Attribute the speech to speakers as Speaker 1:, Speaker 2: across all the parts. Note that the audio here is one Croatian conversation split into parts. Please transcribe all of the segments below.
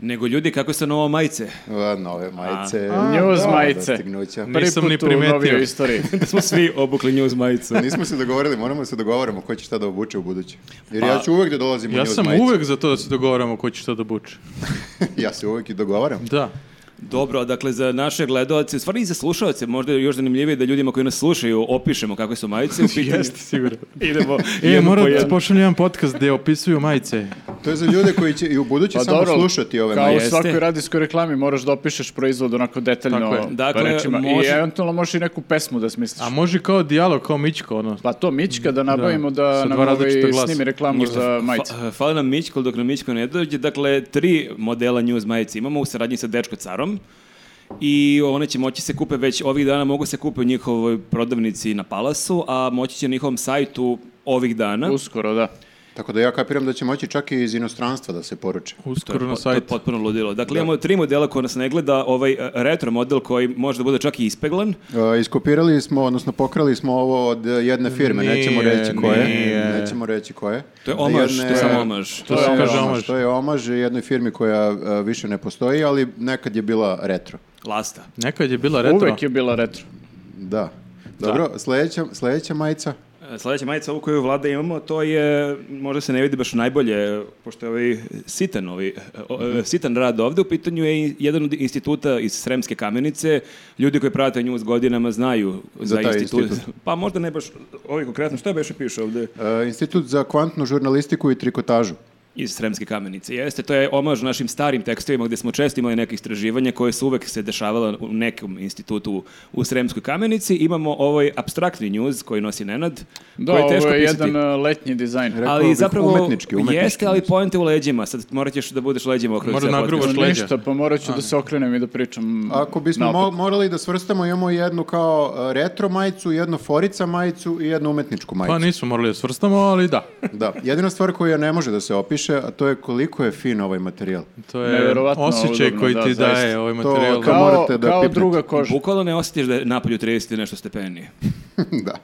Speaker 1: nego ljudi kako se novo majice.
Speaker 2: A, Nove majice.
Speaker 3: News
Speaker 2: nova
Speaker 3: majice.
Speaker 2: Dostignuća.
Speaker 3: Prvi
Speaker 4: Nisam
Speaker 3: put
Speaker 4: ni
Speaker 3: u
Speaker 4: primetio.
Speaker 3: novijoj istoriji.
Speaker 1: Da smo svi obukli news majice.
Speaker 2: pa- Nismo se dogovorili, moramo da se dogovorimo ko će šta da obuče u buduće. Jer ja ću uvek da dolazim u
Speaker 4: Ja
Speaker 2: news
Speaker 4: sam
Speaker 2: majici.
Speaker 4: uvek za to da se dogovaramo ko će šta da buče.
Speaker 2: Ja se uvek i dogovaram.
Speaker 4: Da.
Speaker 1: Dobro, dakle za naše gledaoce, stvari i za slušaoce, možda je još zanimljivije da ljudima koji nas slušaju opišemo kakve su majice u pitanju.
Speaker 4: Jeste, sigurno.
Speaker 1: Idemo.
Speaker 4: E,
Speaker 1: jednu
Speaker 4: moram
Speaker 1: po
Speaker 4: da
Speaker 1: jednu.
Speaker 4: pošaljem jedan podcast gdje opisuju majice.
Speaker 2: To je za ljude koji će i u buduće samo slušati ove
Speaker 3: Pa kao
Speaker 2: majice.
Speaker 3: u
Speaker 1: Jeste.
Speaker 3: svakoj radijskoj reklami moraš da opišeš proizvod onako detaljno
Speaker 4: Tako je.
Speaker 3: po
Speaker 1: Dakle,
Speaker 3: rečima.
Speaker 1: može-
Speaker 3: I eventualno možeš i neku pesmu da smisliš.
Speaker 4: A može kao dijalog, kao Mićko, ono.
Speaker 3: Pa to Mićka da nabavimo da,
Speaker 4: sa
Speaker 3: nam
Speaker 4: dva
Speaker 3: ovaj
Speaker 4: različita glasa.
Speaker 3: snimi reklamu za majice.
Speaker 1: Fa- Hvala nam Mićko, dok nam Mićko ne dođe. Dakle, tri modela news majice imamo u saradnji sa Dečko Carom i one će moći se kupe već ovih dana, mogu se kupe u njihovoj prodavnici na Palasu, a moći će na njihovom sajtu ovih dana.
Speaker 3: Uskoro, da.
Speaker 2: Tako da ja kapiram da će moći čak i iz inostranstva da se poruče.
Speaker 4: Uskoro
Speaker 1: Po-
Speaker 4: na
Speaker 1: To je
Speaker 4: sajtu.
Speaker 1: potpuno ludilo. Dakle, imamo tri modela koja nas ne gleda, ovaj e, retro model koji možda bude čak i ispeglan.
Speaker 2: E, Iskopirali smo, odnosno pokrali smo ovo od jedne firme,
Speaker 4: Nije,
Speaker 2: nećemo reći koje.
Speaker 4: nije.
Speaker 2: Nećemo reći koje.
Speaker 1: To je
Speaker 2: Od
Speaker 1: omaž,
Speaker 2: jedne-
Speaker 1: to je samo omaž.
Speaker 4: To se kaže omaž.
Speaker 2: To je omaž jednoj firmi koja e, više ne postoji, ali nekad je bila retro.
Speaker 1: Lasta.
Speaker 4: Nekad je bila retro.
Speaker 3: Uvek je bila retro.
Speaker 2: Da. Dobro, sledeća, sledeća majica.
Speaker 1: E, Sljedeća majica, ovu koju vlada imamo, to je, možda se ne vidi baš najbolje, pošto je ovaj sitan, ovaj, e, o- e, sitan rad ovde, u pitanju je i jedan od instituta iz Sremske kamenice, ljudi koji prate nju s godinama znaju za,
Speaker 2: taj
Speaker 1: institut.
Speaker 2: institut.
Speaker 1: Pa možda ne baš ovaj konkretno, što je beše piše ovde?
Speaker 2: E, Institut za kvantnu žurnalistiku i trikotažu.
Speaker 1: Iz Sremske kamenice, jeste. To je omaž našim starim tekstovima gdje smo često imali neke istraživanja koje su uvek se dešavala u nekom institutu u Sremskoj kamenici. Imamo ovaj abstraktni njuz koji nosi Nenad,
Speaker 3: Da,
Speaker 1: koji je
Speaker 3: ovo
Speaker 1: teško
Speaker 3: je
Speaker 1: pisati.
Speaker 3: jedan e, letnji dizajn.
Speaker 2: Rekao
Speaker 1: Ali
Speaker 2: bih
Speaker 1: zapravo
Speaker 2: umetnički, umetnički.
Speaker 1: jeste, ali poenta je u leđima. Sad morat ćeš da budeš leđima okrenut.
Speaker 4: Mora
Speaker 1: za podcast.
Speaker 4: nagrubaš
Speaker 3: Pa
Speaker 4: leđa.
Speaker 3: Ništa, pa morat ću da se okrenem i da pričam.
Speaker 2: Ako bismo mo-
Speaker 3: naopako.
Speaker 2: morali da svrstamo, imamo jednu kao e, retro majicu, jednu forica majicu i jednu umetničku majicu.
Speaker 4: Pa nismo morali da svrstamo, ali da.
Speaker 2: Da, jedina stvar koja ne može da se opiše, a to je koliko je fin ovaj materijal.
Speaker 4: To je
Speaker 3: Neverovatno
Speaker 4: osjećaj
Speaker 3: udobno,
Speaker 4: koji
Speaker 3: da,
Speaker 4: ti
Speaker 3: zaista.
Speaker 4: daje ovaj
Speaker 2: To
Speaker 4: materijal.
Speaker 2: kao-
Speaker 3: kao,
Speaker 2: morate da
Speaker 3: kao
Speaker 2: pipnete.
Speaker 3: druga koža.
Speaker 1: Bukvalno ne osjetiš da je napolju 30 i nešto stepeni.
Speaker 2: da.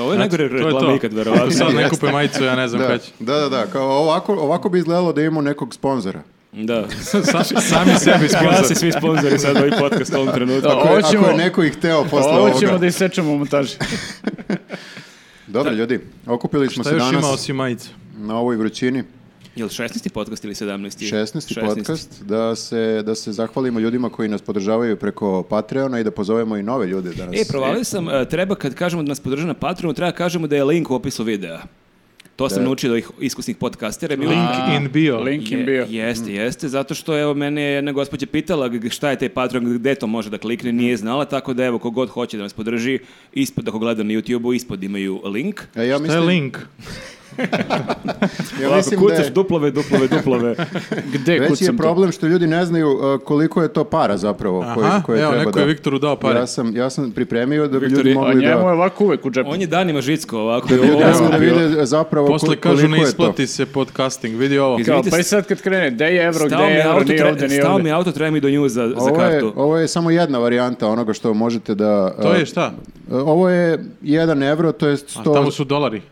Speaker 1: Ovo je najgore
Speaker 4: To je
Speaker 1: reklama
Speaker 4: to.
Speaker 1: ikad,
Speaker 4: Ako
Speaker 1: verovatno.
Speaker 4: sad ne kupe majicu, ja ne znam
Speaker 2: Da,
Speaker 4: kada će.
Speaker 2: da, da, da, kao ovako, ovako bi izgledalo da imamo nekog sponzora.
Speaker 1: Da.
Speaker 4: Sa- sami sebi
Speaker 1: Gasi
Speaker 4: sponzor.
Speaker 1: svi sponzori sad ovaj podcast u ovom trenutku.
Speaker 3: Da,
Speaker 2: Ako,
Speaker 3: ovo
Speaker 2: je-
Speaker 3: ćemo,
Speaker 2: ako je neko ih hteo posle
Speaker 3: Pa ovo
Speaker 2: ovoga.
Speaker 3: ćemo da isečemo u montaži.
Speaker 2: Dobro, ljudi, okupili smo
Speaker 4: Šta
Speaker 2: se
Speaker 4: još
Speaker 2: danas
Speaker 4: ima osim majice?
Speaker 2: na ovoj vrućini.
Speaker 1: Jel 16. podcast ili 17.
Speaker 2: 16. podcast, da se, da se zahvalimo ljudima koji nas podržavaju preko Patreona i da pozovemo i nove ljude da nas...
Speaker 1: E, provalio sam, e, treba kad kažemo da nas podrža na Patreonu, treba kažemo da je link u opisu videa. To sam naučio od ovih iskusnih podcastera. Mi-
Speaker 4: Link in bio.
Speaker 3: Link im
Speaker 1: Je-
Speaker 3: bio.
Speaker 2: Mm.
Speaker 1: Jeste, jeste, zato što evo mene je jedna gospođa pitala g- šta je taj Patreon, gde to može da klikne,
Speaker 2: Mm.
Speaker 1: nije znala, tako da evo kogod hoće da nas podrži, ispod ako gleda na YouTube-u, ispod imaju link.
Speaker 2: E, ja
Speaker 4: Šta je
Speaker 2: mislim,
Speaker 4: link?
Speaker 2: Ja
Speaker 1: Ovako,
Speaker 2: mislim da
Speaker 1: kucaš
Speaker 2: je,
Speaker 1: duplove, duplove, duplove.
Speaker 3: Gde
Speaker 2: veći je
Speaker 3: kucam to?
Speaker 2: problem što ljudi ne znaju uh, koliko je to para zapravo koje,
Speaker 4: Aha,
Speaker 2: koje
Speaker 4: evo,
Speaker 2: treba
Speaker 4: neko
Speaker 2: da...
Speaker 4: je Viktoru dao pare.
Speaker 2: Ja sam, ja sam pripremio da bi
Speaker 1: Viktor
Speaker 2: ljudi
Speaker 1: je-
Speaker 3: A
Speaker 2: mogli
Speaker 3: njemu je
Speaker 2: da...
Speaker 3: ovako uvek u džepu.
Speaker 1: On je danima žicko ovako.
Speaker 2: Ljudi
Speaker 1: ovo-
Speaker 2: mogu da vide zapravo
Speaker 4: Posle
Speaker 2: kol-
Speaker 4: kažu
Speaker 2: koliko
Speaker 4: ne
Speaker 2: je to.
Speaker 4: isplati se podcasting. Vidi ovo.
Speaker 1: Iz-
Speaker 3: Kao,
Speaker 1: Vidite,
Speaker 3: pa i sad kad krene, gde je evro, gde
Speaker 1: Stao mi
Speaker 3: je evro,
Speaker 1: auto,
Speaker 3: nije
Speaker 1: tre-
Speaker 3: ovde, nije
Speaker 1: stao
Speaker 3: ovde.
Speaker 1: mi auto, treba mi do nju za, za
Speaker 2: Ovo je,
Speaker 1: kartu.
Speaker 2: ovo je samo jedna varijanta onoga što možete da...
Speaker 4: To
Speaker 2: uh,
Speaker 4: je šta?
Speaker 2: uh, Ovo je 1 evro, to je
Speaker 4: A
Speaker 2: 100,
Speaker 4: tamo su dolari.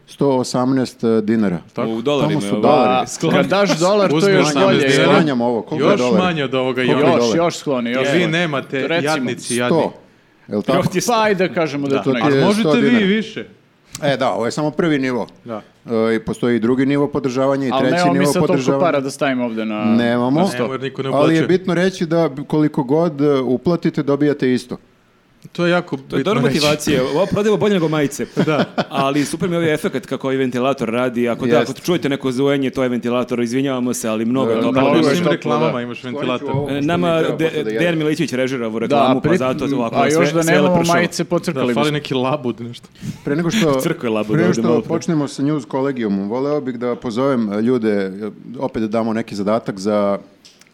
Speaker 2: 118 uh, dinara.
Speaker 4: Tako.
Speaker 1: U dolarima.
Speaker 2: Tamo su
Speaker 1: je ovo.
Speaker 2: dolari.
Speaker 3: Pa,
Speaker 1: Skloni.
Speaker 3: kad daš dolar, to
Speaker 4: Uzmi
Speaker 3: je još
Speaker 4: osamnaest
Speaker 3: bolje.
Speaker 4: dinara.
Speaker 3: jer-
Speaker 2: Sklanjam ovo, koliko je
Speaker 4: Još
Speaker 2: dolara?
Speaker 4: manje od ovoga.
Speaker 2: Koliko je
Speaker 4: jadni.
Speaker 2: dolara?
Speaker 3: Još, još skloni, još
Speaker 4: Vi
Speaker 3: skloni.
Speaker 4: nemate
Speaker 3: Recimo,
Speaker 4: jadnici
Speaker 2: 100.
Speaker 4: jadni.
Speaker 2: Je li tako?
Speaker 1: Ti s-
Speaker 3: Pa ajde kažemo da, je to
Speaker 2: ti
Speaker 3: negdje.
Speaker 2: je
Speaker 4: Ali možete
Speaker 2: 100
Speaker 4: vi
Speaker 2: dinara.
Speaker 4: i više.
Speaker 2: E da, ovo je samo prvi nivo.
Speaker 4: Da.
Speaker 2: E, I postoji i drugi nivo podržavanja i
Speaker 3: Ali
Speaker 2: treći
Speaker 3: nemamo mi
Speaker 2: nivo
Speaker 3: sad toliko
Speaker 2: podržavanja.
Speaker 3: para da stavimo ovde na...
Speaker 2: Nemamo,
Speaker 4: sto. Nemamo jer niko ne
Speaker 2: ali je
Speaker 4: uplaćuje.
Speaker 2: bitno reći da koliko god e, uplatite dobijate isto.
Speaker 4: To je jako
Speaker 1: To je
Speaker 4: bitno Znači,
Speaker 1: dobra
Speaker 4: reći.
Speaker 1: motivacija, ovo prodajemo bolje nego majice. pa
Speaker 4: Da.
Speaker 1: Ali super mi je ovaj efekt kako ovaj ventilator radi, ako da,
Speaker 2: Jest.
Speaker 1: ako čujete neko zujenje, to je ventilator, izvinjavamo se, ali mnogo je
Speaker 2: Da,
Speaker 1: toplo.
Speaker 3: E, mnogo
Speaker 4: ono, U
Speaker 3: je
Speaker 4: svim
Speaker 3: toplo,
Speaker 4: reklamama
Speaker 3: da.
Speaker 4: imaš ventilator.
Speaker 1: E, Nama De, Dejan Milićević režira ovu reklamu, pa
Speaker 3: pri-
Speaker 1: zato ovako
Speaker 3: a
Speaker 1: sve,
Speaker 3: još da
Speaker 1: sve E,
Speaker 3: nemamo
Speaker 1: lepršavo.
Speaker 3: majice
Speaker 4: Da,
Speaker 3: pocrkali
Speaker 4: fali
Speaker 3: bismo.
Speaker 4: neki labud nešto.
Speaker 2: Pre nego što,
Speaker 1: Crkva je labuda
Speaker 2: pre nego
Speaker 1: ovde malo
Speaker 2: što
Speaker 1: pre.
Speaker 2: počnemo sa news kolegijumom, voleo bih da pozovem e, ljude, e, opet da damo neki zadatak za,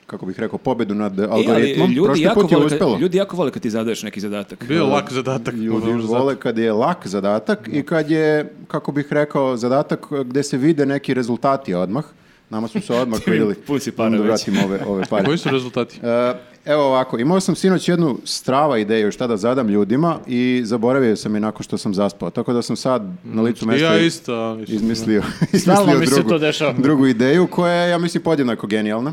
Speaker 2: kako bih rekao, pobedu nad
Speaker 1: E, ali
Speaker 2: algoritmom.
Speaker 1: ljudi
Speaker 2: Prošli
Speaker 1: jako,
Speaker 2: put je
Speaker 1: vole kad,
Speaker 2: uspelo.
Speaker 1: ljudi jako vole kad ti zadaješ neki zadatak.
Speaker 4: Bio je lak zadatak. ono,
Speaker 2: Ljudi
Speaker 4: moram zato.
Speaker 2: vole kad je lak zadatak i kad je, kako bih rekao, zadatak gde se vide neki rezultati odmah. Nama su se odmah vidjeli.
Speaker 1: pun si para
Speaker 2: Da
Speaker 1: već.
Speaker 2: vratim ove, ove pare.
Speaker 4: Koji su rezultati?
Speaker 2: E, Evo ovako, imao sam sinoć jednu strava ideju šta da zadam ljudima i zaboravio sam je nakon što sam zaspao. Tako da sam sad na licu mesta
Speaker 4: Ja isto. ali isto.
Speaker 2: izmislio,
Speaker 3: Mhm. Stalno
Speaker 2: izmislio
Speaker 3: mi se
Speaker 2: drugu,
Speaker 3: to dešava. Mhm.
Speaker 2: drugu ideju koja je, ja mislim, podjednako genijalna.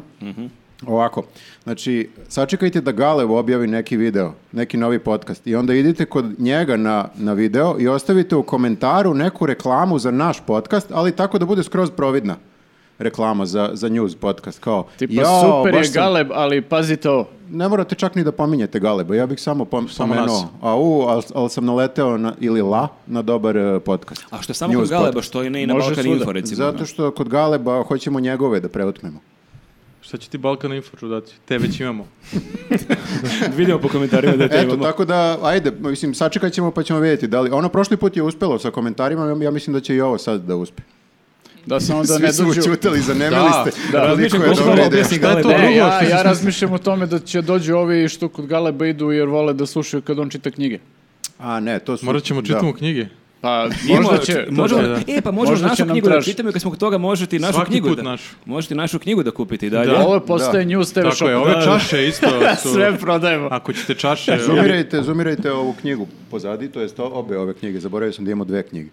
Speaker 2: Ovako, znači, sačekajte da Galev objavi neki video, neki novi podcast i onda idite kod njega na, na video i ostavite u komentaru neku reklamu za naš podcast, ali tako da bude skroz providna reklama za, za news podcast, kao
Speaker 3: Tipa
Speaker 2: "Jao,
Speaker 3: super je
Speaker 2: baš sam-"
Speaker 3: Galeb, ali pazite ovo.
Speaker 2: Ne morate čak ni da pominjete Galeba, ja bih samo pom-
Speaker 4: nas.
Speaker 2: spomenuo, a u, ali sam naleteo na, ili la na dobar eh, podcast.
Speaker 1: A što je samo
Speaker 2: News
Speaker 1: kod Galeba,
Speaker 2: podcast.
Speaker 1: što je ne i na
Speaker 3: Može
Speaker 1: Balkan
Speaker 3: svuda.
Speaker 1: Info, recimo.
Speaker 2: Zato što kod Galeba hoćemo njegove da preotmemo.
Speaker 4: Šta će ti Balkan Info čudati? Te već imamo.
Speaker 1: Vidimo po komentarima da to
Speaker 2: Eto,
Speaker 1: imamo.
Speaker 2: tako da, ajde, mislim, sačekat ćemo pa ćemo vidjeti da li... Ono prošli put je uspelo sa komentarima, ja- ja mislim da će i ovo sad da uspe.
Speaker 3: Da samo da
Speaker 2: Svi
Speaker 3: ne
Speaker 2: su
Speaker 3: dođu...
Speaker 2: ućutali, zanemili
Speaker 4: Da,
Speaker 2: ste.
Speaker 3: da,
Speaker 2: koliko
Speaker 1: razmišljam
Speaker 2: je
Speaker 1: koliko
Speaker 2: dobra
Speaker 1: ovo
Speaker 2: ideja.
Speaker 1: objasni
Speaker 4: Šta je
Speaker 1: Galeba.
Speaker 4: to
Speaker 1: Ne,
Speaker 3: Ne,
Speaker 4: drugo?
Speaker 3: ja,
Speaker 4: što
Speaker 3: ja
Speaker 4: si-
Speaker 3: razmišljam o tome da će dođu ovi što kod Galeba idu jer vole da slušaju kad on čita knjige.
Speaker 2: A ne, to su...
Speaker 4: Morat ćemo
Speaker 2: da.
Speaker 4: čitamo knjige.
Speaker 3: Pa
Speaker 1: Možda
Speaker 3: možda će...
Speaker 1: možemo,
Speaker 4: da, da.
Speaker 1: E, pa možemo
Speaker 3: Možda će
Speaker 1: našu
Speaker 3: nam
Speaker 1: knjigu da
Speaker 3: tražiti.
Speaker 1: čitamo i kad smo kod toga možete i našu
Speaker 4: Svaki
Speaker 1: knjigu
Speaker 4: put
Speaker 1: da...
Speaker 4: našu.
Speaker 1: Možete i našu knjigu da kupite i dalje.
Speaker 4: Da.
Speaker 3: Ovo postaje news TV
Speaker 4: Tako
Speaker 3: shop.
Speaker 4: je,
Speaker 3: Da,
Speaker 4: ove
Speaker 3: da.
Speaker 4: čaše isto su...
Speaker 3: Sve prodajemo.
Speaker 4: Ako ćete čaše...
Speaker 2: Zumirajte, zumirajte ovu knjigu pozadi, to jest obe ove knjige, zaboravio sam da imamo dve knjige.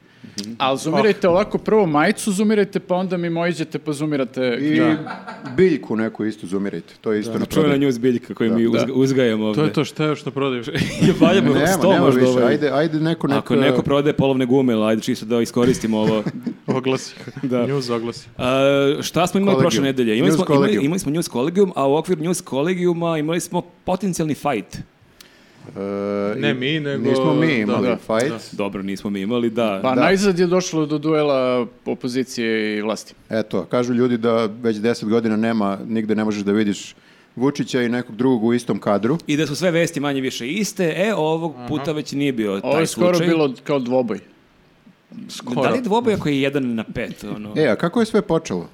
Speaker 3: Ali zumirajte ovako, prvo majicu zumirajte, pa onda mimo iđete pa zumirate.
Speaker 2: I biljku neku isto zumirajte, to je isto na
Speaker 1: Čuvena
Speaker 2: prodaju.
Speaker 1: news biljka koju mi uzga- uzgajamo ovde.
Speaker 4: To je to šta još što prodaješ.
Speaker 1: Je valjamo
Speaker 2: Nema,
Speaker 1: sto
Speaker 2: nema
Speaker 1: možda
Speaker 2: više,
Speaker 1: ovaj.
Speaker 2: ajde, ajde neko neko...
Speaker 1: Ako neko prodaje polovne gume, ili ajde čisto da iskoristimo ovo.
Speaker 4: oglasi.
Speaker 1: Da.
Speaker 4: News oglasi.
Speaker 1: A, šta smo imali
Speaker 2: Kolegium.
Speaker 1: prošle nedelje? Imali
Speaker 2: News
Speaker 1: smo, imali,
Speaker 2: kolegium.
Speaker 1: imali smo News Collegium, a u okviru News Collegiuma imali smo potencijalni fight.
Speaker 2: E,
Speaker 4: Ne mi, nego-
Speaker 2: Nismo mi imali
Speaker 4: da,
Speaker 2: fight.
Speaker 1: Dobro, nismo mi imali, da.
Speaker 3: Pa
Speaker 2: Da.
Speaker 3: najzad je došlo do duela opozicije i vlasti.
Speaker 2: Eto, kažu ljudi da već 10 godina nema, nigde ne možeš da vidiš Vučića i nekog drugog u istom kadru.
Speaker 1: I da su sve vesti manje više iste, e, ovog puta već nije bio taj
Speaker 3: Ovo je skoro
Speaker 1: slučaj.
Speaker 3: bilo kao dvoboj.
Speaker 1: Da li je dvoboj ako je jedan na pet? Ono?
Speaker 2: E, a kako je sve počelo?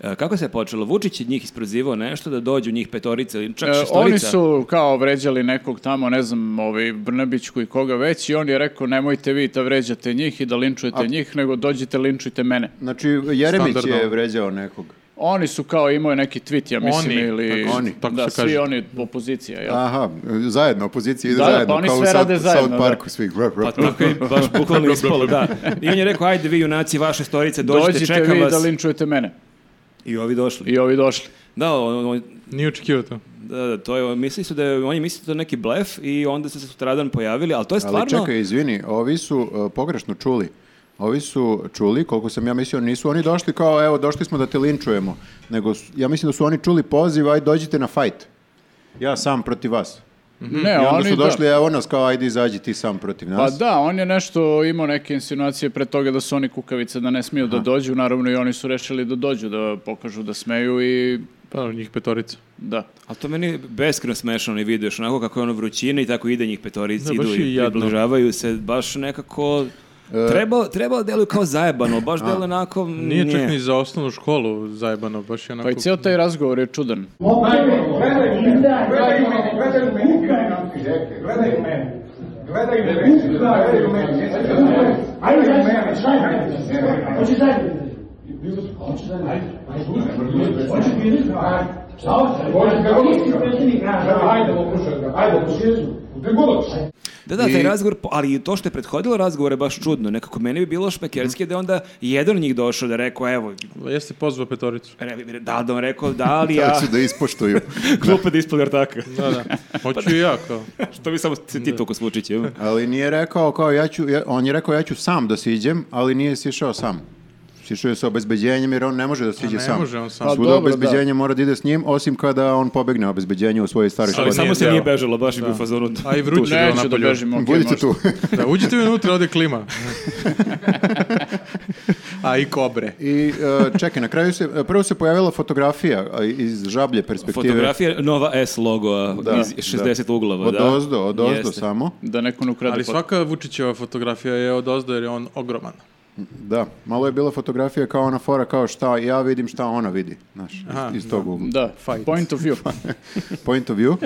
Speaker 1: E, Kako se je počelo? Vučić je njih isprozivao nešto da dođu njih petorica ili čak
Speaker 3: E,
Speaker 1: šestorica.
Speaker 3: oni su kao vređali nekog tamo, ne znam, ovaj Brnabićku i koga već i on je rekao nemojte vi da vređate njih i da linčujete njih, nego dođite linčujte mene.
Speaker 2: Znači, Jeremić je
Speaker 4: Standardno.
Speaker 2: vređao nekog.
Speaker 3: Oni su kao imao neki tweet, ja mislim,
Speaker 4: Oni,
Speaker 3: ili...
Speaker 4: tako-
Speaker 2: oni,
Speaker 4: tako se
Speaker 3: da, svi
Speaker 4: kaže.
Speaker 3: oni opozicija, jel?
Speaker 2: Aha, zajedno, opozicija ide
Speaker 3: Da, da, pa
Speaker 2: zajedno,
Speaker 3: oni
Speaker 2: kao u
Speaker 3: sve
Speaker 2: South,
Speaker 3: rade zajedno,
Speaker 2: South Parku svih.
Speaker 1: Pa tako je baš bukvalno ispalo, da. I on je rekao, ajde vi junaci vaše storice, dođite,
Speaker 3: Dođite
Speaker 1: čekam
Speaker 3: vi
Speaker 1: vas.
Speaker 3: da linčujete mene.
Speaker 1: I ovi došli.
Speaker 3: I ovi došli.
Speaker 1: Da, on, on-
Speaker 4: Nije očekivao to.
Speaker 1: da, da, to je, mislili su da je, on je mislio da je to neki blef i onda su se sutradan pojavili, ali to je stvarno...
Speaker 2: Ali čekaj, izvini, ovi su uh, pogrešno čuli. Ovi su čuli, koliko sam ja mislio, nisu oni došli kao, evo, došli smo da te linčujemo. Nego, su- ja mislim da su oni čuli poziv, aj dođite na fight. Ja sam protiv vas.
Speaker 3: Ne,
Speaker 2: Mhm. I onda
Speaker 3: E, oni
Speaker 2: su
Speaker 3: da.
Speaker 2: došli, evo nas kao, ajde izađi ti sam protiv
Speaker 3: Pa
Speaker 2: nas.
Speaker 3: da, on je nešto imao neke insinuacije pre toga da su oni kukavice da ne smiju da dođu, naravno i oni su rešili da dođu, da pokažu da smeju i
Speaker 4: Pa njih petorica.
Speaker 3: da.
Speaker 1: Ali to meni je beskreno smešano i vidiš onako kako je ono vrućina i tako ide njih petorici,
Speaker 4: Da, baš
Speaker 1: idu i
Speaker 4: je jadno.
Speaker 1: približavaju se, baš nekako... Treba, treba da deluju kao zajebano, baš deluje onako...
Speaker 4: Nije čak ni za osnovnu školu zajebano, baš je onako...
Speaker 3: Pa i cijel taj razgovor je čudan.
Speaker 5: Gledaju me, gledaju me, gledaju me, gledaju me, gledaju me, ajde me, hoćeš zajedno, hoćeš zajedno, hoćeš vidjeti, šta hoćeš, hoćeš predsjednik naš, ajde, pokušaj ga, ajde, pokušaj ga, gdje god hoćeš.
Speaker 1: Da, da, taj razgovor, po- ali i to što je prethodilo razgovor je baš čudno. Nekako meni bi bilo špekerski da je onda jedan od njih došao da je rekao, evo,
Speaker 4: Jeste pozvao petoricu.
Speaker 1: re- da, da on rekao, da li
Speaker 2: Da
Speaker 1: ja...
Speaker 2: ću da ispoštuju.
Speaker 1: Glupe da ispod ortaka.
Speaker 4: Da, da. Hoću i ja kao.
Speaker 1: što bi samo se ti toliko slučićem.
Speaker 2: Ali nije rekao kao ja ću, ja- on je rekao ja ću sam da siđem, ali nije sišao sam. Sišao je sa obezbeđenjem jer on ne može da siđe
Speaker 4: ne
Speaker 2: sam.
Speaker 4: može on sam.
Speaker 3: Pa
Speaker 2: Svuda
Speaker 3: dobro,
Speaker 2: obezbeđenje mora da ide s njim, osim kada on pobegne obezbeđenje u svojoj staroj
Speaker 4: Ali
Speaker 1: Ali
Speaker 2: školi.
Speaker 1: samo
Speaker 4: nije
Speaker 1: se nije
Speaker 4: teo.
Speaker 1: bežalo, baš je bio u fazonu.
Speaker 4: A i vruće je bilo
Speaker 3: Neću da
Speaker 4: napolju.
Speaker 3: bežim, okej,
Speaker 2: Budite
Speaker 3: možda.
Speaker 2: tu.
Speaker 4: Da, uđite vi unutra, ovdje klima. A i kobre.
Speaker 2: I e, čekaj, na kraju se, e, prvo se pojavila fotografija a, iz žablje perspektive.
Speaker 1: Fotografija Nova S logoa iz 60 uglova.
Speaker 2: Od
Speaker 1: da.
Speaker 2: ozdo, od ozdo
Speaker 1: Jeste.
Speaker 2: samo.
Speaker 3: Da neko ne ukrade
Speaker 4: Ali
Speaker 3: fotku.
Speaker 4: svaka Vučićeva fotografija je od ozdo jer je on ogroman.
Speaker 2: Da, malo je bila fotografija kao ona fora, kao šta ja vidim, šta ona vidi. Znaš, iz-
Speaker 4: Aha,
Speaker 2: iz, tog ugla.
Speaker 3: Da,
Speaker 4: Fight.
Speaker 3: point of view.
Speaker 2: Point of view.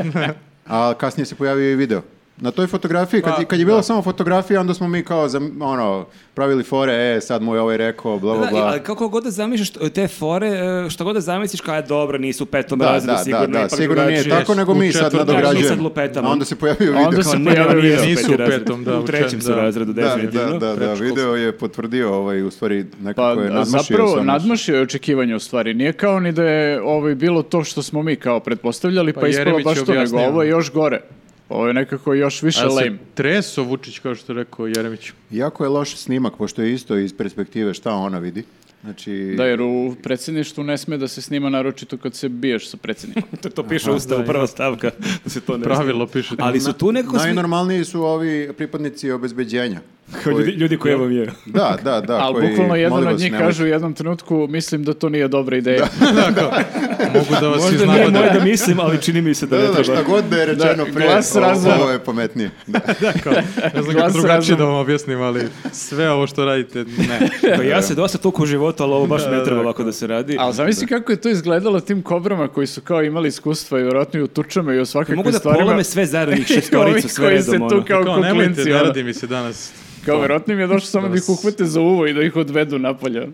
Speaker 2: A kasnije se pojavio i video. Na toj fotografiji, kad,
Speaker 4: Pa,
Speaker 2: kad je bila samo fotografija, onda smo mi kao, za, ono, pravili fore, e, sad mu je ovaj rekao, bla, bla,
Speaker 1: Da, i-
Speaker 2: bla.
Speaker 1: ali kako god da zamisliš t- te fore, e, što god da zamisliš kao je dobro, nisu u petom
Speaker 2: Da,
Speaker 1: razredu,
Speaker 2: da, da,
Speaker 1: sigurno
Speaker 2: da,
Speaker 1: ipak
Speaker 2: sigurno nije
Speaker 1: drugačije.
Speaker 2: tako, nego mi
Speaker 4: U
Speaker 2: sad
Speaker 4: četvrtom.
Speaker 1: Da, mi sad
Speaker 2: nadograđujemo.
Speaker 1: lupetamo.
Speaker 2: A onda se pojavio
Speaker 3: A onda
Speaker 2: video.
Speaker 3: se
Speaker 1: Kao,
Speaker 3: Nisam
Speaker 1: nema,
Speaker 3: pojavio
Speaker 1: nije
Speaker 4: video. Nisu u
Speaker 1: razred.
Speaker 4: petom, da,
Speaker 1: U
Speaker 4: u
Speaker 1: trećem
Speaker 4: čem-
Speaker 1: su
Speaker 4: da.
Speaker 1: razredu,
Speaker 2: Da,
Speaker 1: definitivno.
Speaker 2: da, da, da, video je potvrdio ovaj, u stvari,
Speaker 3: Pa
Speaker 2: nekako je
Speaker 3: a
Speaker 2: nadmašio
Speaker 3: zapravo
Speaker 2: sam naš-
Speaker 3: nadmašio je očekivanje u stvari. Nije kao ni da je ovaj, bilo to što smo mi kao pretpostavljali, pa,
Speaker 4: Pa
Speaker 3: ispalo
Speaker 4: Jeremić
Speaker 3: baš
Speaker 4: je
Speaker 3: to, nego
Speaker 4: objasnio.
Speaker 3: ovo je još gore. Ovo je nekako još više
Speaker 4: A se
Speaker 3: lame.
Speaker 4: treso Vučić, kao što je rekao Jeremić.
Speaker 2: Jako je loš snimak, pošto je isto iz perspektive šta ona vidi. Znači,
Speaker 3: Da, jer u predsjedništvu ne sme da se snima naročito kad se biješ sa predsjednikom.
Speaker 1: To, to piše u ustavu, prva stavka, da se to ne
Speaker 4: Pravilo piše.
Speaker 1: Ali su tu nekako svi-
Speaker 2: najnormalniji su ovi pripadnici obezbeđenja.
Speaker 1: kao ljudi, ljudi koji vam je.
Speaker 2: Da, da, da.
Speaker 3: Ali
Speaker 2: koji,
Speaker 3: bukvalno
Speaker 2: molim
Speaker 3: jedan od
Speaker 2: vas,
Speaker 3: njih
Speaker 2: nemojte.
Speaker 3: kaže u jednom trenutku, mislim da to nije dobra ideja.
Speaker 4: Mogu da vas
Speaker 1: Možda nije moje
Speaker 4: iznabade.
Speaker 1: da mislim, ali čini mi se da
Speaker 2: Da,
Speaker 1: ne
Speaker 2: da, da,
Speaker 1: treba.
Speaker 2: šta god da je rečeno
Speaker 3: Da,
Speaker 2: pre,
Speaker 3: glas razvoja.
Speaker 2: ovo, ovo je pametnije. Da.
Speaker 4: Ne znam
Speaker 3: Glas
Speaker 4: kako drugačije
Speaker 3: razum.
Speaker 4: da vam objasnim, ali sve ovo što radite, ne.
Speaker 1: Pa ja se dosta tuku u životu, ali ovo baš ne treba ovako da se radi.
Speaker 3: Ali zamisli kako je to izgledalo tim kobrama koji su kao imali iskustva i vjerojatno i u tučama i u svakakvim
Speaker 1: Mogu da
Speaker 3: stvarima.
Speaker 1: polome sve zaradnih
Speaker 3: I ovi
Speaker 1: šestoricu, sve
Speaker 3: koji se
Speaker 1: redom. ono.
Speaker 3: tu kao,
Speaker 4: Kao, nemojte,
Speaker 3: kuklinci,
Speaker 4: ne
Speaker 3: ono.
Speaker 4: radi mi se danas.
Speaker 3: Kao vjerojatno im je došlo samo da ih uhvate za uvo i da ih odvedu napolje.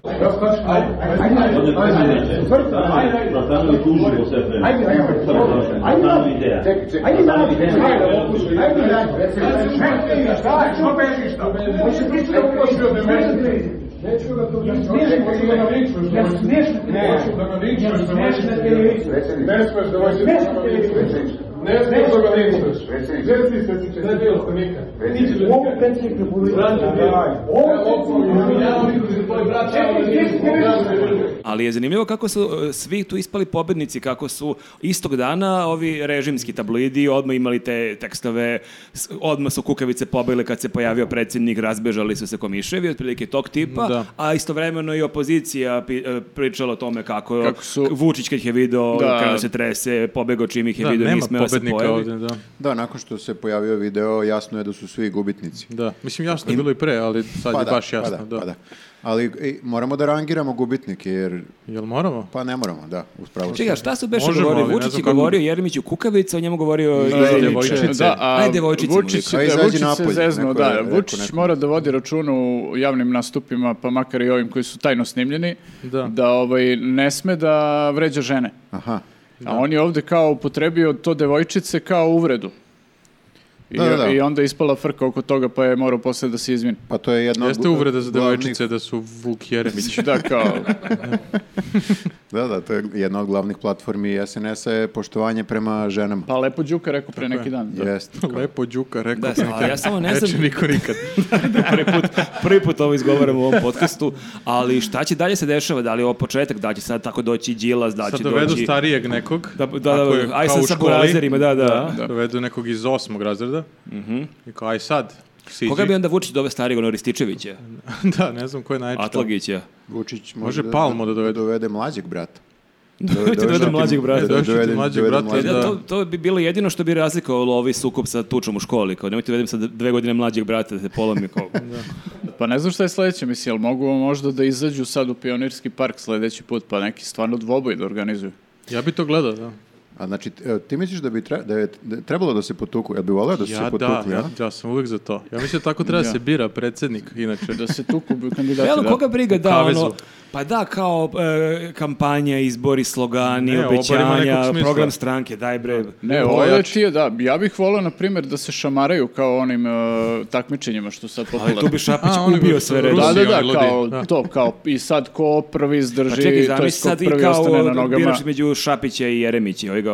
Speaker 1: Ali je zanimljivo kako su e, svi tu ispali pobednici, kako su istog dana ovi režimski tabloidi odmah imali te tekstove, s- odmah su kukavice pobile kad se pojavio predsjednik, razbežali su se komiševi, otprilike tog tipa,
Speaker 4: Da.
Speaker 1: a istovremeno i opozicija pi- e, pričala o tome kako,
Speaker 3: Kako su-
Speaker 1: Vučić kad ih je video,
Speaker 3: Da.
Speaker 1: kada se trese, pobegao čim ih je
Speaker 4: Da,
Speaker 1: video, nije
Speaker 4: nema
Speaker 1: smeo se
Speaker 4: pobednika
Speaker 1: pojavi.
Speaker 4: ovdje, da.
Speaker 2: Da, nakon što se pojavio video, jasno je da su svi gubitnici.
Speaker 4: Da, mislim jasno je bilo i pre, ali sad je baš jasno,
Speaker 2: pa da,
Speaker 4: da.
Speaker 2: pa da. Ali i, moramo da rangiramo gubitnike, jer
Speaker 4: Jel moramo?
Speaker 2: pa ne moramo, da, uspravo.
Speaker 1: Čekaj, a šta su beše
Speaker 4: Možemo,
Speaker 1: govorili?
Speaker 4: ali ne
Speaker 1: Vučić
Speaker 4: znam
Speaker 1: je
Speaker 4: kako-
Speaker 1: govorio Jeremiću Kukavica, o njemu govorio
Speaker 4: Iz
Speaker 1: Jeremić.
Speaker 4: Djevojčice.
Speaker 3: Da, a
Speaker 1: Aj, devojčice
Speaker 3: Vučić,
Speaker 2: mu rekao.
Speaker 3: da,
Speaker 2: A
Speaker 3: Vučić
Speaker 2: izađi
Speaker 3: se
Speaker 2: napolje,
Speaker 3: zeznuo,
Speaker 2: neko je
Speaker 3: da,
Speaker 2: rekao
Speaker 3: Vučić
Speaker 2: nekom.
Speaker 3: mora da vodi računa u javnim nastupima, pa makar i ovim koji su tajno snimljeni,
Speaker 4: Da.
Speaker 3: ovaj, ne sme da vređa žene.
Speaker 2: Aha.
Speaker 3: A on je ovdje kao upotrebio to devojčice kao uvredu. I,
Speaker 2: Da, da, da.
Speaker 3: I onda je ispala frka oko toga, pa je morao poslije da se izvini.
Speaker 2: Pa to je jedna od
Speaker 4: Jeste
Speaker 2: gu-
Speaker 4: uvreda za
Speaker 2: glavnih-
Speaker 4: devojčice da su Vuk Jeremić.
Speaker 3: Da, kao,
Speaker 2: Da, da, to je jedna od glavnih platformi SNS-a je poštovanje prema ženama.
Speaker 3: pa lepo Đuka rekao pre neki dan. Da.
Speaker 2: Jeste.
Speaker 4: Lepo Đuka rekao.
Speaker 1: Da,
Speaker 4: pre
Speaker 1: ali ja samo ne
Speaker 3: Znači,
Speaker 4: Neće
Speaker 1: znam-
Speaker 4: niko nikad.
Speaker 1: prvi put, prvi put ovo izgovaram u ovom podcastu, ali šta će dalje se dešava, da li je ovo početak, da li će sad tako doći Đilas, da li
Speaker 4: Sad
Speaker 1: će
Speaker 4: dovedu
Speaker 1: doći...
Speaker 4: starijeg nekog.
Speaker 1: Da, da, da,
Speaker 4: ako je
Speaker 1: aj
Speaker 4: kao
Speaker 1: sad
Speaker 4: u
Speaker 1: sa
Speaker 4: školi.
Speaker 1: burazerima, da, da.
Speaker 4: Dovedu nekog iz osmog razreda. I kao, aj sad, siđi.
Speaker 1: Koga bi onda Vučić dove starijeg, ono Rističevića,
Speaker 4: da, ne znam ko je najčešće.
Speaker 1: Atlagića?
Speaker 2: Vučić
Speaker 4: Može Palmu da dovede.
Speaker 2: dovede mlađeg brata.
Speaker 1: Dovede mlađeg brata.
Speaker 2: Da,
Speaker 4: Dođite
Speaker 2: dovede-
Speaker 4: mlađeg
Speaker 2: dovede
Speaker 4: brata,
Speaker 1: E,
Speaker 2: mlađeg-
Speaker 1: Da,
Speaker 4: Da.
Speaker 1: to, to bi bilo jedino što bi razlikovalo ovaj sukob sa tučom u školi, kao nemojte vedem sad dve godine mlađeg brata da se polomi kao...
Speaker 3: Pa ne znam šta je sljedeće, mislim, jel mogu možda da izađu sad u Pionirski park sljedeći put, pa neki stvarno dvoboj da organizuju.
Speaker 4: Ja bi to gledao, da.
Speaker 2: A znači, e, ti misliš da bi tre- da je da je trebalo da se potuku? Jel bi voleo da su se
Speaker 4: Ja da,
Speaker 2: potukli, a?
Speaker 4: ja, ja sam uvijek za to. Ja mislim da tako treba
Speaker 3: Ja.
Speaker 4: se bira predsjednik, inače.
Speaker 3: Da se tuku bi kandidati.
Speaker 1: Pa Jel,
Speaker 3: da.
Speaker 1: koga briga da,
Speaker 4: kavezu.
Speaker 1: ono, pa da, kao e, kampanja, izbori, slogani,
Speaker 4: Ne, ovo bar ima nekog
Speaker 1: obećanja,
Speaker 4: smisla.
Speaker 1: program stranke, daj bre.
Speaker 3: Ne,
Speaker 4: Ovo
Speaker 3: ovo je
Speaker 4: jače.
Speaker 3: čije, da. Ja bih volio, na primjer, da se šamaraju kao onim e, takmičenjima što su sad
Speaker 1: Ali tu
Speaker 3: popularno.
Speaker 1: bi Šapić
Speaker 4: A, oni bi
Speaker 1: ubio
Speaker 4: u
Speaker 1: sve
Speaker 4: Rusiji.
Speaker 1: redom.
Speaker 3: Da,
Speaker 4: oni
Speaker 3: da, da,
Speaker 4: ludi.
Speaker 3: kao
Speaker 4: Da.
Speaker 3: to, kao i sad ko prvi
Speaker 1: Pa
Speaker 3: izdrži,
Speaker 1: čekaj,
Speaker 3: to je
Speaker 1: zamisli
Speaker 3: ko
Speaker 1: sad i
Speaker 3: prvi ostane na
Speaker 1: kao ono,
Speaker 3: nogama.
Speaker 1: biraš među Šapića i Jeremića, ovi ga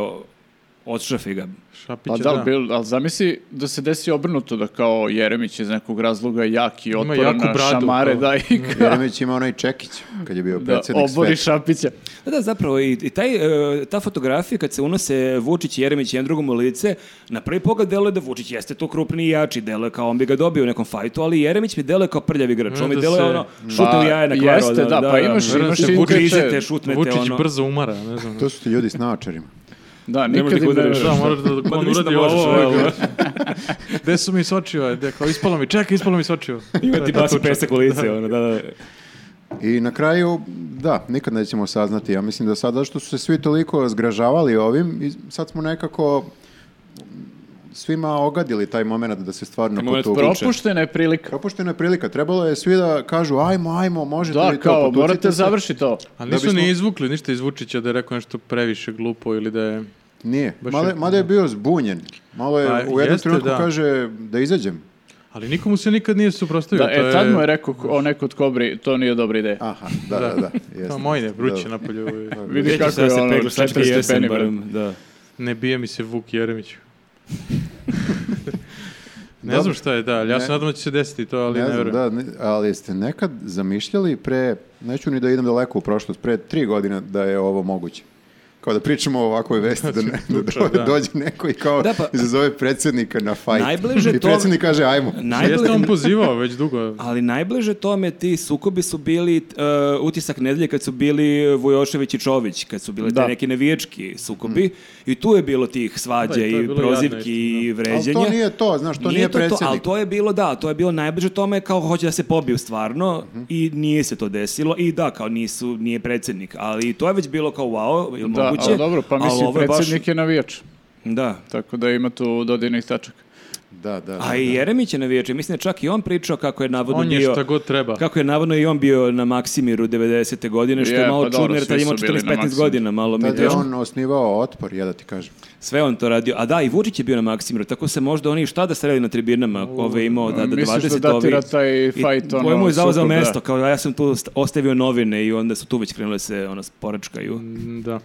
Speaker 1: odšrafi ga.
Speaker 4: Šapića,
Speaker 3: Pa da, ali, bil- ali zamisli da se desi obrnuto da kao Jeremić iz nekog razloga jak i otporan
Speaker 4: jaku
Speaker 3: na
Speaker 4: bradu,
Speaker 3: šamare,
Speaker 4: kao.
Speaker 3: da i kao,
Speaker 2: Jeremić ima onaj čekić kad je bio
Speaker 3: da,
Speaker 2: predsjednik
Speaker 3: obori
Speaker 2: sveta.
Speaker 3: Šapića.
Speaker 1: Da, da, zapravo i, i taj, e, ta fotografija kad se unose Vučić i Jeremić jedan drugom u lice, na prvi pogled deluje da Vučić jeste tu krupni i jači, deluje kao on bi ga dobio u nekom fajtu, ali Jeremić mi deluje kao prljav igrač, on mi
Speaker 4: Onda
Speaker 1: deluje
Speaker 4: se-
Speaker 1: ono, šute u
Speaker 3: Pa,
Speaker 1: jaje na kvaru.
Speaker 3: jeste, da, pa imaš-
Speaker 1: Vrlo
Speaker 3: imaš
Speaker 1: se
Speaker 3: i
Speaker 1: Vučić-
Speaker 3: te-
Speaker 1: grižete, šutnete
Speaker 4: Vučić
Speaker 1: ono.
Speaker 4: brzo umara, ne znam.
Speaker 2: To su ti ljudi s naočarima.
Speaker 3: Da,
Speaker 1: Ne možeš
Speaker 3: nikad
Speaker 1: da ih
Speaker 3: im
Speaker 1: udariš.
Speaker 3: ne
Speaker 4: Da,
Speaker 3: veruješ.
Speaker 4: moraš da
Speaker 1: Ma,
Speaker 4: on
Speaker 1: mislim da
Speaker 4: uradi
Speaker 1: možeš,
Speaker 4: ovo.
Speaker 1: evo.
Speaker 4: ovo. Gde su mi sočiva? Gde, kao, ispalo mi, čekaj, ispalo mi sočiva.
Speaker 1: Ima ti basi pesak u lice, ono, da, da.
Speaker 2: I na kraju, da, nikad nećemo saznati. Ja mislim da sada što su se svi toliko zgražavali ovim, i sad smo nekako svima ogadili taj moment da se stvarno
Speaker 1: moment
Speaker 2: potuku.
Speaker 1: Vuče.
Speaker 3: Propuštena je prilika.
Speaker 2: Propuštena je prilika, trebalo je svi da kažu ajmo, ajmo, možete
Speaker 3: Da,
Speaker 2: vi to,
Speaker 3: kao,
Speaker 2: potucite
Speaker 3: morate
Speaker 2: se.
Speaker 3: završiti to.
Speaker 4: Ali
Speaker 2: Da
Speaker 4: nisu
Speaker 2: bismo-
Speaker 4: ni izvukli ništa iz Vučića da je rekao nešto previše glupo ili da je...
Speaker 2: Nije,
Speaker 4: Baš
Speaker 2: Male,
Speaker 4: je-
Speaker 2: mada je bio zbunjen. Malo je
Speaker 4: Pa,
Speaker 2: u jednom
Speaker 4: jeste,
Speaker 2: trenutku
Speaker 4: da.
Speaker 2: kaže da izađem.
Speaker 4: Ali nikomu se nikad nije suprostavio.
Speaker 3: Da,
Speaker 4: to
Speaker 3: e, tad mu je rekao k- o neko od kobri, to nije dobra ideja.
Speaker 2: Aha, da, da, da. jeste.
Speaker 4: Kao mojne, vruće
Speaker 2: Da.
Speaker 4: napolju.
Speaker 3: Vidi
Speaker 1: Sjećam
Speaker 3: kako
Speaker 1: se da
Speaker 3: je
Speaker 1: se
Speaker 3: ono,
Speaker 1: pegla sa
Speaker 3: 40
Speaker 1: 40
Speaker 3: stepeni, brate.
Speaker 1: barem, da.
Speaker 4: Ne bije mi se Vuk Jeremić. ne
Speaker 2: Dobro.
Speaker 4: znam šta je, da, ali ja se
Speaker 2: Ne.
Speaker 4: nadam da će se desiti to, ali
Speaker 2: Ne
Speaker 4: ne,
Speaker 2: znam,
Speaker 4: verujem.
Speaker 2: da, ne- ali ste nekad zamišljali pre, neću ni da idem daleko u prošlost, pre tri godine da je ovo moguće. Kao da pričamo o ovakvoj vesti, da, ne, da
Speaker 4: tuča, da.
Speaker 2: dođe neko i kao
Speaker 1: Da, pa-
Speaker 2: izazove predsjednika na fajt.
Speaker 1: Najbliže
Speaker 2: I
Speaker 1: to-
Speaker 2: predsjednik kaže ajmo.
Speaker 4: Jeste on
Speaker 1: Najbliže,
Speaker 4: pozivao već dugo.
Speaker 1: ali najbliže tome ti sukobi su bili t- e, utisak nedelje kad su bili Vujošević i Čović, kad su bile
Speaker 3: Da.
Speaker 1: te neki navijački sukobi i tu je bilo tih svađa
Speaker 4: Da, i to je
Speaker 1: i
Speaker 4: bilo jadno isto,
Speaker 1: prozivki
Speaker 4: da.
Speaker 1: i
Speaker 2: Ali
Speaker 1: vređanja.
Speaker 2: to nije to, znaš, to nije, predsjednik.
Speaker 1: ali to je bilo, da, to je bilo najbliže tome kao hoće da se pobiju stvarno
Speaker 2: Mhm.
Speaker 1: i nije se to desilo i da, kao nisu, nije predsjednik, ali to je već bilo kao wow, ili
Speaker 3: Da, ali
Speaker 1: moguće.
Speaker 3: dobro, pa
Speaker 1: ali
Speaker 3: mislim,
Speaker 1: ovo je baš-
Speaker 3: predsjednik je navijač,
Speaker 1: Da.
Speaker 3: tako da ima tu dodirnih tačaka.
Speaker 2: Da, da, da.
Speaker 1: A i Jeremić je navijač, i mislim da je čak i on pričao kako je navodno
Speaker 4: On
Speaker 1: bio...
Speaker 4: je šta god treba.
Speaker 3: Pa.
Speaker 1: Kako je navodno i on bio na Maksimiru 90. godine, što je,
Speaker 3: Je, pa
Speaker 1: malo
Speaker 3: dobro,
Speaker 1: čudno jer tad
Speaker 3: svi
Speaker 1: je imao
Speaker 3: su bili na
Speaker 1: 14-15
Speaker 3: Maksimiru.
Speaker 1: godina, malo mi je
Speaker 2: Tad je
Speaker 1: teško.
Speaker 2: on osnivao otpor, ja da ti kažem.
Speaker 1: Sve on to radio. A da, i Vučić je bio na Maksimiru, tako se možda oni šta da sreli na tribinama, ove je imao da, da
Speaker 3: Misliš da
Speaker 1: 20
Speaker 3: datira
Speaker 1: ovi-
Speaker 3: taj
Speaker 1: i
Speaker 3: fajt, ono,
Speaker 1: kojemu je zauzeo
Speaker 3: sukob, da.
Speaker 1: mesto, kao ja sam tu st- ostavio novine i onda su tu već krenule se ono, sporačkaju.
Speaker 4: Mm, Da.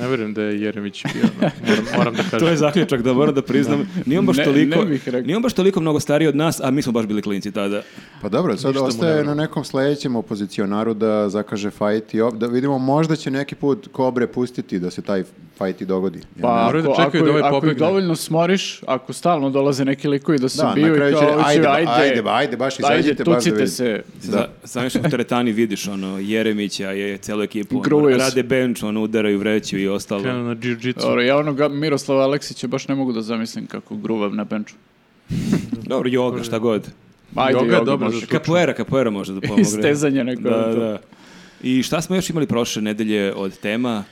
Speaker 4: Ne verujem da je Jeremić bio. no. Moram, moram da kažem.
Speaker 1: To je zaključak da moram da priznam. Nije on baš
Speaker 3: Ne-
Speaker 1: toliko,
Speaker 3: ne bih rekao.
Speaker 1: nije on baš toliko mnogo stariji od nas, a mi smo baš bili klinci tada.
Speaker 2: Pa dobro, sad
Speaker 4: Ništa mu ne
Speaker 2: ostaje na
Speaker 4: verujem.
Speaker 2: nekom sledećem opozicionaru da zakaže fajt i op- da vidimo možda će neki put Kobre pustiti da se taj fajt i dogodi. Ja ne
Speaker 3: Pa
Speaker 4: moraju da
Speaker 3: ako,
Speaker 4: čekaju
Speaker 3: ako,
Speaker 4: da ovaj
Speaker 3: ako ih
Speaker 4: pobegne.
Speaker 3: dovoljno smoriš, ako stalno dolaze neki likovi da su
Speaker 2: Da, na
Speaker 3: bio i
Speaker 2: kraju
Speaker 3: kao,
Speaker 2: će,
Speaker 3: hoće,
Speaker 2: ajde,
Speaker 3: ajde,
Speaker 2: ba- ajde, ba- ajde, baš izađite, baš da
Speaker 3: tucite
Speaker 2: vidim.
Speaker 3: se.
Speaker 1: Da. Samo što u teretani vidiš ono, Jeremića je celu ekipu, ono,
Speaker 3: Gruvaju se.
Speaker 1: rade bench, ono, udaraju vreću i ostalo.
Speaker 4: Krenuo na jiu-jitsu.
Speaker 3: Dobro, ja onoga Miroslava Aleksića baš ne mogu da zamislim kako gruvam na benču.
Speaker 1: Dobro, joga, šta god.
Speaker 3: Ajde,
Speaker 4: Joga
Speaker 3: joga,
Speaker 4: je dobro
Speaker 3: može.
Speaker 4: za to.
Speaker 1: Kapoeira, kapoeira može da pomogne.
Speaker 3: Istezanje neko,
Speaker 1: Da,
Speaker 3: to.
Speaker 1: da. I šta smo još imali prošle nedelje od tema?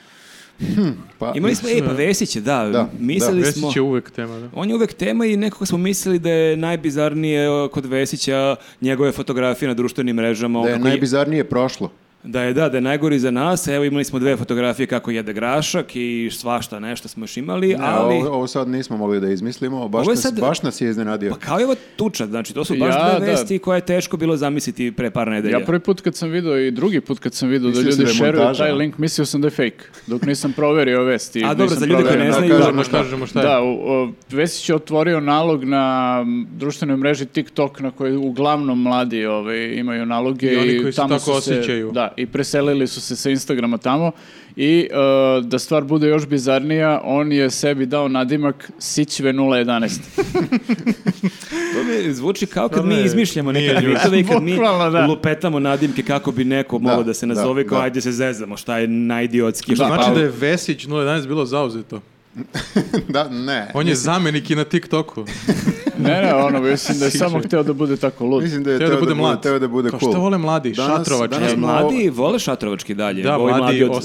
Speaker 2: Pa,
Speaker 1: Imali smo, ej, pa Vesić je, da,
Speaker 2: Da,
Speaker 1: mislili
Speaker 4: Vesić
Speaker 1: smo...
Speaker 4: je uvek tema, da.
Speaker 1: On je uvek tema i nekako smo mislili da je najbizarnije e, kod Vesića njegove fotografije na društvenim mrežama. on
Speaker 2: da je
Speaker 1: kako je-
Speaker 2: najbizarnije prošlo.
Speaker 1: Da je, da, da je najgori za nas. Evo imali smo dve fotografije kako jede grašak i svašta nešto smo još imali,
Speaker 2: Ne,
Speaker 1: ali...
Speaker 2: ovo, ovo sad nismo mogli da izmislimo, baš,
Speaker 1: Ovo je
Speaker 2: nas,
Speaker 1: sad-
Speaker 2: baš nas je iznenadio.
Speaker 1: Pa kao je ovo tuča, znači to su baš
Speaker 3: Ja,
Speaker 1: dve
Speaker 3: da.
Speaker 1: vesti koje je teško bilo zamisliti pre par nedelja.
Speaker 3: Ja prvi put kad sam video i drugi put kad sam video da
Speaker 2: Mislio si
Speaker 3: ljudi
Speaker 2: da je
Speaker 3: šeruju
Speaker 2: montaža.
Speaker 3: taj link, mislio sam da je fake. Dok nisam proverio vesti.
Speaker 1: A dobro,
Speaker 3: nisam
Speaker 1: za ljude koji ne
Speaker 3: proverio.
Speaker 2: Da,
Speaker 1: znaju,
Speaker 2: kažemo
Speaker 4: Možemo
Speaker 2: šta.
Speaker 4: kažemo šta je.
Speaker 3: Da, u, o, Vesić je otvorio nalog na m, društvenoj mreži TikTok na kojoj uglavnom mladi ovaj, imaju naloge
Speaker 4: I oni koji se tako
Speaker 3: su se-
Speaker 4: osjećaju.
Speaker 3: Da, i preselili su se sa Instagrama tamo i e, da stvar bude još bizarnija, on je sebi dao nadimak Sićve 011.
Speaker 1: To mi zvuči kao kad
Speaker 4: Stvarno
Speaker 1: mi
Speaker 4: je-
Speaker 1: izmišljamo
Speaker 4: nije
Speaker 1: nekakve
Speaker 4: ljudski.
Speaker 1: mitove i kad mi
Speaker 3: Bukvalno, da.
Speaker 1: lupetamo nadimke kako bi neko
Speaker 2: Da,
Speaker 1: mogao da se nazove
Speaker 2: da,
Speaker 1: kao
Speaker 2: da.
Speaker 1: ajde se zezamo, šta je najidiotski.
Speaker 3: Da,
Speaker 4: Znači
Speaker 3: pa-
Speaker 4: da je Vesić 011 bilo zauzeto.
Speaker 2: da, ne.
Speaker 4: On je zamenik i na TikToku.
Speaker 3: ne, ne, ono, mislim da je samo hteo da bude tako lud.
Speaker 2: Mislim da je
Speaker 4: Teo da bude mlad.
Speaker 2: teo da bude
Speaker 4: Kao
Speaker 2: cool.
Speaker 4: šta vole mladi?
Speaker 2: Danas-
Speaker 4: Šatrovački.
Speaker 2: danas
Speaker 1: E,
Speaker 2: smo-
Speaker 1: mladi vole šatrovački dalje.
Speaker 4: pa, Da,
Speaker 1: ovi
Speaker 4: mladi
Speaker 1: od
Speaker 4: 89.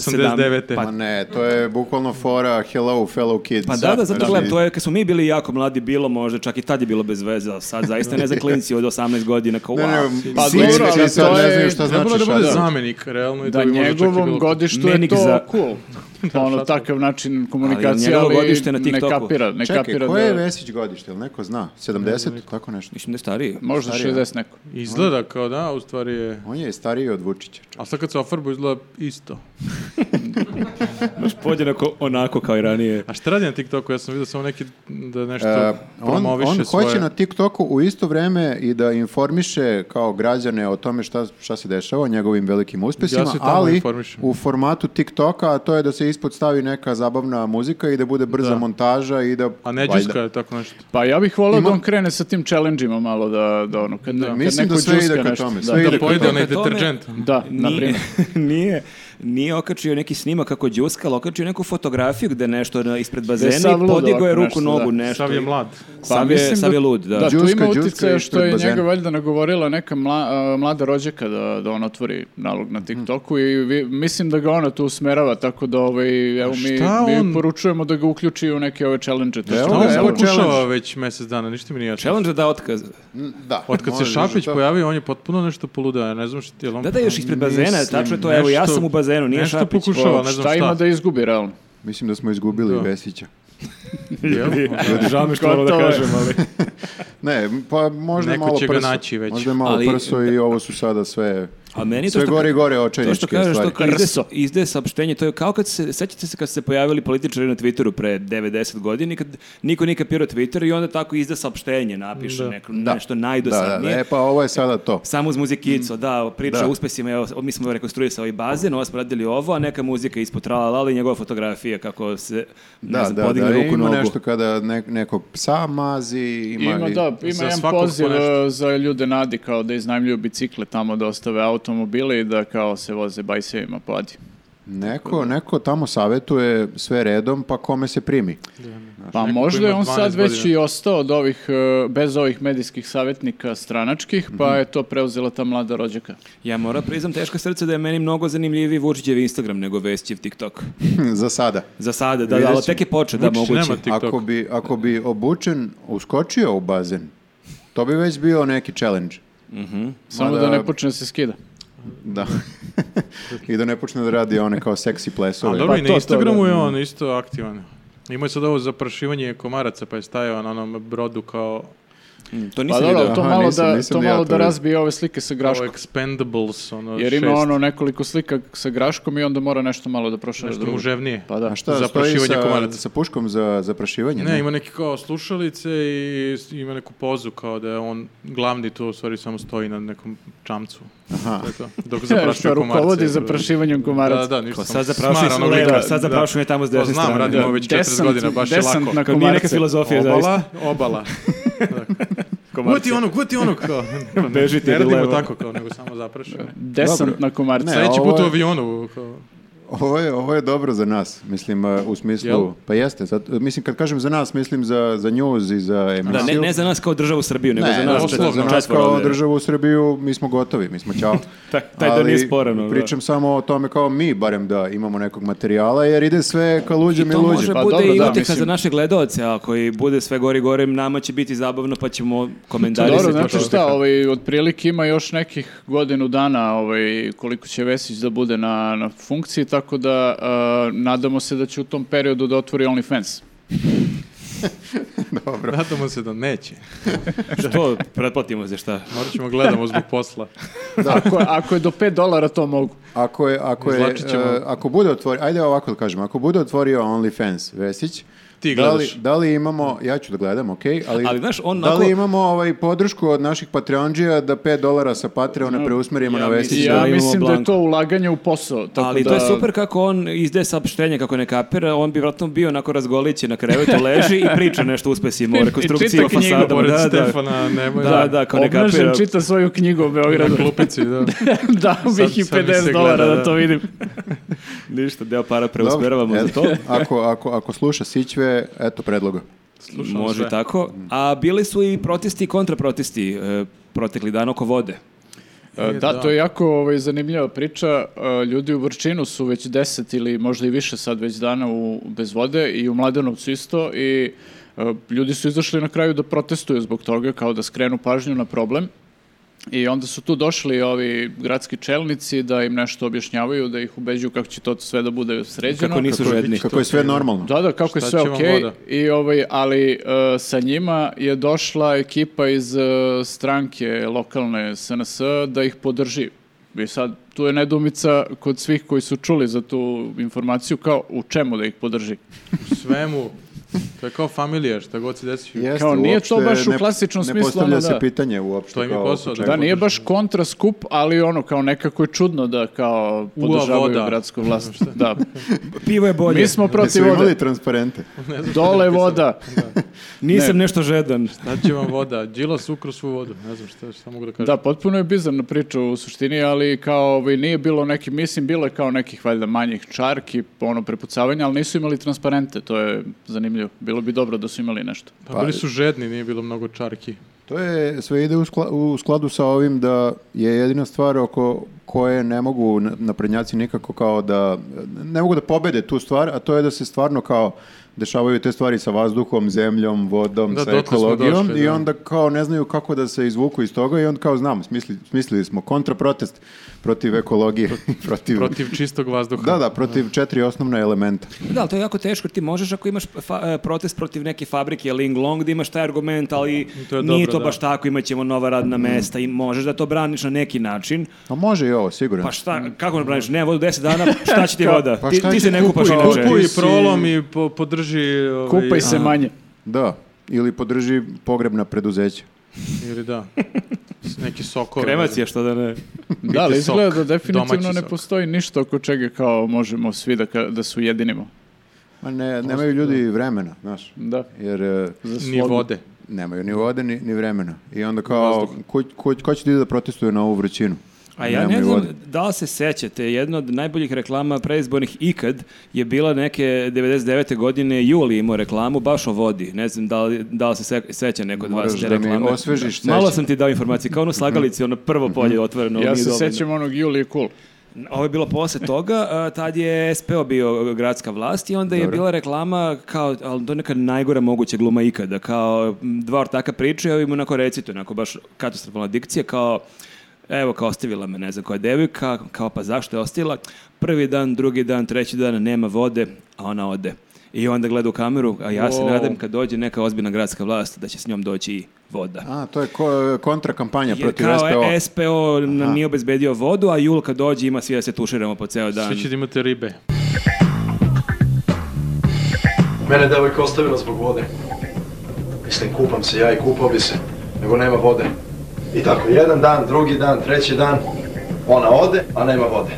Speaker 1: sedam-
Speaker 2: Ma ne, to je bukvalno fora hello fellow kids.
Speaker 1: Pa da, da, zato
Speaker 2: Znači,
Speaker 1: gledam, to je, kad smo mi bili jako mladi, bilo možda, čak i tad je bilo bez veze, ali sad zaista ne za klinci od 18 godina, kao
Speaker 2: Ne,
Speaker 1: wow.
Speaker 2: ne,
Speaker 3: Pa
Speaker 2: sićve
Speaker 3: dobro, ali
Speaker 2: koji sad
Speaker 3: to
Speaker 2: ne
Speaker 3: je-
Speaker 2: znaju šta
Speaker 4: Trebalo
Speaker 2: znači
Speaker 4: da bude
Speaker 2: šator.
Speaker 4: zamenik, realno. i
Speaker 3: Da,
Speaker 4: bi možda čak i
Speaker 3: njegovom
Speaker 4: bilo-
Speaker 3: godištu je
Speaker 1: Menik
Speaker 3: to
Speaker 1: za-
Speaker 3: cool. ono,
Speaker 4: šator.
Speaker 3: takav način komunikacije,
Speaker 1: njegovo
Speaker 3: ali,
Speaker 1: godište na
Speaker 3: ne
Speaker 1: TikToku.
Speaker 3: kapira, ne
Speaker 2: Čekaj,
Speaker 3: kapira
Speaker 2: koje je
Speaker 3: da-
Speaker 2: Vesić godište? Jel neko zna? 70? tako nešto.
Speaker 1: Mislim da je stariji.
Speaker 3: Možda
Speaker 2: Starije.
Speaker 3: 60 neko.
Speaker 4: Izgleda kao da, u stvari je...
Speaker 2: On je stariji od Vučića. čak.
Speaker 4: A sad kad se ofarbu izgleda isto.
Speaker 1: Baš podjednako onako kao i ranije.
Speaker 4: A šta radi na TikToku? Ja sam vidio samo neki da nešto
Speaker 2: E, on,
Speaker 4: promoviše
Speaker 2: on
Speaker 4: svoje.
Speaker 2: hoće na TikToku u isto vreme i da informiše kao građane o tome šta, šta se dešava, o njegovim velikim uspjesima,
Speaker 4: Ja se tamo
Speaker 2: ali
Speaker 4: informišem.
Speaker 2: u formatu TikToka, a to je da se ispod stavi neka zabavna muzika i da bude brza
Speaker 4: Da.
Speaker 2: montaža i da...
Speaker 4: A Neđuska je tako nešto.
Speaker 3: Pa ja bih volio
Speaker 2: Ima-
Speaker 3: da on krene sa tim challenge-ima malo da, da ono, kad, kad
Speaker 2: Mislim
Speaker 3: neko
Speaker 2: da sve
Speaker 3: đuska
Speaker 2: ide ka
Speaker 3: nešto.
Speaker 2: tome,
Speaker 3: Da,
Speaker 2: sve
Speaker 3: da,
Speaker 2: ide
Speaker 4: Da pojede
Speaker 1: Prema
Speaker 4: onaj
Speaker 1: tome-
Speaker 4: deterđent.
Speaker 3: da, na
Speaker 1: Nije,
Speaker 3: primjer.
Speaker 1: nije, nije okačio neki snimak kako džuskal, okačio neku fotografiju gde je nešto na- ispred bazena
Speaker 3: sav
Speaker 1: i
Speaker 3: lud
Speaker 1: podigao je
Speaker 3: ovako
Speaker 1: ruku,
Speaker 3: nešto,
Speaker 1: nogu,
Speaker 3: da.
Speaker 1: nešto.
Speaker 4: Sav je mlad.
Speaker 1: Sav je,
Speaker 3: Pa mislim
Speaker 1: sav je lud, da.
Speaker 3: Da, tu
Speaker 2: Đuska,
Speaker 3: ima
Speaker 2: đuska
Speaker 3: utjecaja što
Speaker 2: ispred
Speaker 3: je
Speaker 2: bazena.
Speaker 3: njega valjda nagovorila neka mla- a, mlada
Speaker 2: Mhm.
Speaker 3: rođaka da, da on otvori nalog na TikToku i vi- mislim da ga ona tu usmerava tako da ovaj, ovaj, evo mi,
Speaker 4: šta
Speaker 3: mi
Speaker 4: on-
Speaker 3: poručujemo da ga uključi u neke ove challenge. To
Speaker 2: Evo
Speaker 3: što
Speaker 4: Šta on
Speaker 2: ga, evo
Speaker 4: pokušava
Speaker 2: challenge.
Speaker 4: već mjesec dana, ništa mi nije jasno.
Speaker 1: Challenge da otkaz.
Speaker 2: Da.
Speaker 4: Od kad se
Speaker 2: Može,
Speaker 4: Šapić
Speaker 2: to-
Speaker 4: pojavio, on je potpuno nešto poludeo, ja ne znam šta je on...
Speaker 1: Da, da, još ispred
Speaker 4: Mislim,
Speaker 1: bazena, tačno je to, evo, ja
Speaker 4: nešto-
Speaker 1: sam u bazenu, nije
Speaker 4: nešto
Speaker 1: Šapić.
Speaker 4: pokušava, ne znam
Speaker 3: šta ima da izgubi, realno?
Speaker 2: Mislim da smo izgubili
Speaker 4: Da.
Speaker 2: Vesića.
Speaker 1: Žao mi što
Speaker 3: moram da Gotovo je. kažem,
Speaker 1: ali...
Speaker 2: Ne, pa možda je
Speaker 4: Neko
Speaker 2: malo
Speaker 4: će ga
Speaker 2: prso.
Speaker 4: naći već.
Speaker 2: Možda je malo
Speaker 1: Ali-
Speaker 2: prso i ovo su sada sve...
Speaker 1: A meni to
Speaker 2: Sve
Speaker 1: što...
Speaker 2: gore i gore
Speaker 1: To što
Speaker 2: očajničke
Speaker 1: kažeš,
Speaker 2: stvari.
Speaker 1: to kad
Speaker 3: Krso.
Speaker 1: izde, izde saopštenje, to je kao kad se, sećate se kad su se pojavili političari na Twitteru pre 90 godina i kad niko nije kapirao Twitter i onda tako izda saopštenje, napiše neko, nešto
Speaker 2: Da, da,
Speaker 1: najdosadnije.
Speaker 2: da. E, pa ovo je sada to.
Speaker 1: Samo uz muzikicu, da, priča
Speaker 2: Mm. Da.
Speaker 1: o uspesima, evo, mi smo rekonstruisali bazen, ovo smo radili ovo, a neka muzika ispod trala, ali njegova fotografija kako se, ne
Speaker 2: Da,
Speaker 1: znam,
Speaker 2: da,
Speaker 1: podigne
Speaker 2: da,
Speaker 1: ruku
Speaker 2: ima
Speaker 1: nogu.
Speaker 2: nešto kada ne, nekog psa mazi, ima,
Speaker 3: Ima,
Speaker 2: i-
Speaker 3: da, ima
Speaker 4: za
Speaker 3: jedan
Speaker 4: svakog
Speaker 3: poziv
Speaker 4: po nešto.
Speaker 3: e, za ljude nadi kao da iznajmljuju bicikle tamo da ostave automobile i da kao se voze bajsevima po Adi.
Speaker 2: Neko, neko tamo savjetuje sve redom, pa kome se primi.
Speaker 3: Pa
Speaker 4: neko ko
Speaker 3: možda
Speaker 4: ima
Speaker 3: je on
Speaker 4: 12
Speaker 3: sad već
Speaker 4: godina.
Speaker 3: i ostao od ovih, e, bez ovih medijskih savjetnika stranačkih, pa
Speaker 4: Mhm.
Speaker 3: je to preuzela ta mlada rođaka.
Speaker 1: Ja moram priznam teško srce da je meni mnogo zanimljiviji Vučićev Instagram nego Vesićev TikTok.
Speaker 2: Za sada.
Speaker 1: Za sada, da, da,
Speaker 2: Vidjet
Speaker 1: ali
Speaker 2: ćemo.
Speaker 1: tek je počeo, da,
Speaker 4: Vučić
Speaker 1: moguće.
Speaker 4: nema TikTok.
Speaker 2: Ako bi, ako bi obučen uskočio u bazen, to bi već bio neki challenge.
Speaker 3: Samo
Speaker 2: Mada-
Speaker 3: da ne počne da se skida.
Speaker 2: Da. I da ne počne da radi one kao seksi Pa
Speaker 4: A
Speaker 2: plesove.
Speaker 4: dobro, i
Speaker 3: to,
Speaker 4: na
Speaker 3: to,
Speaker 4: Instagramu
Speaker 3: da.
Speaker 4: je on isto aktivan. Imao je sad ovo zaprašivanje komaraca, pa je stajao na onom brodu kao
Speaker 1: Mm, To
Speaker 3: Pa
Speaker 1: nisam
Speaker 3: dobro,
Speaker 1: vidio.
Speaker 3: to
Speaker 2: Aha,
Speaker 3: malo,
Speaker 2: nisam-
Speaker 3: da,
Speaker 2: nisam
Speaker 3: to
Speaker 2: ni ja
Speaker 3: malo
Speaker 2: to
Speaker 3: da
Speaker 2: vidio.
Speaker 3: razbije ove slike sa
Speaker 4: kao
Speaker 3: graškom.
Speaker 4: Expendables, ono
Speaker 3: Jer
Speaker 4: šest,
Speaker 3: ima ono nekoliko slika sa graškom i onda mora nešto malo da prošle
Speaker 4: nešto
Speaker 3: drugo.
Speaker 4: muževnije.
Speaker 3: Pa da.
Speaker 2: A šta, stoji
Speaker 4: Zaprašivanje
Speaker 2: sa,
Speaker 4: komaraca.
Speaker 2: sa puškom za zaprašivanje?
Speaker 4: Ne, ima neki kao slušalice i s- ima neku pozu kao da je on glavni tu, u stvari samo stoji na nekom čamcu. Aha. To je to. Dok
Speaker 3: Što
Speaker 4: zaprašuje komarce.
Speaker 3: rukovodi za prašivanjem komaraca.
Speaker 4: Da, da, ništa.
Speaker 1: Kao
Speaker 4: samo
Speaker 1: sad zaprašuje
Speaker 4: smara ono
Speaker 1: s
Speaker 4: onog
Speaker 1: leva,
Speaker 4: lika.
Speaker 1: sad zaprašuje tamo s
Speaker 4: To
Speaker 2: Pa
Speaker 1: desne
Speaker 4: Znam,
Speaker 1: strane.
Speaker 4: radimo već 40
Speaker 3: Desant-
Speaker 4: godina, baš je
Speaker 3: desant
Speaker 4: lako.
Speaker 3: na
Speaker 1: Kao nije neka
Speaker 3: komarce.
Speaker 1: filozofija, zaista.
Speaker 4: Obala, obala. Gvati ono, gvati ono kao.
Speaker 1: Bežite
Speaker 4: Ne
Speaker 1: ili
Speaker 4: radimo
Speaker 1: levo.
Speaker 4: tako kao, nego samo zaprašimo.
Speaker 3: Desant na komarce.
Speaker 2: Ne,
Speaker 4: Sljedeći
Speaker 2: ovo
Speaker 4: put u
Speaker 2: je-
Speaker 4: avionu. Kao.
Speaker 2: Ovo je, ovo je dobro za nas, mislim, uh, u smislu...
Speaker 4: Jel?
Speaker 2: Pa jeste, sad, mislim, kad kažem za nas, mislim za, za news i za emisiju.
Speaker 1: Da, ne, ne za nas kao državu Srbiju, nego
Speaker 2: Ne,
Speaker 1: za nas
Speaker 2: za-
Speaker 1: četvoro.
Speaker 2: za nas
Speaker 1: četvoro
Speaker 2: kao
Speaker 1: ovdje.
Speaker 2: državu u Srbiju, mi smo gotovi, mi smo ćao.
Speaker 1: Taj- taj deo
Speaker 2: Ali
Speaker 1: nije sporan, ono, da.
Speaker 2: Pričam samo o tome kao mi, barem da imamo nekog materijala, jer ide sve ka luđem i,
Speaker 1: To
Speaker 2: luđem.
Speaker 1: može
Speaker 3: Pa
Speaker 1: bude
Speaker 3: dobro,
Speaker 1: i
Speaker 3: da,
Speaker 1: utjeha
Speaker 3: mislim-
Speaker 1: za naše gledalce, a koji bude sve gori gore, nama će biti zabavno, pa ćemo komentarisati.
Speaker 3: Dobro, znate
Speaker 1: to.
Speaker 3: šta, ovaj, otprilike ima još nekih godinu dana ovaj, koliko će Vesić da bude na, na funkciji, tako da eh, nadamo se da će u tom periodu da otvori OnlyFans.
Speaker 4: Nadamo se da neće.
Speaker 1: Što, pretplatimo se šta?
Speaker 4: Morat ćemo gledamo zbog posla.
Speaker 3: Ako, ako je do 5 dolara, to mogu.
Speaker 2: Ako, je, ako, je,
Speaker 4: Izvlačit ćemo.
Speaker 2: e, ako bude otvorio, ajde ovako da kažem, ako bude otvorio OnlyFans, Vesić,
Speaker 4: Ti
Speaker 2: da li,
Speaker 4: gledaš.
Speaker 2: da li imamo, ja ću da gledam, ok, ali,
Speaker 1: Ali, znaš, on
Speaker 2: da li
Speaker 1: onako-
Speaker 2: imamo ovaj podršku od naših Patreonđija da 5 dolara sa Patreona preusmerimo
Speaker 3: Ja,
Speaker 2: na
Speaker 3: mislim,
Speaker 2: Vesića?
Speaker 1: Mm. da
Speaker 3: ja
Speaker 1: imamo
Speaker 3: mislim da je
Speaker 1: blanko.
Speaker 3: to ulaganje u posao. Tako
Speaker 1: Ali
Speaker 3: da,
Speaker 1: to je super kako on izde saopštenje kako ne kapira, on bi vratno bio onako razgolićen na krevetu, leži i priča nešto o uspesima, o
Speaker 3: I- i
Speaker 1: rekonstrukciji,
Speaker 3: čita
Speaker 1: o
Speaker 3: knjigu
Speaker 1: fasadama.
Speaker 4: Pored
Speaker 1: Da, da,
Speaker 4: Stefana Nemoja.
Speaker 1: da, da, kao ne
Speaker 3: Obnažen
Speaker 1: kapira.
Speaker 3: čita svoju knjigu o
Speaker 4: Na
Speaker 3: Beogradu.
Speaker 4: klupici, da.
Speaker 3: Dao
Speaker 4: Sad-
Speaker 3: bih i
Speaker 4: sad mi se gleda,
Speaker 3: 50 dolara da,
Speaker 4: da.
Speaker 3: to vidim.
Speaker 1: Ništa, deo para
Speaker 2: Dobro,
Speaker 1: preusmeravamo za
Speaker 2: eto,
Speaker 1: to.
Speaker 2: ako, ako, ako sluša Sićve, eto predloga.
Speaker 4: Slušamo
Speaker 1: Može
Speaker 4: sve.
Speaker 1: tako. A bili su i protesti i kontraprotesti e, protekli dan oko vode.
Speaker 3: E,
Speaker 4: E,
Speaker 3: Da,
Speaker 4: da.
Speaker 3: to je jako ovaj, zanimljiva priča. E, Ljudi u Vrčinu su već deset ili možda i više sad već dana u, bez vode i u Mladenovcu isto i e, ljudi su izašli na kraju da protestuju zbog toga, kao da skrenu pažnju na problem. I onda su tu došli ovi gradski čelnici da im nešto objašnjavaju, da ih ubeđuju kako će to sve da bude sređeno.
Speaker 1: Kako nisu žedni.
Speaker 2: Kako je sve normalno.
Speaker 3: Da, da, kako je
Speaker 4: Šta
Speaker 3: sve
Speaker 4: će vam
Speaker 3: okej.
Speaker 4: voda?
Speaker 3: I ovaj, ali e, sa njima je došla ekipa iz e, stranke lokalne SNS da ih podrži. I sad tu je nedumica kod svih koji su čuli za tu informaciju kao u čemu da ih podrži.
Speaker 4: Svemu. To je kao familija, šta god se desi.
Speaker 2: Jeste,
Speaker 3: Kao nije to
Speaker 2: uopšte
Speaker 3: baš u
Speaker 2: ne-
Speaker 3: klasičnom
Speaker 2: Ne
Speaker 3: smislu,
Speaker 2: postavlja
Speaker 3: ono,
Speaker 2: se
Speaker 3: da.
Speaker 2: pitanje uopšte.
Speaker 4: To im je
Speaker 2: kao
Speaker 4: posao,
Speaker 2: oko
Speaker 4: da.
Speaker 3: Da,
Speaker 2: čega.
Speaker 3: nije baš kontra skup, ali ono kao nekako je čudno da kao
Speaker 4: Ua,
Speaker 3: podržavaju
Speaker 4: voda.
Speaker 3: gradsku vlast. Da.
Speaker 1: Pivo je bolje.
Speaker 3: Mi smo
Speaker 2: Jesu
Speaker 3: protiv vode.
Speaker 2: imali transparente?
Speaker 3: Dole voda.
Speaker 1: Nisam nešto žedan.
Speaker 4: Znači vam voda, Đilas ukro svu vodu, ne znam šta, šta mogu da kažem.
Speaker 3: Da, potpuno je bizarna priča u suštini, ali kao ovaj, nije bilo neki, mislim, bilo je kao nekih valjda manjih čarki, ono, prepucavanja, ali nisu imali transparente, to je zanimljivo. Bilo bi dobro da su imali nešto.
Speaker 4: Pa, bili su žedni, nije bilo mnogo čarki.
Speaker 2: To je, sve ide u, skla- u skladu sa ovim da je jedina stvar oko koje ne mogu na- naprednjaci nikako kao da, ne mogu da pobede tu stvar, a to je da se stvarno kao dešavaju te stvari sa vazduhom, zemljom, vodom,
Speaker 4: Da,
Speaker 2: sa
Speaker 4: dotle smo
Speaker 2: ekologijom
Speaker 4: došli,
Speaker 2: i
Speaker 4: da.
Speaker 2: onda kao ne znaju kako da se izvuku iz toga i onda kao znam, smisli, smislili smo kontraprotest protiv ekologije, protiv,
Speaker 4: Protiv čistog vazduha.
Speaker 2: da, da, protiv četiri osnovna elementa.
Speaker 1: Da, ali to je jako teško, jer ti možeš ako imaš fa- e, protest protiv neke fabrike Ling Long, da imaš taj argument, ali
Speaker 4: To je
Speaker 1: nije
Speaker 4: dobro,
Speaker 1: to
Speaker 4: da.
Speaker 1: baš tako, imat ćemo nova radna mesta i možeš da to braniš na neki način.
Speaker 2: A može i ovo, sigurno.
Speaker 1: Pa šta, kako ne braniš, nema vodu 10 dana, šta će ti voda?
Speaker 2: pa
Speaker 1: ti,
Speaker 2: šta
Speaker 1: ti
Speaker 2: će-
Speaker 1: se ne kupaš
Speaker 2: kupuj,
Speaker 1: inače.
Speaker 4: Kupuj
Speaker 3: Ti si-
Speaker 4: prolom i po- podrži... ovaj,
Speaker 3: Kupaj se manje.
Speaker 2: Da, ili podrži pogrebna preduzeća.
Speaker 4: Ili da. Neki sokovi.
Speaker 1: Kremacija, što da ne.
Speaker 3: Da, ali
Speaker 4: sok,
Speaker 3: izgleda da definitivno
Speaker 4: domaći
Speaker 3: ne
Speaker 4: sok.
Speaker 3: postoji ništa oko čega kao možemo svi da, ka- da se ujedinimo.
Speaker 2: Ma ne, nemaju ljudi vremena, znaš.
Speaker 3: Da.
Speaker 2: Jer e,
Speaker 3: Za
Speaker 4: Ni
Speaker 3: slogu.
Speaker 4: vode.
Speaker 2: nemaju ni vode, ni, ni vremena. I onda kao, ko, ko, ko će ti da protestuje na ovu vrućinu?
Speaker 1: A ja ne
Speaker 2: Nemaju
Speaker 1: znam
Speaker 2: vode.
Speaker 1: da li se sećate, jedna od najboljih reklama preizbornih ikad je bila neke 99. godine Juli imao reklamu baš o vodi. Ne znam da li, da li se se- seća neko od vas
Speaker 2: Moraš
Speaker 1: te
Speaker 2: da mi
Speaker 1: reklame.
Speaker 2: osvežiš
Speaker 1: Malo
Speaker 2: sećanje.
Speaker 1: sam ti dao informacije, kao ono slagalici, ono prvo polje otvoreno.
Speaker 3: Ja
Speaker 1: nije
Speaker 3: se
Speaker 1: dovoljno.
Speaker 3: sećam onog Julije Cool.
Speaker 1: Ovo je bilo posle toga, a, tad je SPO bio gradska vlast i onda je bila reklama kao, ali to je neka najgora moguća gluma ikada, kao m, dva ortaka pričaju, a im onako recite, onako baš katastrofalna dikcija, kao Evo, kao ostavila me, ne znam koja devika, kao pa zašto je ostavila? Prvi dan, drugi dan, treći dan, nema vode, a ona ode. I onda gleda u kameru, a ja se
Speaker 3: Wow.
Speaker 1: nadam kad dođe neka ozbiljna gradska vlast da će s njom doći i voda.
Speaker 2: A, to je ko, kontra kampanja
Speaker 1: Jer
Speaker 2: protiv
Speaker 1: kao e,
Speaker 2: SPO.
Speaker 1: SPO, nam nije obezbedio vodu, a Jul kad dođe ima svi da se tuširamo po ceo dan.
Speaker 4: Svi će da imate ribe.
Speaker 6: Mene je devojka ostavila zbog vode. Mislim, kupam se ja i kupao bi se, nego nema vode. I tako, jedan dan, drugi dan, treći dan, ona ode, a nema vode.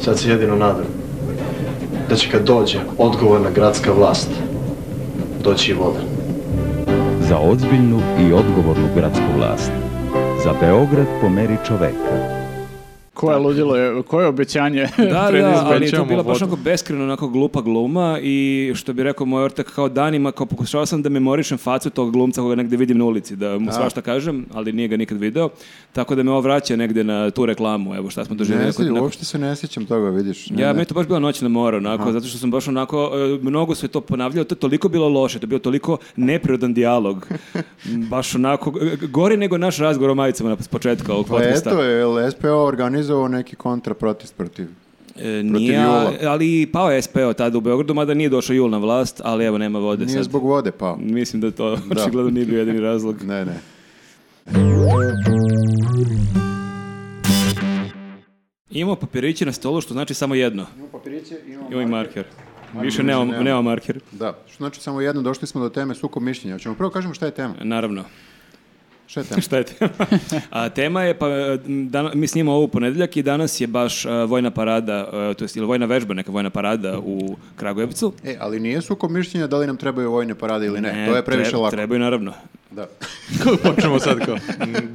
Speaker 6: Sad se jedino nadam da će kad dođe odgovorna gradska vlast, doći i voda.
Speaker 7: za ozbiljnu i odgovornu gradsku vlast. Za Beograd po meri čoveka.
Speaker 3: Koje ludilo je, koje obećanje
Speaker 1: Da, da,
Speaker 3: predizborno.
Speaker 1: ali je to
Speaker 4: Preizbećavamo
Speaker 1: bila baš
Speaker 4: vodu.
Speaker 1: onako beskreno, onako glupa gluma i što bi rekao moj ortak kao danima, kao pokušao sam da memorišem facu tog glumca koga negde vidim na ulici, da mu svašta kažem, ali nije ga nikad video, tako da me ovo vraća negde na tu reklamu, evo šta smo doživjeli.
Speaker 2: Ne,
Speaker 1: kod-
Speaker 2: sjećam,
Speaker 1: nakon-
Speaker 2: uopšte se ne sjećam toga, vidiš. Ne,
Speaker 1: Ja,
Speaker 2: ne.
Speaker 1: meni je to baš bila noćna mora, onako, zato što sam baš onako, e, mnogo se to ponavljalo, to je toliko bilo loše, to je bio toliko neprirodan dijalog. baš onako, e, gori nego naš razgovor o majicama na s početka ovog
Speaker 2: Pa
Speaker 1: podcasta.
Speaker 2: eto, je li SPO organizovao neki kontraprotest protiv?
Speaker 1: E, nije,
Speaker 2: Jula.
Speaker 1: ali pao je SPO tada u Beogradu, mada nije došao Jul na vlast, ali evo nema vode
Speaker 2: Nije
Speaker 1: sad.
Speaker 2: zbog vode pao.
Speaker 1: Mislim da to očigledno nije bio jedini razlog.
Speaker 2: Ne, ne.
Speaker 1: Imamo papiriće na stolu, što znači samo jedno. Imamo i marker. Više
Speaker 2: više
Speaker 1: nemamo
Speaker 2: nemamo.
Speaker 1: nema marker.
Speaker 2: Da, što znači samo jedno, došli smo do teme sukob mišljenja. Hoćemo prvo kažemo šta je tema.
Speaker 1: Naravno.
Speaker 2: Šta je tema?
Speaker 1: Šta je tema? A, tema je, pa, m, dana- mi snimamo ovo u ponedeljak i danas je baš a, vojna parada, a, to jest ili vojna vežba, neka vojna parada u Kragujevcu. E,
Speaker 2: E, ali nije sukob mišljenja da li nam trebaju vojne parade ili ne. to je previše
Speaker 1: tre-
Speaker 2: lako.
Speaker 1: Trebaju, naravno.
Speaker 3: Pa
Speaker 2: Da.
Speaker 4: Počnemo sad kao.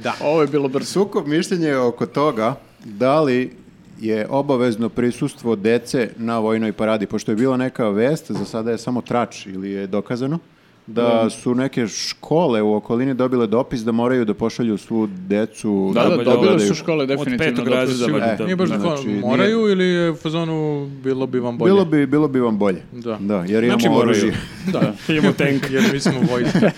Speaker 4: Da.
Speaker 3: Ovo je bilo brzo.
Speaker 2: Sukob mišljenja je oko toga da li je obavezno prisustvo dece na vojnoj paradi, pošto je bila neka vest, za sada je samo trač ili je dokazano, da su neke škole u okolini dobile dopis da moraju da pošalju svu decu
Speaker 3: Da, da,
Speaker 1: Dobro,
Speaker 3: dobile
Speaker 1: dobro.
Speaker 3: su škole
Speaker 1: Od
Speaker 3: definitivno.
Speaker 1: petog
Speaker 3: dobro,
Speaker 1: razreda,
Speaker 3: sigurno.
Speaker 1: valjda.
Speaker 2: E,
Speaker 4: Nije baš da kao,
Speaker 2: znači, nije-
Speaker 4: moraju ili je u fazonu bilo bi vam bolje?
Speaker 2: Bilo bi, bilo bi vam bolje.
Speaker 4: Da.
Speaker 2: jer imamo
Speaker 1: Znači moraju.
Speaker 2: oružje.
Speaker 4: Da.
Speaker 1: Imamo tank.
Speaker 4: Jer mi smo vojska.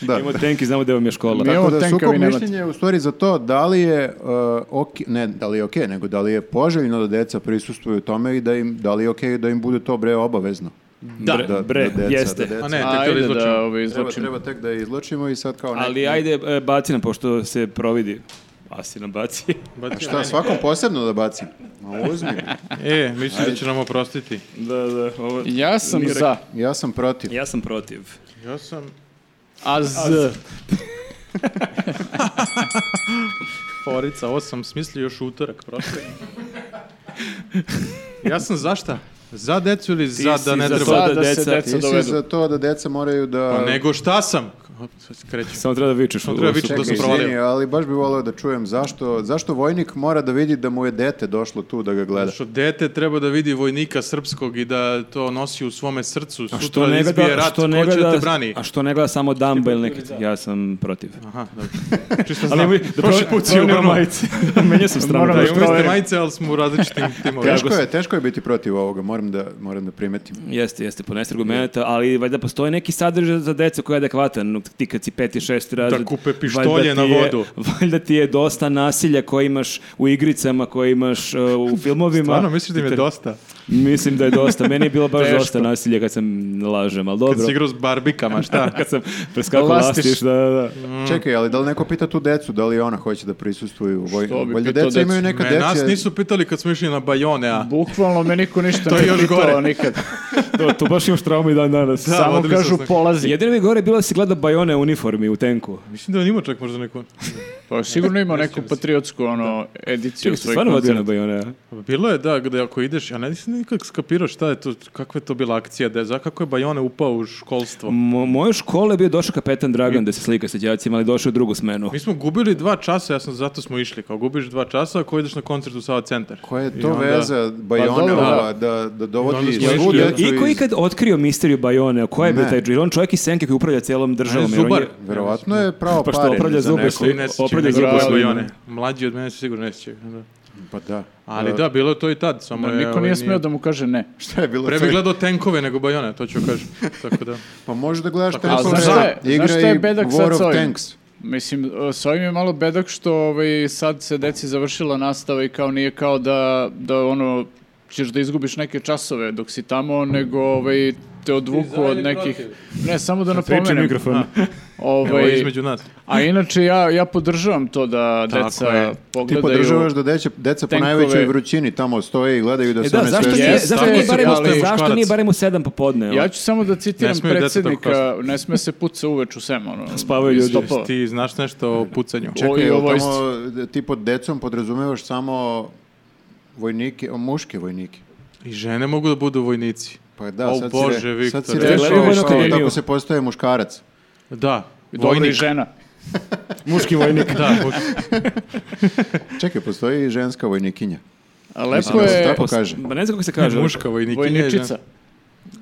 Speaker 2: Da.
Speaker 1: Imamo tank i znamo da vam je škola.
Speaker 3: Mi
Speaker 2: Pa Tako
Speaker 3: imamo
Speaker 2: da
Speaker 3: tenka,
Speaker 2: sukob
Speaker 3: vi nemate.
Speaker 2: mišljenja je u stvari za to da li je uh, ok- ne da li je ok, nego da li je poželjno da deca prisustvuju tome i da im da li je ok da im bude to bre obavezno.
Speaker 1: Da, bre,
Speaker 2: deca-
Speaker 1: jeste.
Speaker 2: da deca-
Speaker 4: A ne, tek kada
Speaker 3: Ajde da
Speaker 4: izločimo.
Speaker 3: ovaj,
Speaker 2: treba,
Speaker 3: izločimo.
Speaker 2: treba tek da je izločimo i sad kao nek-
Speaker 1: Ali ajde, e, baci nam, pošto se providi. Asi nam baci.
Speaker 4: Ba-
Speaker 2: Šta, svakom posebno da bacim? Ma uzmi.
Speaker 4: E, mislim da će nam oprostiti.
Speaker 1: da, da, ovo...
Speaker 3: Ja sam za,
Speaker 2: Ja sam protiv.
Speaker 1: Ja sam protiv.
Speaker 4: Ja sam...
Speaker 3: a z,
Speaker 4: Forica, ovo sam smislio još u utorak, prosto. ja sam za šta? Za decu ili za
Speaker 1: si
Speaker 4: da ne
Speaker 1: za
Speaker 4: treba?
Speaker 1: to
Speaker 3: za
Speaker 1: da
Speaker 3: da se
Speaker 1: deca-
Speaker 3: deca
Speaker 2: Ti si
Speaker 3: dovedu.
Speaker 2: za to da deca moraju da...
Speaker 4: Pa nego šta sam? Op, sad se kreću.
Speaker 1: Samo treba da vičeš.
Speaker 4: Samo treba
Speaker 1: u- u-
Speaker 4: vičeš
Speaker 1: u-
Speaker 4: da
Speaker 2: Čekaj,
Speaker 4: se provalio.
Speaker 2: izvini, ali baš bi volio da čujem zašto, zašto vojnik mora da vidi da mu je dete došlo tu da ga gleda.
Speaker 4: Što dete treba da vidi vojnika srpskog i da to nosi u svome srcu.
Speaker 1: A
Speaker 4: Sutra
Speaker 1: što ne
Speaker 4: izbije
Speaker 1: gleda,
Speaker 4: rat,
Speaker 1: što ne
Speaker 4: ko će
Speaker 1: gleda,
Speaker 4: da te brani?
Speaker 1: a što ne gleda samo Dumbo ili neki, ja sam protiv.
Speaker 4: Aha, dobro. Čisto
Speaker 1: Ali
Speaker 4: znam.
Speaker 1: mi, da prošli put si umrlo majice. Menja sam stranu.
Speaker 4: Da,
Speaker 1: Da,
Speaker 4: imamo iste majice, ali smo u različitim timovima.
Speaker 2: Teško je, teško je biti protiv ovoga, moram da, moram da primetim.
Speaker 1: Jeste, jeste, ponesti argumenta, ali valjda postoji neki sadržaj za decu koji je adekvatan. Ono, Ti kad si peti, šesti razred,
Speaker 4: kupe
Speaker 1: valjda
Speaker 4: pištolje
Speaker 1: ti
Speaker 4: na
Speaker 1: je-
Speaker 4: vodu.
Speaker 1: Valjda ti je dosta nasilja koje imaš u igricama, koje imaš uh, u filmovima.
Speaker 4: Stvarno, misliš da im je dosta?
Speaker 1: Mislim da je dosta. Meni je bilo baš
Speaker 4: Teško.
Speaker 1: dosta nasilja kad sam lažem, ali dobro.
Speaker 4: Kad si igrao s barbikama, šta?
Speaker 1: kad sam preskakao
Speaker 3: Lastiš.
Speaker 1: lastiš, da, da, da.
Speaker 2: Mm. Čekaj, ali da li neko pita tu decu, da li ona hoće da prisustvuju u voj...
Speaker 3: Što bi
Speaker 2: Valjda
Speaker 3: pitao
Speaker 2: deca
Speaker 3: decu?
Speaker 2: imaju neka
Speaker 4: Me, nas
Speaker 2: dečja...
Speaker 4: nisu pitali kad smo išli na Bajone, a...
Speaker 3: Bukvalno me niko ništa
Speaker 4: To je
Speaker 3: ne
Speaker 4: još
Speaker 3: pitao
Speaker 4: gore.
Speaker 3: nikad.
Speaker 1: To, to baš imaš traumu i dan danas.
Speaker 4: Da,
Speaker 3: Samo
Speaker 4: vodili su
Speaker 3: kažu
Speaker 4: nas na-
Speaker 3: polazi.
Speaker 1: Jedino mi gore je bilo da si gleda Bajone u uniformi u tenku.
Speaker 4: Mislim da on ima čak možda neku...
Speaker 3: Pa sigurno ima neku patriotsku ono, ediciju
Speaker 1: Čekaj, si stvarno vodio na Bajone, a?
Speaker 4: Bilo je, da, da ako ideš, ja ne nisam nikak skapirao šta je to, kakva je to bila akcija, da je, za- kako je Bajone upao u školstvo.
Speaker 1: Mo, moje škole je bio došao kapetan Dragan da se slika sa đacima, ali došao u drugu smenu.
Speaker 4: Mi smo gubili dva časa, ja sam zato smo išli, kao gubiš dva časa ako ideš na koncert u Sava centar.
Speaker 2: Koja je
Speaker 4: I
Speaker 2: to
Speaker 4: onda-
Speaker 2: veza Bajone
Speaker 3: dobro, da.
Speaker 2: ova, da, da dovodi
Speaker 4: smo
Speaker 2: svu
Speaker 4: išli, da.
Speaker 2: decu
Speaker 1: I koji
Speaker 2: iz...
Speaker 1: kad otkrio misteriju Bajone, ko je bio
Speaker 2: Ne.
Speaker 1: taj džir? On čovjek iz Senke koji upravlja cijelom državom. jer on
Speaker 4: zubar.
Speaker 1: je-
Speaker 2: Verovatno je pravo
Speaker 1: Pa što,
Speaker 2: pare
Speaker 1: opravlja
Speaker 2: za
Speaker 1: zube
Speaker 2: neko.
Speaker 1: svi?
Speaker 4: Ne sećaju,
Speaker 1: Opravlja
Speaker 4: ne
Speaker 1: zube
Speaker 4: sećaju
Speaker 1: svi.
Speaker 4: Bajone. Mlađi od mene se sigurno ne sjećaju. da.
Speaker 2: Pa da.
Speaker 4: Ali
Speaker 2: A,
Speaker 4: da, bilo je to i tad, samo je...
Speaker 3: Niko
Speaker 4: ovaj,
Speaker 3: nije smio da mu kaže ne.
Speaker 2: Šta je bilo?
Speaker 4: Pre
Speaker 2: to
Speaker 4: bih
Speaker 2: je-
Speaker 4: gledao tenkove nego Bajone, to ću kažem. Tako da...
Speaker 2: Pa možeš da gledaš
Speaker 4: Tako, ali
Speaker 2: tenkove,
Speaker 4: znaš šta
Speaker 3: je-
Speaker 2: igra
Speaker 3: znaš šta je
Speaker 2: i
Speaker 3: bedak sad
Speaker 2: War of
Speaker 3: s ovim?
Speaker 2: Tanks.
Speaker 3: Mislim, e, s ovim je malo bedak što ovaj, sad se deci završila nastava i kao nije kao da, da ono, ćeš da izgubiš neke časove dok si tamo, nego ovaj, te odvuku
Speaker 4: ili
Speaker 3: od nekih... Ne, samo da
Speaker 1: Pričam
Speaker 3: napomenem.
Speaker 1: mikrofon.
Speaker 4: Evo
Speaker 3: Ovaj,
Speaker 4: je između nas.
Speaker 3: a inače ja, ja podržavam to da
Speaker 4: Tako
Speaker 3: deca
Speaker 4: je. Ti
Speaker 2: Ti
Speaker 3: pogledaju...
Speaker 2: podržavaš da deće, deca po
Speaker 3: tenkove.
Speaker 2: najvećoj vrućini tamo stoje i gledaju da
Speaker 1: E
Speaker 2: se
Speaker 1: da,
Speaker 2: one sve...
Speaker 1: zašto nije,
Speaker 3: Jeste,
Speaker 1: zašto
Speaker 3: tako
Speaker 1: nije
Speaker 3: je,
Speaker 1: barem, u-
Speaker 3: ali-
Speaker 1: zašto nije barem u sedam popodne? ono?
Speaker 3: Ja ću samo da citiram
Speaker 4: Ne smeju deca tako
Speaker 3: predsjednika, ne sme se puca uveč u sem, ono.
Speaker 1: Spavaju ljudi.
Speaker 3: Stopova.
Speaker 4: Ti znaš nešto o pucanju?
Speaker 3: O, i
Speaker 2: Čekaj,
Speaker 3: o
Speaker 2: jel
Speaker 3: vojsci.
Speaker 2: tamo e, ti pod decom podrazumevaš samo vojnike, o, muške vojnike.
Speaker 4: I žene mogu da budu vojnici.
Speaker 2: Pa da,
Speaker 4: O
Speaker 2: sad
Speaker 4: Bože,
Speaker 2: si, re, sad
Speaker 4: Viktore.
Speaker 2: si
Speaker 4: Gledaj
Speaker 2: rešio
Speaker 1: Vojnu
Speaker 2: kao
Speaker 1: akademiju.
Speaker 2: tako se postaje muškarac.
Speaker 4: Da,
Speaker 3: Dobro i
Speaker 4: vojnik.
Speaker 3: žena.
Speaker 1: Muški vojnik.
Speaker 4: Da, muš-
Speaker 2: Čekaj, postoji i ženska vojnikinja.
Speaker 3: A lepo
Speaker 2: Mislim da se
Speaker 3: je
Speaker 2: tako kaže.
Speaker 1: Ma ne znam kako se kaže.
Speaker 4: muška vojnikinja. i
Speaker 3: vojničica.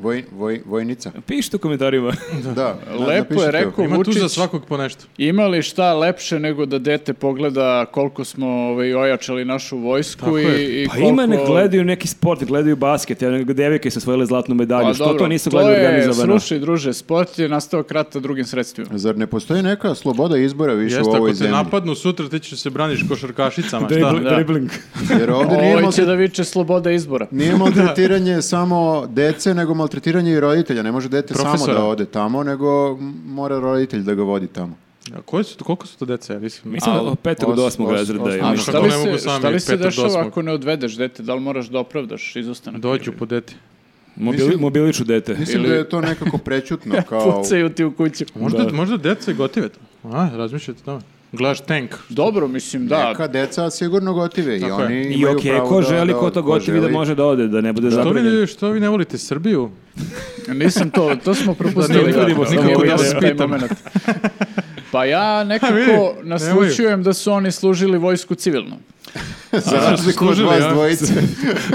Speaker 2: Voj, voj, vojnica.
Speaker 1: Pišite u komentarima.
Speaker 2: Da, da,
Speaker 3: Lepo je
Speaker 2: napišite.
Speaker 3: rekao
Speaker 4: žena. Ima tu za
Speaker 3: Vučić,
Speaker 4: svakog po nešto.
Speaker 3: ima li šta lepše nego da dete pogleda koliko smo ovaj, ojačali našu vojsku
Speaker 4: Tako
Speaker 3: i,
Speaker 4: je.
Speaker 3: i
Speaker 1: Pa
Speaker 3: koliko...
Speaker 1: ima, ne gledaju neki sport, gledaju basket, ja nego devike su osvojile zlatnu medalju.
Speaker 3: Pa
Speaker 1: Što
Speaker 3: dobro,
Speaker 1: to nisu gledali
Speaker 3: To
Speaker 1: organizovano?
Speaker 3: je, slušaj druže, sport je nastao krata drugim sredstvima.
Speaker 2: Zar ne postoji neka sloboda izbora više
Speaker 4: Jeste,
Speaker 2: u
Speaker 4: ako
Speaker 2: ovoj
Speaker 4: te
Speaker 2: zemlji?
Speaker 4: napadnu sutra, ti ćeš se braniš košarkašicama, šta?
Speaker 1: Dribl- Dribbling.
Speaker 2: Jer ovdje nije,
Speaker 4: ovaj
Speaker 3: Ovo će
Speaker 2: maltre-
Speaker 3: da viče sloboda izbora.
Speaker 2: nije maltretiranje samo dece, nego maltretiranje i roditelja. Ne može dete samo
Speaker 4: Profesora.
Speaker 2: da ode tamo, nego m- mora roditelj da ga vodi tamo.
Speaker 4: A koje su, koliko su to dece? Ja Mislim,
Speaker 1: Mislim da
Speaker 4: Al-
Speaker 1: od petog do
Speaker 2: os-
Speaker 1: osmog
Speaker 2: os-
Speaker 1: razreda.
Speaker 2: os-
Speaker 1: je.
Speaker 2: a
Speaker 3: A
Speaker 4: Znaš
Speaker 3: šta
Speaker 4: kako
Speaker 3: li,
Speaker 4: ne mogu
Speaker 3: se,
Speaker 4: sami
Speaker 3: šta li se
Speaker 4: pet do
Speaker 3: dešava
Speaker 4: osmog?
Speaker 3: ako ne odvedeš dete? Da li moraš da opravdaš izostanak?
Speaker 4: dođu po dete.
Speaker 1: Mobili, mobiliću ono, dete.
Speaker 2: Mislim da je to nekako prećutno. Kao,
Speaker 3: Pucaju ti u kuću.
Speaker 4: Možda, možda deca i gotive to. A, razmišljate o tome. Gledaš tank.
Speaker 3: Dobro, mislim, da.
Speaker 2: neka deca sigurno gotive i
Speaker 4: Tako je.
Speaker 2: oni
Speaker 1: I
Speaker 2: imaju
Speaker 1: okej,
Speaker 2: pravo
Speaker 1: ko
Speaker 2: da-
Speaker 1: želi,
Speaker 2: da-
Speaker 1: ko to gotivi da
Speaker 2: želi.
Speaker 1: može da ode, da ne bude
Speaker 4: Što vi,
Speaker 1: zapravljen.
Speaker 4: ne, što vi ne volite Srbiju?
Speaker 3: Nisam to, to smo
Speaker 4: Da,
Speaker 3: propustili.
Speaker 4: ne vidimo
Speaker 3: Da,
Speaker 4: nikako
Speaker 3: nije
Speaker 4: da
Speaker 3: bio
Speaker 4: vas
Speaker 3: taj
Speaker 4: pitam.
Speaker 3: moment. Pa ja
Speaker 4: vidi,
Speaker 3: nekako
Speaker 4: nemoj.
Speaker 3: naslučujem da su oni služili vojsku civilno.
Speaker 2: Za razliku od
Speaker 4: Služili,
Speaker 2: vas
Speaker 4: a?
Speaker 2: dvojice.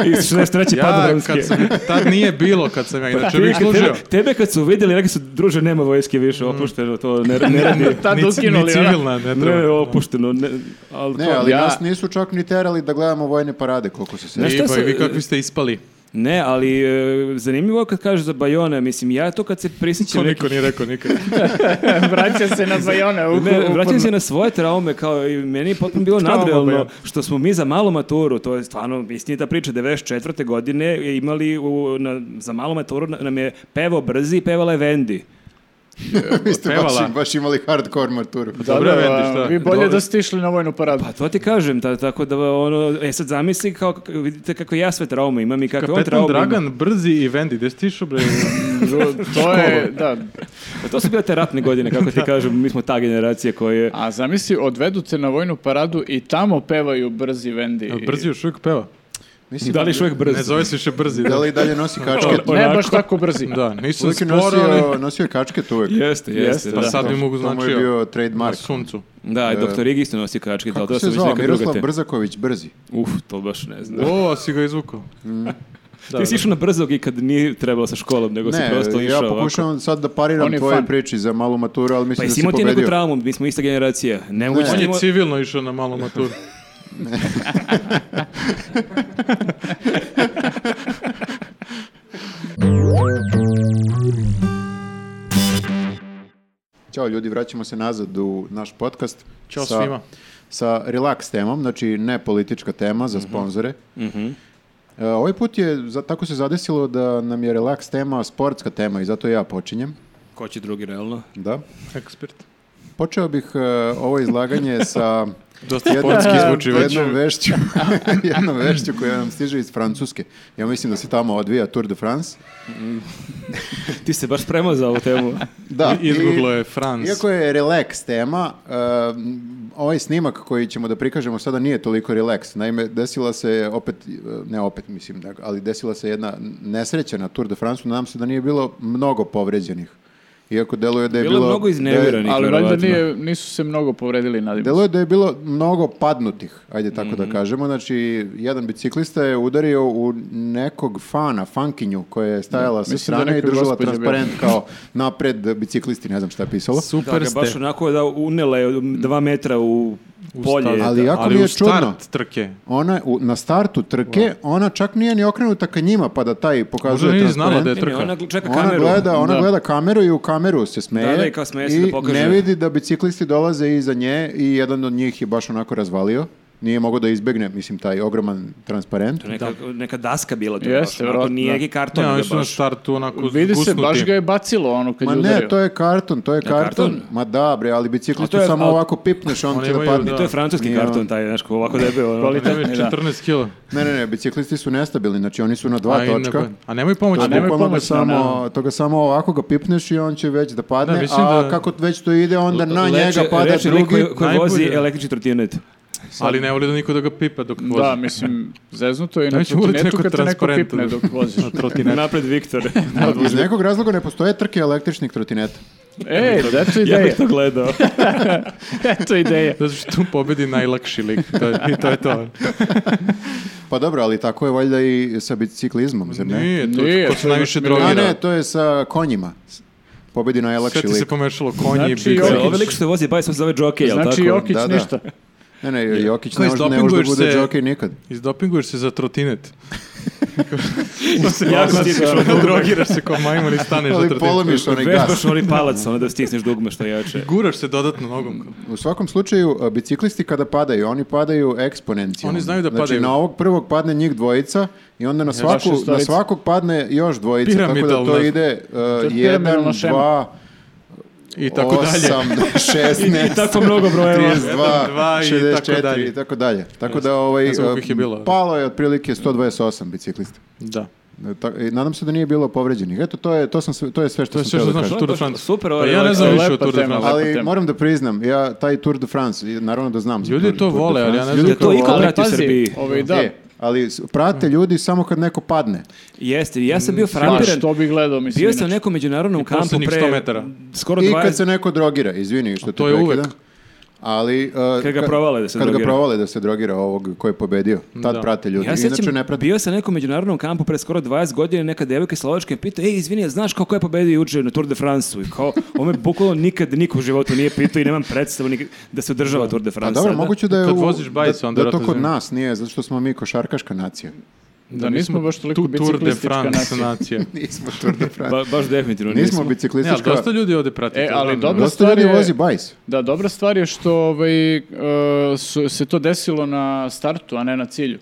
Speaker 1: I 63.
Speaker 4: Ja,
Speaker 1: padobranski.
Speaker 4: kad sam, tad nije bilo kad sam ja inače
Speaker 1: Tebe-
Speaker 4: bih služio.
Speaker 1: Tebe, tebe kad su vidjeli, rekli su, druže, nema vojske više, opušteno, to ne, ne radi.
Speaker 3: Tad
Speaker 4: Ni-
Speaker 3: ukinuli,
Speaker 4: Ni
Speaker 3: ono.
Speaker 4: civilna, ne
Speaker 1: Ne,
Speaker 4: treba.
Speaker 1: opušteno. Ne, ali
Speaker 2: Ne,
Speaker 1: to-
Speaker 2: ali
Speaker 3: Ja-
Speaker 2: nas nisu čak ni terali da gledamo vojne parade, koliko se sjećam.
Speaker 1: Znaš šta
Speaker 4: Iba, i pa vi
Speaker 1: sam-
Speaker 4: kakvi ste ispali.
Speaker 1: ne, ali e, zanimljivo je kad kažeš za Bajone, mislim, ja to kad se prisjećam...
Speaker 4: To
Speaker 1: nekih-
Speaker 4: niko nije rekao nikad.
Speaker 3: Vraća se na Bajone. u-
Speaker 1: Ne,
Speaker 3: u-
Speaker 1: vraćam se na svoje traume, kao i meni je potpuno bilo
Speaker 4: Trauma, pa
Speaker 1: nadrealno
Speaker 4: Bajon.
Speaker 1: što smo mi za malu maturu, to je stvarno istinita priča, 94. godine imali u, na, za malu maturu na- nam je pevao Brzi i pevala je Vendi.
Speaker 2: Vi ste
Speaker 4: pevala.
Speaker 2: baš, baš imali hardcore maturu.
Speaker 4: Dobro,
Speaker 3: da,
Speaker 4: Vendi, šta?
Speaker 3: Vi bolje
Speaker 4: Dobro.
Speaker 3: da ste išli na vojnu paradu.
Speaker 1: Pa to ti kažem, ta, tako da ono, e sad zamisli kao, k- vidite kakve ja sve traume imam i kakve on
Speaker 4: Kapetan
Speaker 1: traume ima.
Speaker 4: Dragan, Brzi i Vendi, gde ste išao bre?
Speaker 3: To je, da.
Speaker 1: Pa to su bile te ratne godine, kako ti kažem, mi smo ta generacija koja je...
Speaker 3: A zamisli, odvedu te na vojnu paradu i tamo pevaju brzi Vendi.
Speaker 4: Jel Brzi još uvijek peva.
Speaker 2: Mislim,
Speaker 1: Da li još uvijek brzo?
Speaker 4: Ne zove se više brzi.
Speaker 2: da li i dalje nosi kačke?
Speaker 1: O-
Speaker 3: Ne
Speaker 1: Onako.
Speaker 3: baš tako brzi.
Speaker 4: Da, nisam
Speaker 2: Uvijek je
Speaker 4: sporo, ali...
Speaker 2: nosio, nosio je kačke tu uvijek.
Speaker 1: Jeste, jeste.
Speaker 3: Jeste,
Speaker 1: da.
Speaker 4: Pa sad bi mogu
Speaker 2: To mu je
Speaker 4: značio
Speaker 2: bio
Speaker 4: na
Speaker 2: trademark.
Speaker 4: suncu.
Speaker 1: Da, i doktor Ig isto nosi kačke, ali
Speaker 2: Kako
Speaker 1: to su
Speaker 2: se
Speaker 1: već
Speaker 2: zvao?
Speaker 1: neka druga
Speaker 2: Miroslav
Speaker 1: te.
Speaker 2: Brzaković, brzi.
Speaker 1: Uf, to baš ne znam.
Speaker 4: O, a si ga izvukao.
Speaker 1: Ti si išao na brzog i kad nije trebalo sa školom, nego si
Speaker 2: Ne,
Speaker 1: prosto
Speaker 2: ja
Speaker 1: išao ovako.
Speaker 2: pokušavam sad da pariram
Speaker 3: On je
Speaker 2: tvoje
Speaker 3: fan.
Speaker 2: priči za malu maturu, ali
Speaker 1: Pa
Speaker 2: mislim da
Speaker 1: jesi
Speaker 2: si
Speaker 1: imao ti
Speaker 2: pobedio.
Speaker 1: neku traumu, mi smo ista generacija. Nemoguće
Speaker 4: On
Speaker 1: ne.
Speaker 4: je civilno išao na malu maturu.
Speaker 2: Ćao ljudi, vraćamo se nazad u naš podcast.
Speaker 4: Ćao
Speaker 2: sa,
Speaker 4: svima.
Speaker 2: Sa relax temom, znači ne politička tema
Speaker 4: Mhm.
Speaker 2: za sponzore. E, ovaj put je, za- tako se zadesilo da nam je relax tema sportska tema i zato ja počinjem.
Speaker 1: Ko će drugi, realno?
Speaker 2: Da.
Speaker 4: Ekspert.
Speaker 2: Počeo bih e, ovo izlaganje sa
Speaker 4: Dosta
Speaker 2: jednom-
Speaker 4: sportski zvuči već.
Speaker 2: jednom vešću, jednom vešću koja nam stiže iz Francuske. Ja mislim da se tamo odvija Tour de France.
Speaker 1: Ti se baš spremao za ovu temu.
Speaker 2: Da, i-
Speaker 4: Izguglo je Franz.
Speaker 2: Iako je relax tema, um, ovaj snimak koji ćemo da prikažemo sada nije toliko relax. Naime, desila se opet, eh, ne opet mislim, da, ali desila se jedna nesreća na Tour de France. Nadam se da nije bilo mnogo povređenih. Iako deluje da je bilo... e,
Speaker 1: Bilo je mnogo
Speaker 2: da je-
Speaker 1: iznevjerenih,
Speaker 3: Ali valjda
Speaker 1: verovatno.
Speaker 3: nije, nisu se mnogo povredili, nadim se.
Speaker 2: Deluje da je bilo mnogo padnutih, ajde tako da kažemo. Znači, jedan biciklista je udario u nekog fana, fankinju, koja je stajala sa
Speaker 3: mislim da
Speaker 2: strane i
Speaker 3: neka
Speaker 2: držala
Speaker 3: gospođa bila.
Speaker 2: transparent kao napred biciklisti, ne znam šta je pisalo.
Speaker 1: Da,
Speaker 4: Super
Speaker 1: ga
Speaker 4: ste.
Speaker 1: baš onako da unela je dva metra u polje.
Speaker 4: stazu.
Speaker 2: Ali jako
Speaker 4: Ali
Speaker 2: mi je
Speaker 4: u
Speaker 2: čudno.
Speaker 4: start trke.
Speaker 2: Ona u, na startu trke, ona čak nije ni okrenuta ka njima, pa da taj
Speaker 4: Možda
Speaker 2: pokazuje
Speaker 4: nije
Speaker 2: transparent.
Speaker 4: znala da je
Speaker 1: Ne, ne,
Speaker 4: trka.
Speaker 1: ona čeka
Speaker 2: Ona
Speaker 1: kameru.
Speaker 2: gleda, ona
Speaker 3: Da.
Speaker 2: gleda kameru i u kameru se smeje.
Speaker 1: Da, da, i kao smeje se da
Speaker 2: i
Speaker 1: pokaže.
Speaker 2: ne vidi da biciklisti dolaze iza nje i jedan od njih je baš onako razvalio. Nije mogao da izbegne, mislim, taj ogroman transparent.
Speaker 1: Neka, neka daska bila to
Speaker 3: Jeste,
Speaker 1: baš. onako,
Speaker 3: verovatno,
Speaker 1: nije
Speaker 3: da.
Speaker 1: neki karton.
Speaker 4: Ne,
Speaker 1: nego
Speaker 4: oni su na
Speaker 1: baš.
Speaker 4: startu onako
Speaker 3: Vidi se, baš
Speaker 4: zgusnuti.
Speaker 3: ga je bacilo ono kad
Speaker 2: Ma
Speaker 3: je
Speaker 2: ne,
Speaker 3: udario.
Speaker 2: to je karton, to je karton.
Speaker 1: karton?
Speaker 2: Ma da, bre, ali biciklistu
Speaker 1: A to je-
Speaker 2: samo
Speaker 1: a-
Speaker 2: ovako pipneš, on
Speaker 4: Oni
Speaker 2: će da
Speaker 4: imaju,
Speaker 2: padne.
Speaker 4: da.
Speaker 1: To je francuski
Speaker 2: Nije on.
Speaker 1: karton, taj, znaš, ovako debel. ono.
Speaker 4: Oni imaju
Speaker 3: Kvalitetni, da.
Speaker 4: 14 kila.
Speaker 2: Ne, ne, ne, biciklisti su nestabilni, znači oni su na dva
Speaker 4: A, i ne-
Speaker 2: točka.
Speaker 4: A nemoj pomoći.
Speaker 2: To
Speaker 3: A
Speaker 2: je
Speaker 3: nemoj
Speaker 2: Znači, bukvalno ga
Speaker 3: pomoći,
Speaker 2: samo, to ga samo ovako ga pipneš i on će već da padne,
Speaker 4: Da, mislim
Speaker 2: a
Speaker 4: da-
Speaker 2: kako već to ide, onda na
Speaker 1: Leče-
Speaker 2: njega pada
Speaker 1: reče lik
Speaker 2: drugi.
Speaker 1: koji, koji
Speaker 4: najbolje.
Speaker 1: vozi električni trotinet.
Speaker 4: Ali ne voli da niko da ga pipa dok vozi.
Speaker 3: Da, mislim, zeznuto je i na
Speaker 4: Neće uvijek
Speaker 3: trotinetu
Speaker 4: neko
Speaker 3: kad te neko
Speaker 4: transparent
Speaker 3: pipne
Speaker 4: uvijek.
Speaker 3: dok voziš.
Speaker 4: Na trotinetu.
Speaker 1: Napred Viktor.
Speaker 2: Iz nekog razloga ne postoje trke električnih trotineta.
Speaker 3: Ej, E, eto
Speaker 1: ja bih
Speaker 3: ideja.
Speaker 1: to gledao.
Speaker 3: Eto ideja.
Speaker 4: Zato što tu pobedi najlakši lik. To je, I to je to.
Speaker 2: Pa dobro, ali tako je valjda i sa biciklizmom, zar ne?
Speaker 4: Nije, to je
Speaker 3: Nije,
Speaker 4: ko se
Speaker 3: to je
Speaker 4: najviše
Speaker 3: milion-
Speaker 2: A
Speaker 4: drogira.
Speaker 2: ne, to je sa konjima. Pobedi
Speaker 4: Sve
Speaker 2: najlakši
Speaker 4: ti se
Speaker 2: lik.
Speaker 4: pomešalo konji i
Speaker 3: Znači,
Speaker 4: bice.
Speaker 3: Jokić.
Speaker 1: Ovo lik što vozi bajs se zove Jockey, jel tako?
Speaker 3: Znači, Jokić
Speaker 2: Da, da.
Speaker 3: ništa.
Speaker 2: Ne, ne, Jokić
Speaker 4: Koji
Speaker 2: ne može ne može da
Speaker 4: dopinguješ
Speaker 2: bude
Speaker 4: se-
Speaker 2: džokej nikad.
Speaker 4: Izdopinguješ se za trotinet.
Speaker 1: Jako
Speaker 4: Sad
Speaker 1: stižeš
Speaker 4: se
Speaker 1: ono
Speaker 4: ono drogiraš se kao majmun i staneš za
Speaker 2: Pa Ali
Speaker 4: trotinet.
Speaker 2: polomiš onaj gas.
Speaker 1: Vežbaš onaj palac, ono da stisneš dugme što jače.
Speaker 4: Guraš se dodatno nogom.
Speaker 2: U svakom slučaju, a, biciklisti kada padaju, oni padaju eksponencijalno.
Speaker 4: Oni znaju da
Speaker 2: znači,
Speaker 4: padaju.
Speaker 2: na ovog prvog padne njih dvojica i onda na, svaku,
Speaker 3: šestorica.
Speaker 2: na svakog padne još dvojica. tako da to
Speaker 4: Piramidalna.
Speaker 2: ide uh,
Speaker 3: je
Speaker 2: jedan,
Speaker 3: piramidalna šema.
Speaker 2: dva,
Speaker 4: I tako dalje.
Speaker 2: osam, šesnaest,
Speaker 1: I tako mnogo brojeva.
Speaker 2: 32,
Speaker 4: dva i
Speaker 2: 64
Speaker 4: tako dalje.
Speaker 2: i tako dalje. Tako da ovaj,
Speaker 4: Ne znam koliko
Speaker 2: uh,
Speaker 4: ih je bilo.
Speaker 2: palo je otprilike 128 biciklista.
Speaker 4: Da.
Speaker 2: E, ta- i nadam se da nije bilo povređenih. Eto, to je, to sam, sve- to je sve što
Speaker 4: To je
Speaker 2: sam
Speaker 4: sve
Speaker 2: htio da
Speaker 4: što znaš
Speaker 2: kažem.
Speaker 4: o Tour de
Speaker 1: baš
Speaker 4: France.
Speaker 1: super,
Speaker 4: Pa
Speaker 1: ovo je
Speaker 4: ja ne
Speaker 1: lepa-
Speaker 4: znam više o
Speaker 3: lepa
Speaker 4: Tour de
Speaker 3: tema.
Speaker 4: France.
Speaker 2: Ali
Speaker 3: tema.
Speaker 2: moram da priznam, ja taj Tour de France, i naravno da znam. za
Speaker 4: Ljudi
Speaker 2: Tour-
Speaker 4: to
Speaker 2: Tour de
Speaker 4: vole, ali
Speaker 2: France.
Speaker 4: ja ne znam
Speaker 2: Ljudi
Speaker 1: kako
Speaker 2: to
Speaker 1: vole.
Speaker 2: vole.
Speaker 1: Ikad prati u Srbiji.
Speaker 3: ovaj, da.
Speaker 2: E, ali s-
Speaker 4: Mm.
Speaker 2: prate ljudi samo kad neko padne.
Speaker 1: Jeste, ja sam bio
Speaker 3: Pa
Speaker 1: frapiran.
Speaker 3: što bi gledao, mislim.
Speaker 1: Bio sam u
Speaker 3: inače.
Speaker 1: nekom međunarodnom kampu
Speaker 4: poslednjih
Speaker 1: pre...
Speaker 4: 100 metara.
Speaker 1: Skoro
Speaker 2: I
Speaker 1: 20...
Speaker 2: kad se neko drogira, izvini što te
Speaker 4: to je
Speaker 2: prekidam.
Speaker 4: uvek.
Speaker 2: Ali, uh,
Speaker 1: Kad ga
Speaker 2: ka-
Speaker 1: provale da se
Speaker 2: kad
Speaker 1: drogira.
Speaker 2: ga provale da se drogira ovog ko je pobedio. Tad
Speaker 4: Da.
Speaker 2: prate ljudi.
Speaker 1: Ja se
Speaker 2: Inače
Speaker 1: sjećam,
Speaker 2: ne prate.
Speaker 1: bio sam na nekom međunarodnom kampu pre skoro 20 godina, neka devojka iz Slovačke me pitao, ej, izvini, a znaš kako je pobedio juče na Tour de France-u? I kao, ovo me bukvalno nikad niko u životu nije pitao i nemam predstavu ni- da se održava Tour de France.
Speaker 2: A dobro,
Speaker 1: sada.
Speaker 2: moguće da je
Speaker 4: Kad
Speaker 2: u-
Speaker 4: voziš bajs,
Speaker 2: da,
Speaker 4: onda
Speaker 2: da to
Speaker 4: vjerojatno
Speaker 2: kod
Speaker 4: zna.
Speaker 2: nas nije, zato što smo mi košarkaška nacija.
Speaker 3: Da nismo baš toliko
Speaker 4: tu Tour de
Speaker 3: biciklistička
Speaker 4: France
Speaker 3: nacija.
Speaker 4: nacija.
Speaker 2: Nismo Tour de France.
Speaker 1: Ba- baš definitivno
Speaker 2: Nismo
Speaker 1: nismo.
Speaker 4: Ne, ali
Speaker 2: biciklistička.
Speaker 4: dosta ljudi ovde prati.
Speaker 3: E,
Speaker 4: to,
Speaker 3: ali
Speaker 4: naravno.
Speaker 3: dobro.
Speaker 2: dosta ljudi
Speaker 3: stvar je-
Speaker 2: vozi bajs.
Speaker 3: Da, dobra stvar je što ovaj, e, su- se to desilo na startu, a ne na cilju.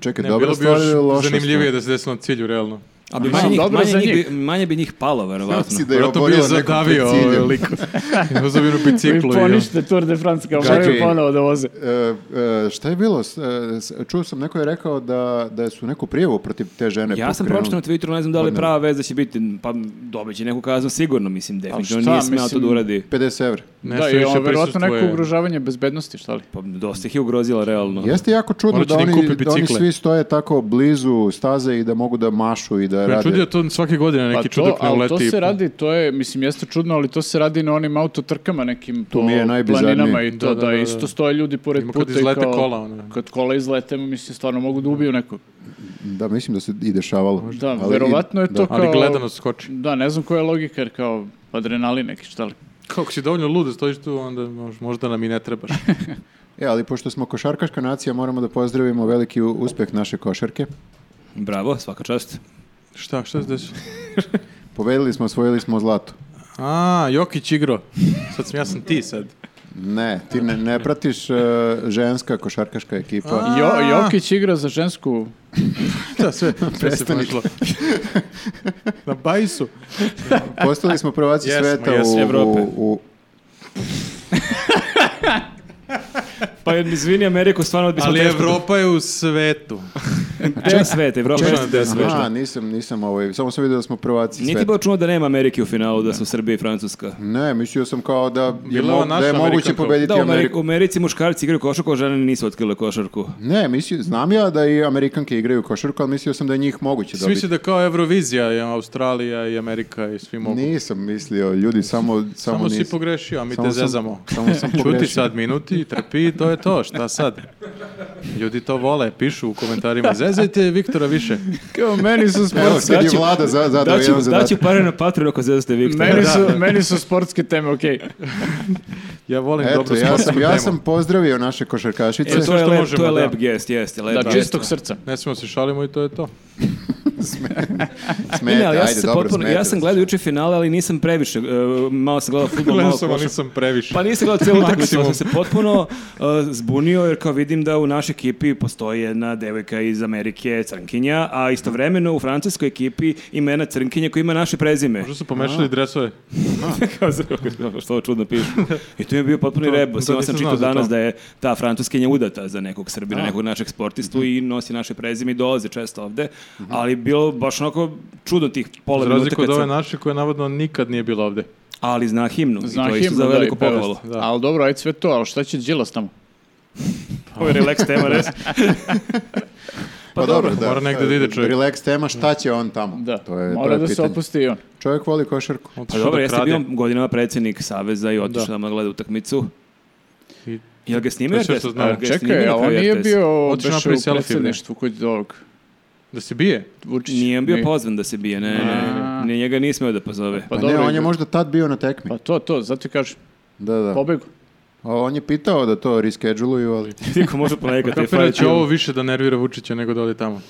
Speaker 2: Čekaj,
Speaker 4: Ne,
Speaker 2: dobra
Speaker 4: bilo bi
Speaker 2: stvar
Speaker 4: još
Speaker 2: ili loša stvar?
Speaker 4: zanimljivije da se desilo na cilju, realno.
Speaker 1: A bi
Speaker 3: Mislim,
Speaker 1: manje, njih,
Speaker 3: dobro
Speaker 1: manje,
Speaker 3: za
Speaker 1: njih
Speaker 3: njih.
Speaker 1: bi, manje bi njih palo, verovatno.
Speaker 2: si da je
Speaker 4: Vratno bi je
Speaker 2: oborio nekog pred
Speaker 4: zadavio ovaj
Speaker 2: ciljem.
Speaker 4: lik. Uzavio na biciklu.
Speaker 3: Vi
Speaker 4: i on-
Speaker 3: ponište Pa Tour de France, kao
Speaker 2: Čekaj.
Speaker 3: moraju ponovo da voze.
Speaker 2: E, e, šta je bilo? S- e, s- čuo sam, neko je rekao da, da su neku prijavu protiv te žene
Speaker 1: Ja sam
Speaker 2: pokrenuli.
Speaker 1: pročitao na Twitteru, ne znam da li je prava veza će biti, pa dobit će neku kaznu sigurno, mislim, definitivno
Speaker 3: šta,
Speaker 1: nije smeo to
Speaker 3: mislim-
Speaker 1: da uradi.
Speaker 2: 50 evra.
Speaker 4: Nešto
Speaker 3: da, i
Speaker 4: više
Speaker 3: ovo verovatno
Speaker 4: prisustvuje.
Speaker 3: neko ugrožavanje bezbednosti, šta li?
Speaker 1: Pa dosta ih je ugrozila, realno.
Speaker 2: Jeste jako čudno
Speaker 4: Morat će
Speaker 2: da
Speaker 4: da im
Speaker 2: oni,
Speaker 4: kupi
Speaker 2: da oni
Speaker 4: bicikle.
Speaker 2: svi stoje tako blizu staze i da mogu da mašu i da
Speaker 4: Me
Speaker 2: rade.
Speaker 4: čudio to svake godine neki čudak pa. ne
Speaker 3: ali
Speaker 4: uleti.
Speaker 3: Pa to
Speaker 4: i
Speaker 3: se
Speaker 4: po-
Speaker 3: radi, to je, mislim, jeste čudno, ali to se radi na onim autotrkama nekim po
Speaker 2: mi je najbizarnije.
Speaker 3: planinama i to, da,
Speaker 4: Da, da, da, da.
Speaker 3: isto stoje ljudi pored
Speaker 4: Ima kad
Speaker 3: puta i
Speaker 4: izlete
Speaker 3: kao,
Speaker 4: kola, ono.
Speaker 3: kad kola izlete, mislim, stvarno mogu da ubiju nekog.
Speaker 2: Da, mislim da se i dešavalo.
Speaker 3: Da,
Speaker 2: Ali i-
Speaker 3: verovatno je to
Speaker 2: da.
Speaker 3: kao...
Speaker 4: Ali gledanost skoči.
Speaker 3: Da, ne znam koja je logika, jer kao adrenalin neki, šta li?
Speaker 4: Kako si dovoljno lud da stojiš tu, onda mož- možda nam i ne trebaš.
Speaker 2: E, ali pošto smo košarkaška nacija, moramo da pozdravimo veliki u- uspeh naše košarke.
Speaker 1: Bravo, svaka čast.
Speaker 4: Šta, šta se desilo?
Speaker 2: Povedili smo, osvojili smo zlato.
Speaker 4: A, Jokić igro. Sad sam ja sam ti sad.
Speaker 2: Ne, ti ne, ne pratiš e, ženska košarkaška ekipa.
Speaker 3: Jo, Jokić igra za žensku...
Speaker 4: Da, sve, sve se pošlo. Na bajsu.
Speaker 2: Postali smo prvaci
Speaker 4: Jesmo,
Speaker 2: sveta
Speaker 4: jesmo.
Speaker 2: u,
Speaker 1: Evrope.
Speaker 2: u, u-
Speaker 1: Pa izvini Ameriku, stvarno bi
Speaker 4: Ali Evropa je u svetu.
Speaker 1: Čak svet, Evropa
Speaker 4: Ček-
Speaker 1: je sve
Speaker 4: Aha.
Speaker 1: sveta.
Speaker 2: Aha, nisam, nisam ovaj, samo sam vidio da smo prvaci
Speaker 1: Niti
Speaker 2: sveta.
Speaker 1: bi čuo da nema Amerike u finalu, da su Srbija i Francuska.
Speaker 2: Ne, mislio sam kao da je,
Speaker 4: Bila ova
Speaker 2: mo- da je
Speaker 4: naša
Speaker 2: moguće
Speaker 4: Amerikanka.
Speaker 2: pobediti
Speaker 1: Da, u Americi,
Speaker 2: Ameriku.
Speaker 1: u Americi muškarci igraju košarku, a žene nisu otkrile košarku.
Speaker 2: Ne, mislio, znam ja da i Amerikanke igraju košarku, ali mislio sam da je njih moguće
Speaker 4: Svi
Speaker 2: dobiti.
Speaker 4: se da kao Eurovizija, je Australija i Amerika i svi mogu.
Speaker 2: Nisam mislio, ljudi, samo, samo,
Speaker 4: Samo, si
Speaker 2: nisam.
Speaker 4: pogrešio, a mi
Speaker 2: Samo
Speaker 4: te
Speaker 2: sam-
Speaker 4: zezamo.
Speaker 2: samo sam pogrešio.
Speaker 4: Čuti sad minuti, trpi, to je to, šta sad? Ljudi to vole, pišu u komentarima, zezajte Viktora više.
Speaker 3: Kao, meni su
Speaker 2: Evo,
Speaker 3: sportske...
Speaker 2: sad je
Speaker 1: daću-
Speaker 2: vlada za, zadao
Speaker 1: Daću,
Speaker 2: jedan zadatak.
Speaker 1: daću pare na Patreon ako zvezate Viktora.
Speaker 3: Meni
Speaker 4: Da,
Speaker 3: su,
Speaker 4: da.
Speaker 3: meni su sportske teme, okej.
Speaker 4: Ja volim
Speaker 2: Eto,
Speaker 4: dobro
Speaker 2: ja sam,
Speaker 4: sportsku
Speaker 2: ja
Speaker 4: temu.
Speaker 2: sam pozdravio naše košarkašice.
Speaker 1: E, to,
Speaker 4: sve
Speaker 1: je
Speaker 4: što
Speaker 1: lep,
Speaker 4: možemo,
Speaker 1: to je
Speaker 4: da.
Speaker 1: lep gest, jeste, lep
Speaker 3: Da,
Speaker 1: gest.
Speaker 3: čistog srca.
Speaker 4: Ne smijemo se šalimo i to je to.
Speaker 2: Smete,
Speaker 1: Ne, ali ja, sam
Speaker 2: ajde,
Speaker 1: se
Speaker 2: dobro,
Speaker 1: potpuno-
Speaker 2: smete.
Speaker 1: ja sam gledao juče finale, ali nisam previše. e, malo sam gledao futbol,
Speaker 4: Gledam
Speaker 1: malo
Speaker 4: sam, ali
Speaker 1: košarku.
Speaker 4: nisam previše.
Speaker 1: Pa nisam gledao cijelu utakmicu, ali sam
Speaker 4: Maksimum.
Speaker 1: se potpuno uh, zbunio jer kao vidim da u našoj ekipi postoji jedna devojka iz Amerike, crnkinja, a istovremeno u francuskoj ekipi ima jedna crnkinja koja ima naše prezime.
Speaker 4: Možda su pomešali dresove.
Speaker 1: Kao za- što ovo čudno piše. I to mi je bio potpuni
Speaker 4: To-
Speaker 1: rebus.
Speaker 4: to
Speaker 1: Ima sam
Speaker 4: nisam
Speaker 1: čitao
Speaker 4: znao za to.
Speaker 1: danas da je ta francuskinja udata za nekog Srbina, nekog našeg sportistu
Speaker 4: Mhm.
Speaker 1: i nosi naše prezime i dolaze često ovde, ali bilo baš onako čudno tih pola
Speaker 4: Za
Speaker 1: minuta
Speaker 4: razliku
Speaker 1: kad
Speaker 4: od ove
Speaker 1: sam,
Speaker 4: naše koje navodno nikad nije bila ovde.
Speaker 1: ali zna himnu i
Speaker 3: Zna
Speaker 1: to je isto za
Speaker 3: himnu, da, i
Speaker 1: veliko
Speaker 3: peva.
Speaker 1: pohvalu.
Speaker 4: Da.
Speaker 3: Ali dobro, ajde sve to, ali šta će Đilas tamo?
Speaker 1: Ovo je relax tema, res.
Speaker 2: Pa, dobro, da.
Speaker 4: mora negde da ide čovjek.
Speaker 2: Relax tema, šta će on tamo?
Speaker 3: Da,
Speaker 2: to je, to
Speaker 3: mora
Speaker 2: je
Speaker 3: da se
Speaker 2: pitanje.
Speaker 3: opusti i on.
Speaker 2: Čovjek voli košarku.
Speaker 1: Pa
Speaker 4: Otišao
Speaker 1: dobro,
Speaker 4: da
Speaker 1: jeste
Speaker 4: krade.
Speaker 1: bio godinama predsjednik Saveza i otišao
Speaker 4: Da.
Speaker 1: tamo da gleda utakmicu.
Speaker 4: I-
Speaker 1: Jel ga
Speaker 4: To
Speaker 1: snimio
Speaker 4: je sve
Speaker 1: RTS?
Speaker 4: što znam.
Speaker 1: Jel ga je snimio
Speaker 3: Čekaj,
Speaker 1: na
Speaker 3: a on
Speaker 1: kraju
Speaker 3: nije
Speaker 1: RTS?
Speaker 3: bio
Speaker 4: Otišao
Speaker 3: beše
Speaker 4: napravi
Speaker 3: u
Speaker 4: selfie, bre.
Speaker 3: predsjedništvu kod ovog
Speaker 4: Da se bije.
Speaker 3: Vučića.
Speaker 1: Nije on bio
Speaker 3: Nije.
Speaker 1: pozvan da se bije, ne, ne, ne, ne, njega nismo da pozove.
Speaker 3: Pa
Speaker 2: Pa
Speaker 3: dobro,
Speaker 2: ne, on je
Speaker 3: igra.
Speaker 2: možda tad bio na tekmi.
Speaker 3: Pa to, to, zato ti kažem,
Speaker 2: Da, da.
Speaker 3: pobegu.
Speaker 2: A on je pitao da to rescheduluju, ali...
Speaker 1: Tiko može ponekad te
Speaker 4: Pa Kako da će
Speaker 1: fajče.
Speaker 4: ovo više da nervira Vučića nego da ode tamo?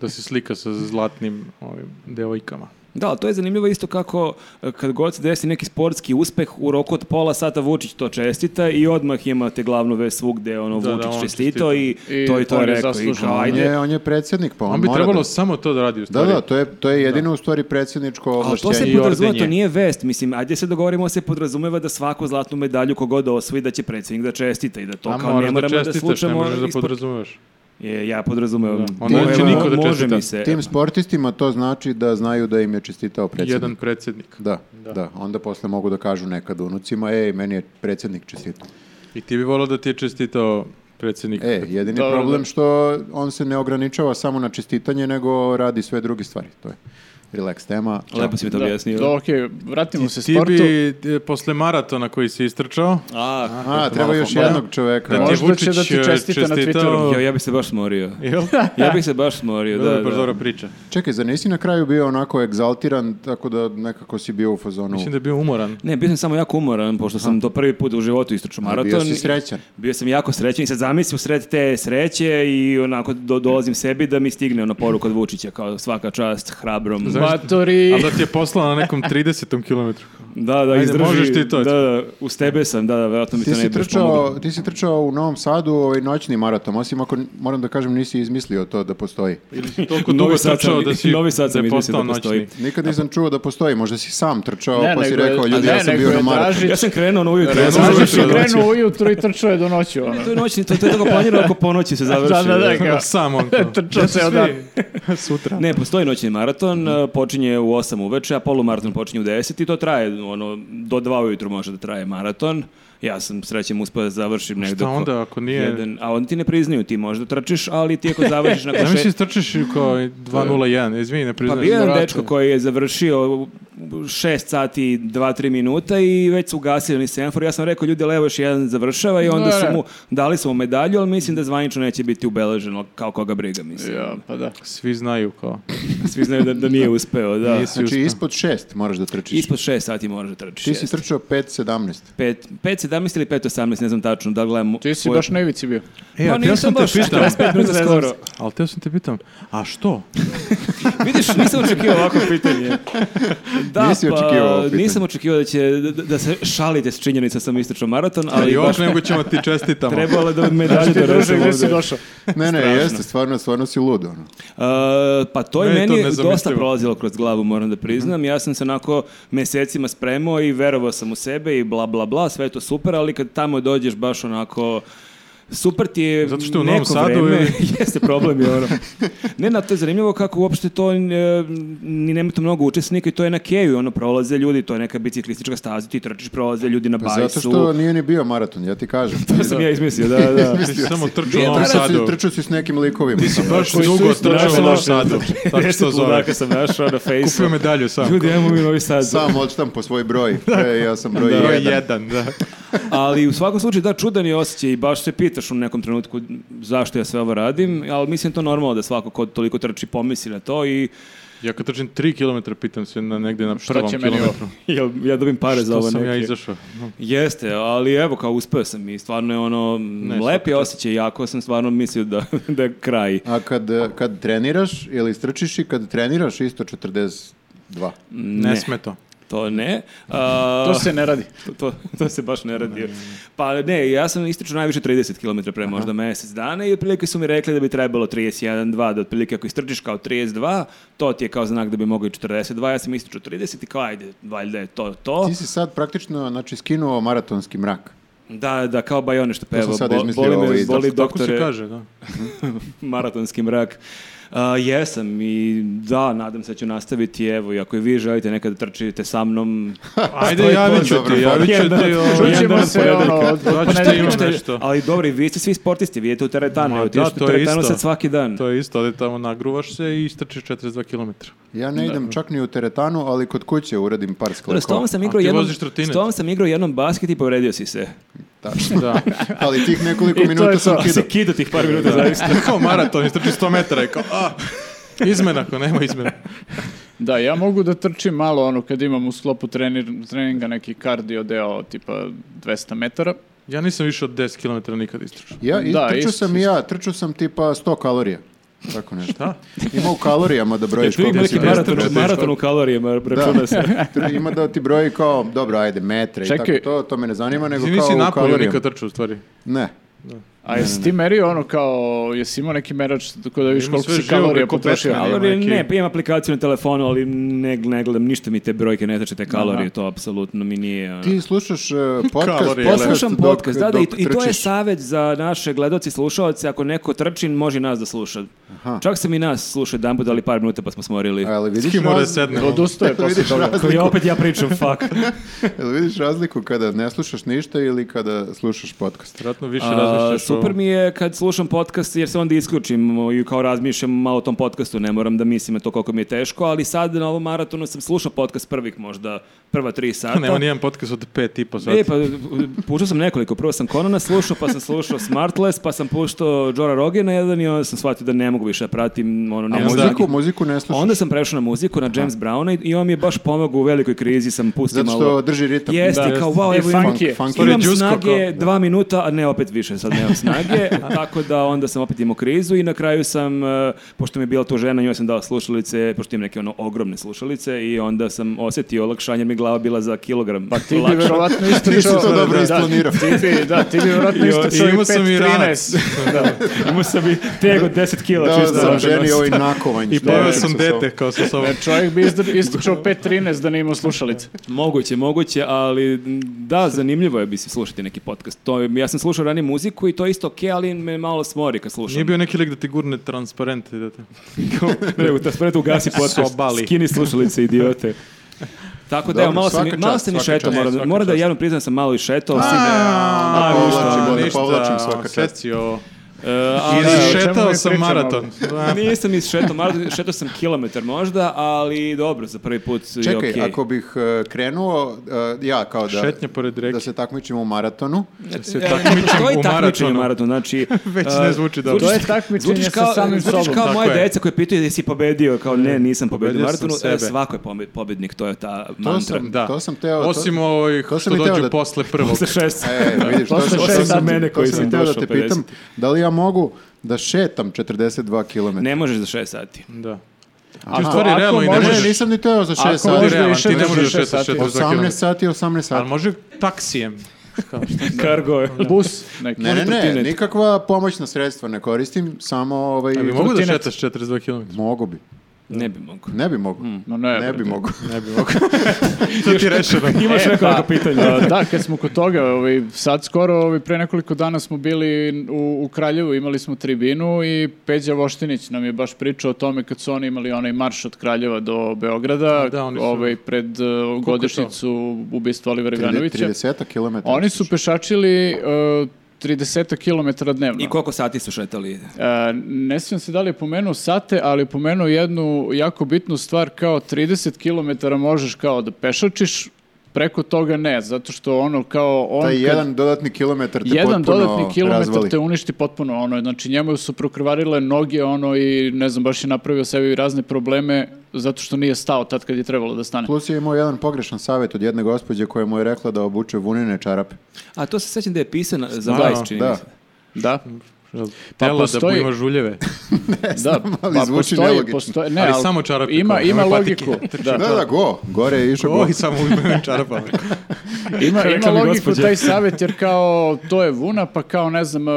Speaker 4: Da se slika sa zlatnim ovim devojkama.
Speaker 1: Da, ali to je zanimljivo isto kako e, kad god se desi neki sportski uspeh u roku od pola sata Vučić to čestita i odmah imate glavnu vest svugde ono
Speaker 4: Da, da,
Speaker 1: Vučić
Speaker 4: on
Speaker 1: čestitao i,
Speaker 3: I
Speaker 1: to i to
Speaker 3: on
Speaker 1: je
Speaker 3: je
Speaker 1: rekao i
Speaker 3: zaslužen.
Speaker 1: kao
Speaker 2: On
Speaker 1: ajde.
Speaker 2: je, on je predsjednik, pa on,
Speaker 4: On bi
Speaker 2: mora
Speaker 4: trebalo
Speaker 2: da...
Speaker 4: samo to da radi u
Speaker 2: Da,
Speaker 4: stvari.
Speaker 2: da, to je, to je jedino u stvari predsjedničko
Speaker 1: Ali to se
Speaker 2: ovlašćenje.
Speaker 4: i
Speaker 1: podrazumeva, to
Speaker 4: ordenje.
Speaker 1: nije vest, mislim, ajde se dogovorimo, se podrazumeva da svaku zlatnu medalju kogod osvoji da će predsjednik da čestita i da to
Speaker 4: A
Speaker 1: kao ne
Speaker 4: moraš da
Speaker 1: moramo da,
Speaker 4: čestitaš, ne
Speaker 1: slučamo
Speaker 4: možeš da
Speaker 1: ispod-
Speaker 4: podrazumevaš.
Speaker 1: Je, ja podrazumevam.
Speaker 4: On neće
Speaker 1: Evo,
Speaker 4: niko da
Speaker 1: može
Speaker 4: čestita.
Speaker 1: mi se.
Speaker 2: Tim sportistima to znači da znaju da im je čestitao predsjednik.
Speaker 4: Jedan predsjednik.
Speaker 2: Da, da, Onda posle mogu da kažu nekad unucima, ej, meni je predsjednik čestitao.
Speaker 4: I ti bi volao da ti je čestitao predsjednik.
Speaker 2: E, jedini
Speaker 3: Dobro,
Speaker 2: problem
Speaker 3: da.
Speaker 2: što on se ne ograničava samo na čestitanje, nego radi sve druge stvari. To je relax tema. Ćao.
Speaker 1: Lepo si mi to objasnio.
Speaker 3: Da, okej, vratimo se
Speaker 4: ti
Speaker 3: sportu.
Speaker 4: bi e, posle maratona koji si istrčao,
Speaker 1: A,
Speaker 2: A, treba još jednog čoveka.
Speaker 4: da ti je
Speaker 3: Možda će
Speaker 4: Vučić
Speaker 3: da ti
Speaker 4: e,
Speaker 3: čestita na
Speaker 4: čestitao-
Speaker 1: Jo, ja bi se baš smorio.
Speaker 4: Jel?
Speaker 1: Ja bih se baš smorio,
Speaker 4: Da,
Speaker 1: da,
Speaker 4: baš
Speaker 1: da.
Speaker 4: dobra priča.
Speaker 2: Čekaj, zar nisi na kraju bio onako egzaltiran, tako da nekako si bio u fazonu...
Speaker 4: Mislim da je bio umoran.
Speaker 1: Ne, bio sam samo jako umoran, pošto sam to prvi put u životu istračao
Speaker 2: A
Speaker 1: maraton.
Speaker 2: bio si srećan.
Speaker 1: Bio sam jako srećan i sad zamisli u sred te sreće i onako do, dolazim sebi da mi stigne ona poruka od Vučića kao svaka čast, hrabrom.
Speaker 3: Matori.
Speaker 4: Ali da ti je poslao na nekom 30. kilometru.
Speaker 1: Da, da,
Speaker 4: Ajde,
Speaker 1: izdrži.
Speaker 4: možeš ti to.
Speaker 1: Da, da, uz tebe sam, da, da, vjerojatno mi to
Speaker 2: Ti
Speaker 1: ne
Speaker 2: si,
Speaker 1: bi baš
Speaker 2: trčao,
Speaker 1: pomoglo.
Speaker 2: ti si trčao u Novom Sadu ovaj noćni maraton, osim ako, moram da kažem, nisi izmislio to da postoji.
Speaker 4: Ili si toliko
Speaker 1: Novi
Speaker 4: dugo
Speaker 1: Sad sam-
Speaker 4: trčao da si
Speaker 1: Novi Sad sam
Speaker 4: da je
Speaker 1: izmislio da
Speaker 4: postao
Speaker 1: postoji.
Speaker 4: noćni.
Speaker 2: Nikad nisam čuo da postoji, možda si sam trčao
Speaker 3: Ne,
Speaker 2: pa si
Speaker 3: nego je-
Speaker 2: rekao,
Speaker 3: a
Speaker 2: ljudi,
Speaker 3: ne,
Speaker 2: ja sam
Speaker 3: nego
Speaker 2: bio
Speaker 3: je
Speaker 2: na maratonu.
Speaker 3: Dražić-
Speaker 1: Ja sam krenuo na ujutro.
Speaker 4: Krenuo
Speaker 1: sam
Speaker 4: ujutro.
Speaker 3: Dražić
Speaker 1: završio
Speaker 3: je
Speaker 1: do noći.
Speaker 3: krenuo ujutro i trčao je do noći, ono.
Speaker 1: To je noćni, to, to je tako planirano ako po noći se završi.
Speaker 3: Da, da, da, kao-
Speaker 4: Sam on kao.
Speaker 3: Trčao ceo
Speaker 4: Svi.
Speaker 3: dan.
Speaker 4: Sutra.
Speaker 1: Ne, postoji noćni
Speaker 4: Mhm.
Speaker 1: maraton, e, počinje u 8 uveče, a polumaraton počinje u 10 i to traje, ono, do 2 ujutru može da traje maraton. Ja sam srećem uspio da završim negdje.
Speaker 4: Šta onda ako nije-
Speaker 1: Jedan, a oni ti ne priznaju, ti možda trčiš, ali ti ako završiš nakon
Speaker 4: Znam
Speaker 1: še-
Speaker 4: si trčiš i kao 2.01, izvini, ne
Speaker 1: Pa
Speaker 4: priznajem.
Speaker 1: bio je jedan
Speaker 4: Vrate.
Speaker 1: dečko koji je završio 6 sati i 2-3 minuta i već su ugasili oni semafor. Ja sam rekao, ljudi, ali evo još jedan završava i onda
Speaker 3: Da,
Speaker 1: su
Speaker 3: da.
Speaker 1: mu, dali su mu medalju, ali mislim da zvanično neće biti ubeleženo kao koga briga, mislim.
Speaker 3: Ja, pa da.
Speaker 4: Svi znaju kao.
Speaker 1: Svi znaju da, da nije uspeo, da.
Speaker 4: Nisi
Speaker 2: Znači,
Speaker 4: uspeo.
Speaker 2: ispod šest moraš da trčiš.
Speaker 1: Ispod 6 sati moraš da trčiš.
Speaker 2: Ti si
Speaker 1: jeste.
Speaker 2: trčao 5.17.
Speaker 1: 5, 5.17 ili 5.18, ne znam tačno, da gledam...
Speaker 3: Ti si
Speaker 1: koje-
Speaker 3: baš na ivici bio.
Speaker 4: E,
Speaker 1: Pa
Speaker 4: a teo
Speaker 1: nisam
Speaker 4: sam te
Speaker 1: baš,
Speaker 4: pitam,
Speaker 1: 45 minuta skoro.
Speaker 4: ali teo sam te pitam, a što?
Speaker 1: Vidiš, nisam očekivao ovako pitanje. Da, pa,
Speaker 2: Nisi očekivao ovo pitanje.
Speaker 1: Nisam očekivao da će, da, da se šalite s činjenica sam istračao maraton,
Speaker 4: Ali
Speaker 1: ali baš
Speaker 4: još nego ćemo ti čestitamo.
Speaker 1: trebalo je da me dalje
Speaker 3: Ti druže,
Speaker 1: donesem
Speaker 3: gde si
Speaker 1: ovde.
Speaker 3: došao?
Speaker 2: Ne, ne, jeste, stvarno, stvarno si lud. Ono.
Speaker 1: Uh, pa to je
Speaker 4: Meni je to
Speaker 1: meni dosta
Speaker 4: nezamislivo. Mhm.
Speaker 1: prolazilo kroz glavu, moram da priznam. Ja sam se onako mesecima spremao i verovao sam u sebe i bla bla bla, sve je to super, ali kad tamo dođeš baš onako super ti je
Speaker 4: Zato što je u
Speaker 1: neko
Speaker 4: Novom Sadu
Speaker 1: vreme,
Speaker 4: ili-
Speaker 1: jeste problem je ono. ne, na to je zanimljivo kako uopšte to e, ni nema tu mnogo učesnika i to je na keju, ono prolaze ljudi, to je neka biciklistička staza, ti trčiš, prolaze ljudi na
Speaker 2: Pa
Speaker 1: bajsu.
Speaker 2: zato što nije ni bio maraton, ja ti kažem.
Speaker 1: To sam ja izmislio, da, da.
Speaker 4: Ti si samo trčao u
Speaker 2: Trčao
Speaker 4: Novom
Speaker 2: si-
Speaker 4: Sadu.
Speaker 2: Trčao si s nekim likovima. tamo.
Speaker 4: Baš
Speaker 3: Koji su
Speaker 4: dugo
Speaker 3: isto
Speaker 4: trčao u
Speaker 1: našli
Speaker 4: Novom
Speaker 1: naše-
Speaker 4: Sadu. Tako što
Speaker 1: Deset
Speaker 4: zove.
Speaker 1: ludaka sam našao na Facebooku.
Speaker 4: Kupio medalju sam.
Speaker 1: Ljudi, ajmo mi u novi sad.
Speaker 2: Sam odštam po svoj broj. E, ja sam broj
Speaker 4: Broj
Speaker 2: jedan.
Speaker 4: jedan, da.
Speaker 1: Ali u svakom slučaju, da, čudan je osjećaj i baš se pitaš u nekom trenutku zašto ja sve ovo radim, ali mislim to normalno da svako ko toliko trči pomisli na to i
Speaker 4: Ja kad trčim 3 km pitam se na negde na
Speaker 3: Šta
Speaker 4: prvom
Speaker 3: će meni ovo?
Speaker 4: kilometru.
Speaker 1: ja, ja dobim pare za
Speaker 4: Što
Speaker 1: ovo
Speaker 4: sam
Speaker 1: neke.
Speaker 4: ja izašao? No.
Speaker 1: Jeste, ali evo kao uspeo sam i stvarno je ono lep je osjećaj, jako sam stvarno mislio da, da je kraj.
Speaker 2: A kad, eh, kad treniraš ili strčiš i kad treniraš isto 42.
Speaker 1: Ne,
Speaker 4: Ne sme to.
Speaker 1: to ne. A,
Speaker 3: To se ne radi.
Speaker 1: To, to, to se baš ne radi. Pa ne, ja sam ističu najviše 30 km pre možda mjesec dana i otprilike su mi rekli da bi trebalo 31, 2, da otprilike ako istrčiš kao 32, to ti je kao znak da bi mogao i 42, ja sam ističu 30 i kao ajde, valjda je to to.
Speaker 2: Ti si sad praktično znači, skinuo maratonski mrak.
Speaker 1: Da, da, kao Bajone što peva,
Speaker 2: sam sad
Speaker 1: bo-
Speaker 2: izmislio
Speaker 1: boli
Speaker 2: ovaj
Speaker 1: me,
Speaker 2: izraz.
Speaker 1: boli
Speaker 4: Pa Tako se
Speaker 1: doktore,
Speaker 4: kaže, da.
Speaker 1: maratonski mrak. A, jesam i da, nadam se da ću nastaviti, evo, i ako i vi želite nekada trčite sa mnom,
Speaker 4: Ajde, javit ću
Speaker 2: dobro,
Speaker 4: ti, javit ću
Speaker 1: jedan-
Speaker 4: ti. ovaj,
Speaker 1: jedan
Speaker 3: Čućemo
Speaker 1: dan
Speaker 3: se,
Speaker 1: ponedeljka.
Speaker 3: ono, od
Speaker 4: Znači,
Speaker 3: od
Speaker 4: šta imaš?
Speaker 3: ponedeljka.
Speaker 1: Ste-
Speaker 4: nešto.
Speaker 1: Ali dobri, vi ste svi sportisti, vi idete u teretane,
Speaker 4: Ma
Speaker 1: evo, ti
Speaker 4: da,
Speaker 1: ideš u
Speaker 4: to je
Speaker 1: teretanu
Speaker 4: isto.
Speaker 1: sad svaki dan.
Speaker 4: To je isto, ali tamo nagruvaš se i strčiš 42 km.
Speaker 2: Ja ne idem čak ni u teretanu, ali kod kuće uradim par
Speaker 1: Dobro, s tobom
Speaker 2: sklekova.
Speaker 1: sam igrao
Speaker 4: ti
Speaker 1: jednom,
Speaker 4: voziš trotinet.
Speaker 1: s tobom sam igrao jednom basket i povredio si se.
Speaker 2: Tačno.
Speaker 4: Da.
Speaker 2: Ali tih nekoliko
Speaker 3: I to je
Speaker 2: minuta sam
Speaker 3: to.
Speaker 1: Pa
Speaker 2: kidao.
Speaker 1: si kido tih par minuta, zavisno.
Speaker 4: kao maraton, istrči 100 metara i kao, a, izmena, ako nema izmena.
Speaker 3: Da, ja mogu da trčim malo ono kad imam u sklopu trenir- treninga neki kardio deo tipa 200 metara.
Speaker 4: Ja nisam više od 10 km nikad istrčao.
Speaker 2: Ja, i
Speaker 3: Da,
Speaker 2: trčao
Speaker 3: isto,
Speaker 2: sam i ja, trčao sam tipa 100 kalorija. Tako nešto.
Speaker 4: Šta?
Speaker 2: Ima u kalorijama da brojiš
Speaker 1: Tu ima
Speaker 2: koliko
Speaker 1: neki
Speaker 2: si
Speaker 1: maraton,
Speaker 2: pretrčao.
Speaker 1: maraton u kalorijama, računa
Speaker 2: Da,
Speaker 1: se.
Speaker 2: Tr- ima da ti broji kao, dobro, ajde, metre i
Speaker 3: Čekaj.
Speaker 2: tako to, to me ne zanima, nego
Speaker 4: Ti
Speaker 2: kao
Speaker 4: nisi
Speaker 2: u
Speaker 4: napolju
Speaker 2: kalorijama.
Speaker 4: nikad trčao, u stvari.
Speaker 2: Ne.
Speaker 3: A jesi ti merio ono kao, jesi imao neki merač tako da vidiš
Speaker 4: Imam
Speaker 3: koliko
Speaker 4: sve
Speaker 3: si
Speaker 4: živo,
Speaker 3: kalorija
Speaker 4: preko
Speaker 3: potrošio?
Speaker 4: pesme.
Speaker 1: Kalorije
Speaker 4: neki-
Speaker 1: ne, pa imam aplikaciju na telefonu, ali ne, ne gledam, ništa mi te brojke ne trče, te kalorije, to apsolutno mi nije... ono.
Speaker 2: Ti slušaš uh, podcast,
Speaker 4: Kalorije,
Speaker 2: podcast
Speaker 1: Ja slušam
Speaker 2: dok-
Speaker 1: podcast, da, da, i,
Speaker 2: dok
Speaker 1: i to je
Speaker 2: trčiš.
Speaker 1: savjet za naše gledoci i slušalce, ako neko trči, može i nas da sluša. Čak sam i nas slušao jedan put, ali par minuta pa smo smorili.
Speaker 2: A, jel
Speaker 4: S
Speaker 2: vidiš,
Speaker 4: kim mora da
Speaker 2: raz-
Speaker 4: sednemo?
Speaker 3: Odustao je posle
Speaker 2: vidiš
Speaker 3: toga.
Speaker 1: Koji
Speaker 2: razliku,
Speaker 1: opet ja pričam, fuck.
Speaker 2: jel vidiš razliku kada ne slušaš ništa ili kada slušaš podcast?
Speaker 4: Vratno više
Speaker 1: A,
Speaker 4: razmišljaš o
Speaker 1: super
Speaker 4: ovom.
Speaker 1: mi je kad slušam podcast jer se onda isključim i kao razmišljam malo o tom podcastu, ne moram da mislim na to koliko mi je teško, ali sad na ovom maratonu sam slušao podcast prvih možda prva tri sata.
Speaker 4: Nema nijedan podcast od pet i po sati.
Speaker 1: E, pa puštao sam nekoliko. Prvo sam Conana slušao, pa sam slušao Smartless, pa sam puštao Jora Rogena jedan i onda sam shvatio da ne mogu više da pratim. Ono,
Speaker 2: A
Speaker 1: nemam
Speaker 2: muziku,
Speaker 1: snage.
Speaker 2: muziku ne slušaš.
Speaker 1: Onda sam prešao na muziku, na James Browna i- i on mi je baš pomogao u velikoj krizi, sam pustio
Speaker 2: Zato što
Speaker 1: malo...
Speaker 2: drži ritam.
Speaker 1: Jeste,
Speaker 4: Da.
Speaker 1: kao, wow,
Speaker 3: I
Speaker 1: evo
Speaker 3: funk
Speaker 1: imam,
Speaker 2: Funk-
Speaker 3: je.
Speaker 2: funk-
Speaker 1: imam
Speaker 4: Đusko
Speaker 1: snage
Speaker 4: kao-
Speaker 1: dva minuta, a ne opet više, sad nemam snage, tako da onda sam opet imao krizu i na kraju sam, e, pošto mi je bila tu žena, njoj sam dao slušalice, pošto imam neke ono ogromne slušalice i onda sam osjetio olakšanje, jer mi je glava bila za kilogram. Pa
Speaker 3: Ti bi verovatno isto
Speaker 2: Ti si
Speaker 3: čuo-
Speaker 2: to dobro
Speaker 3: da,
Speaker 2: isplanirao.
Speaker 3: Ti bi, da, ti bi verovatno isto čuo i
Speaker 4: imao sam i
Speaker 3: 5.13. Da.
Speaker 1: Imao sam i teg od 10 kila
Speaker 2: Dao
Speaker 1: čisto.
Speaker 2: sam
Speaker 1: da
Speaker 2: ženi
Speaker 1: nosim.
Speaker 2: ovaj nakovanj.
Speaker 4: I poveo sam dete kao sa sobom.
Speaker 3: Jer čovjek bi izdr- isto čuo 5.13 da nije imao slušalice.
Speaker 1: Moguće, moguće, ali m, da, zanimljivo je bi se slušati neki podcast. To, je- ja sam slušao ranije muziku i to je isto okej, ali me malo smori kad slušam.
Speaker 4: Nije bio neki lik da ti gurne transparente, da te...
Speaker 1: Nego, ta spred ugasi podcast,
Speaker 4: Sobali.
Speaker 1: skini slušalice, idiote. Tako da,
Speaker 2: Dobro,
Speaker 1: evo, malo sam,
Speaker 2: svaka
Speaker 1: malo
Speaker 2: čast,
Speaker 1: sam i
Speaker 2: svaka
Speaker 1: šetao,
Speaker 2: čast.
Speaker 1: moram,
Speaker 4: Svaka
Speaker 1: moram da
Speaker 4: čast.
Speaker 1: javno priznam da sam malo i šetao. svi me-
Speaker 2: A, povlačim, onda povlačim svaka čast.
Speaker 4: Svetio.
Speaker 1: E, ali-
Speaker 4: Izšetao
Speaker 3: mi
Speaker 4: sam
Speaker 3: pričamo?
Speaker 4: maraton.
Speaker 1: nisam izšetao, malo- šetao sam kilometar možda, ali dobro, za prvi put je
Speaker 2: Čekaj,
Speaker 1: okej.
Speaker 2: ako bih e, krenuo, e, ja kao da...
Speaker 4: Šetnja pored reke.
Speaker 2: Da se takmičimo u maratonu.
Speaker 1: E,
Speaker 4: Se
Speaker 1: ne
Speaker 4: takmičim
Speaker 1: postoji
Speaker 4: u
Speaker 1: takmičenje u
Speaker 4: maratonu.
Speaker 1: maratonu, znači...
Speaker 4: Već
Speaker 1: e,
Speaker 4: ne zvuči dobro.
Speaker 3: To je
Speaker 1: zvučiš-
Speaker 3: takmičenje
Speaker 1: Zvučiš
Speaker 3: sa
Speaker 1: kao,
Speaker 3: samim
Speaker 1: zvučiš
Speaker 3: sobom.
Speaker 1: kao
Speaker 4: tako
Speaker 1: moje
Speaker 4: je.
Speaker 1: deca koje pitaju jesi pobedio, kao ne, nisam pobedio u
Speaker 4: pobedio sam
Speaker 1: maratonu, e,
Speaker 4: sebe.
Speaker 1: svako je pobe- pobednik, to je ta
Speaker 2: To
Speaker 1: mantra.
Speaker 2: sam,
Speaker 4: Da.
Speaker 2: to sam teo...
Speaker 4: Osim ovih
Speaker 2: to sam
Speaker 4: što
Speaker 2: i teo
Speaker 4: dođu
Speaker 2: da-
Speaker 4: posle prvog.
Speaker 1: Sa šest.
Speaker 2: E, vidiš, to,
Speaker 3: To
Speaker 2: sam,
Speaker 3: sam
Speaker 2: to
Speaker 3: šest
Speaker 2: sam-
Speaker 1: mene
Speaker 2: to
Speaker 1: koji
Speaker 2: sam
Speaker 1: sam
Speaker 2: teo da
Speaker 1: došao
Speaker 2: te pitam,
Speaker 1: 50.
Speaker 2: da li ja mogu da šetam 42 km?
Speaker 1: Ne možeš za šest sati.
Speaker 4: Da.
Speaker 3: Ako-
Speaker 4: u stvari
Speaker 3: ako
Speaker 4: realno i ne
Speaker 2: Ne,
Speaker 3: možeš-
Speaker 4: možeš.
Speaker 2: nisam ni teo za 6
Speaker 3: Ako
Speaker 2: sati.
Speaker 3: možeš da
Speaker 4: Realno,
Speaker 3: i
Speaker 4: ti
Speaker 3: šetneš
Speaker 4: ne možeš
Speaker 3: šest
Speaker 4: šetati
Speaker 3: sati.
Speaker 4: 42
Speaker 2: 18 sati, 18
Speaker 4: Ali
Speaker 2: sati.
Speaker 4: može taksijem.
Speaker 1: Kargo je.
Speaker 3: Bus neki.
Speaker 2: Ne, ne, ne,
Speaker 1: trotinet.
Speaker 2: nikakva pomoćna sredstva ne koristim, samo ovaj...
Speaker 4: Ja bi mogu da
Speaker 3: Trotinet.
Speaker 4: šetaš 42 km?
Speaker 2: Mogu bi.
Speaker 1: Ne bi mogo.
Speaker 2: Ne bi mogu.
Speaker 3: Ma Hmm. ne,
Speaker 2: Ne bi
Speaker 3: brate.
Speaker 2: mogu.
Speaker 4: To ti rešeno.
Speaker 1: Imaš
Speaker 3: E,
Speaker 1: nekoliko
Speaker 3: pa,
Speaker 1: pitanja.
Speaker 3: Da, da, kad smo kod toga, ovaj, sad skoro, ovaj, pre nekoliko dana smo bili u, u Kraljevu, imali smo tribinu i Peđa Voštinić nam je baš pričao o tome kad su oni imali onaj marš od Kraljeva do Beograda,
Speaker 4: Da, oni su-
Speaker 3: ovaj, pred eh, godišnjicu ubistva Olivera Ivanovića.
Speaker 2: 30 km.
Speaker 3: Oni su pešačili uh, 30 km dnevno.
Speaker 1: I koliko sati su šetali?
Speaker 3: E, ne sjećam se da li je pomenuo sate, ali je pomenuo jednu jako bitnu stvar kao 30 km možeš kao da pešačiš, preko toga ne, zato što ono kao on
Speaker 2: Taj
Speaker 3: kad-
Speaker 2: jedan dodatni kilometar te
Speaker 3: jedan
Speaker 2: potpuno
Speaker 3: dodatni kilometar
Speaker 2: razvali.
Speaker 3: te uništi potpuno ono, znači njemu su prokrvarile noge ono i ne znam, baš je napravio sebi razne probleme zato što nije stao tad kad je trebalo da stane.
Speaker 2: Plus je imao jedan pogrešan savjet od jedne gospođe koja mu je rekla da obuče vunine čarape.
Speaker 1: A to se sjećam da je pisan za
Speaker 4: Da,
Speaker 1: Vice, čini mi
Speaker 2: da.
Speaker 1: se.
Speaker 3: Da, Pa
Speaker 4: Tela da
Speaker 3: postoji-
Speaker 4: ima žuljeve.
Speaker 3: da,
Speaker 2: E, ali
Speaker 3: pa
Speaker 2: zvuči
Speaker 3: postoji,
Speaker 2: nelogično.
Speaker 3: postoji, ne,
Speaker 4: Ali
Speaker 3: ali
Speaker 4: samo čarape
Speaker 3: ima,
Speaker 4: kao,
Speaker 3: ima
Speaker 4: nemoj patike.
Speaker 3: logiku. da.
Speaker 2: Da, da, go. Gore je išao go.
Speaker 4: Ovo i samo uzmem čarapama.
Speaker 3: Ima, ima
Speaker 1: Rekla mi
Speaker 3: logiku
Speaker 1: gospođa.
Speaker 3: taj savjet jer kao to je vuna pa kao ne znam e,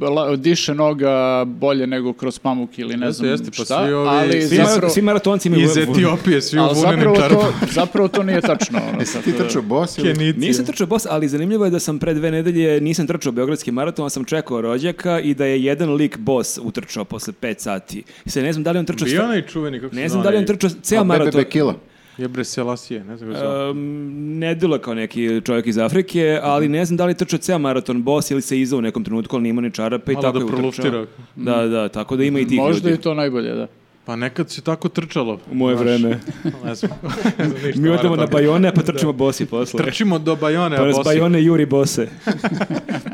Speaker 3: la- diše noga bolje nego kroz pamuk ili ne
Speaker 4: Jeste,
Speaker 3: znam
Speaker 4: jeste, pa
Speaker 3: šta,
Speaker 4: svi ovi-
Speaker 3: ali
Speaker 1: Svi,
Speaker 3: zapravo,
Speaker 1: mara- svi maratonci imaju...
Speaker 4: Iz Etiopije svi u
Speaker 3: ali
Speaker 4: vunenim
Speaker 3: zapravo, to,
Speaker 4: čarapama.
Speaker 3: zapravo to nije tačno. Ono, tako
Speaker 2: Ti
Speaker 1: e,
Speaker 3: da-
Speaker 2: trčao bos ili...
Speaker 4: Kenici.
Speaker 1: Nisam trčao bos, ali zanimljivo je da sam pre dve nedelje nisam trčao Beogradski maraton, ali sam čekao rođaka i da je jedan lik bos utrčao posle pet sati. Se ne znam da li je on trčao...
Speaker 4: Bio
Speaker 1: sta-
Speaker 4: onaj čuveni, kako se
Speaker 1: Ne znam da li je on trčao
Speaker 2: A
Speaker 1: ceo
Speaker 2: Bebe
Speaker 1: maraton.
Speaker 2: Bekila.
Speaker 4: Jebre Selasije, ne znam kako se zove.
Speaker 1: Um, ne delo kao neki čovjek iz Afrike, ali ne znam da li je trčao ceo maraton bos ili se izao u nekom trenutku, ali nije imao ni čarape i
Speaker 4: Malo
Speaker 1: tako
Speaker 4: da
Speaker 1: je
Speaker 4: proluftira.
Speaker 1: utrčao. Da, da, tako da ima i tih
Speaker 3: Možda
Speaker 1: ljudi.
Speaker 3: je to najbolje, da.
Speaker 4: Pa nekad se tako trčalo.
Speaker 1: U moje
Speaker 4: Znaš,
Speaker 1: vreme.
Speaker 4: Ne znam. Ne znam ništa
Speaker 1: Mi odemo
Speaker 4: maratona.
Speaker 1: na Bajone, a pa trčimo bosi posle.
Speaker 4: Trčimo do Bajone, a
Speaker 1: Pa nas
Speaker 4: bosi-
Speaker 1: Bajone juri bose.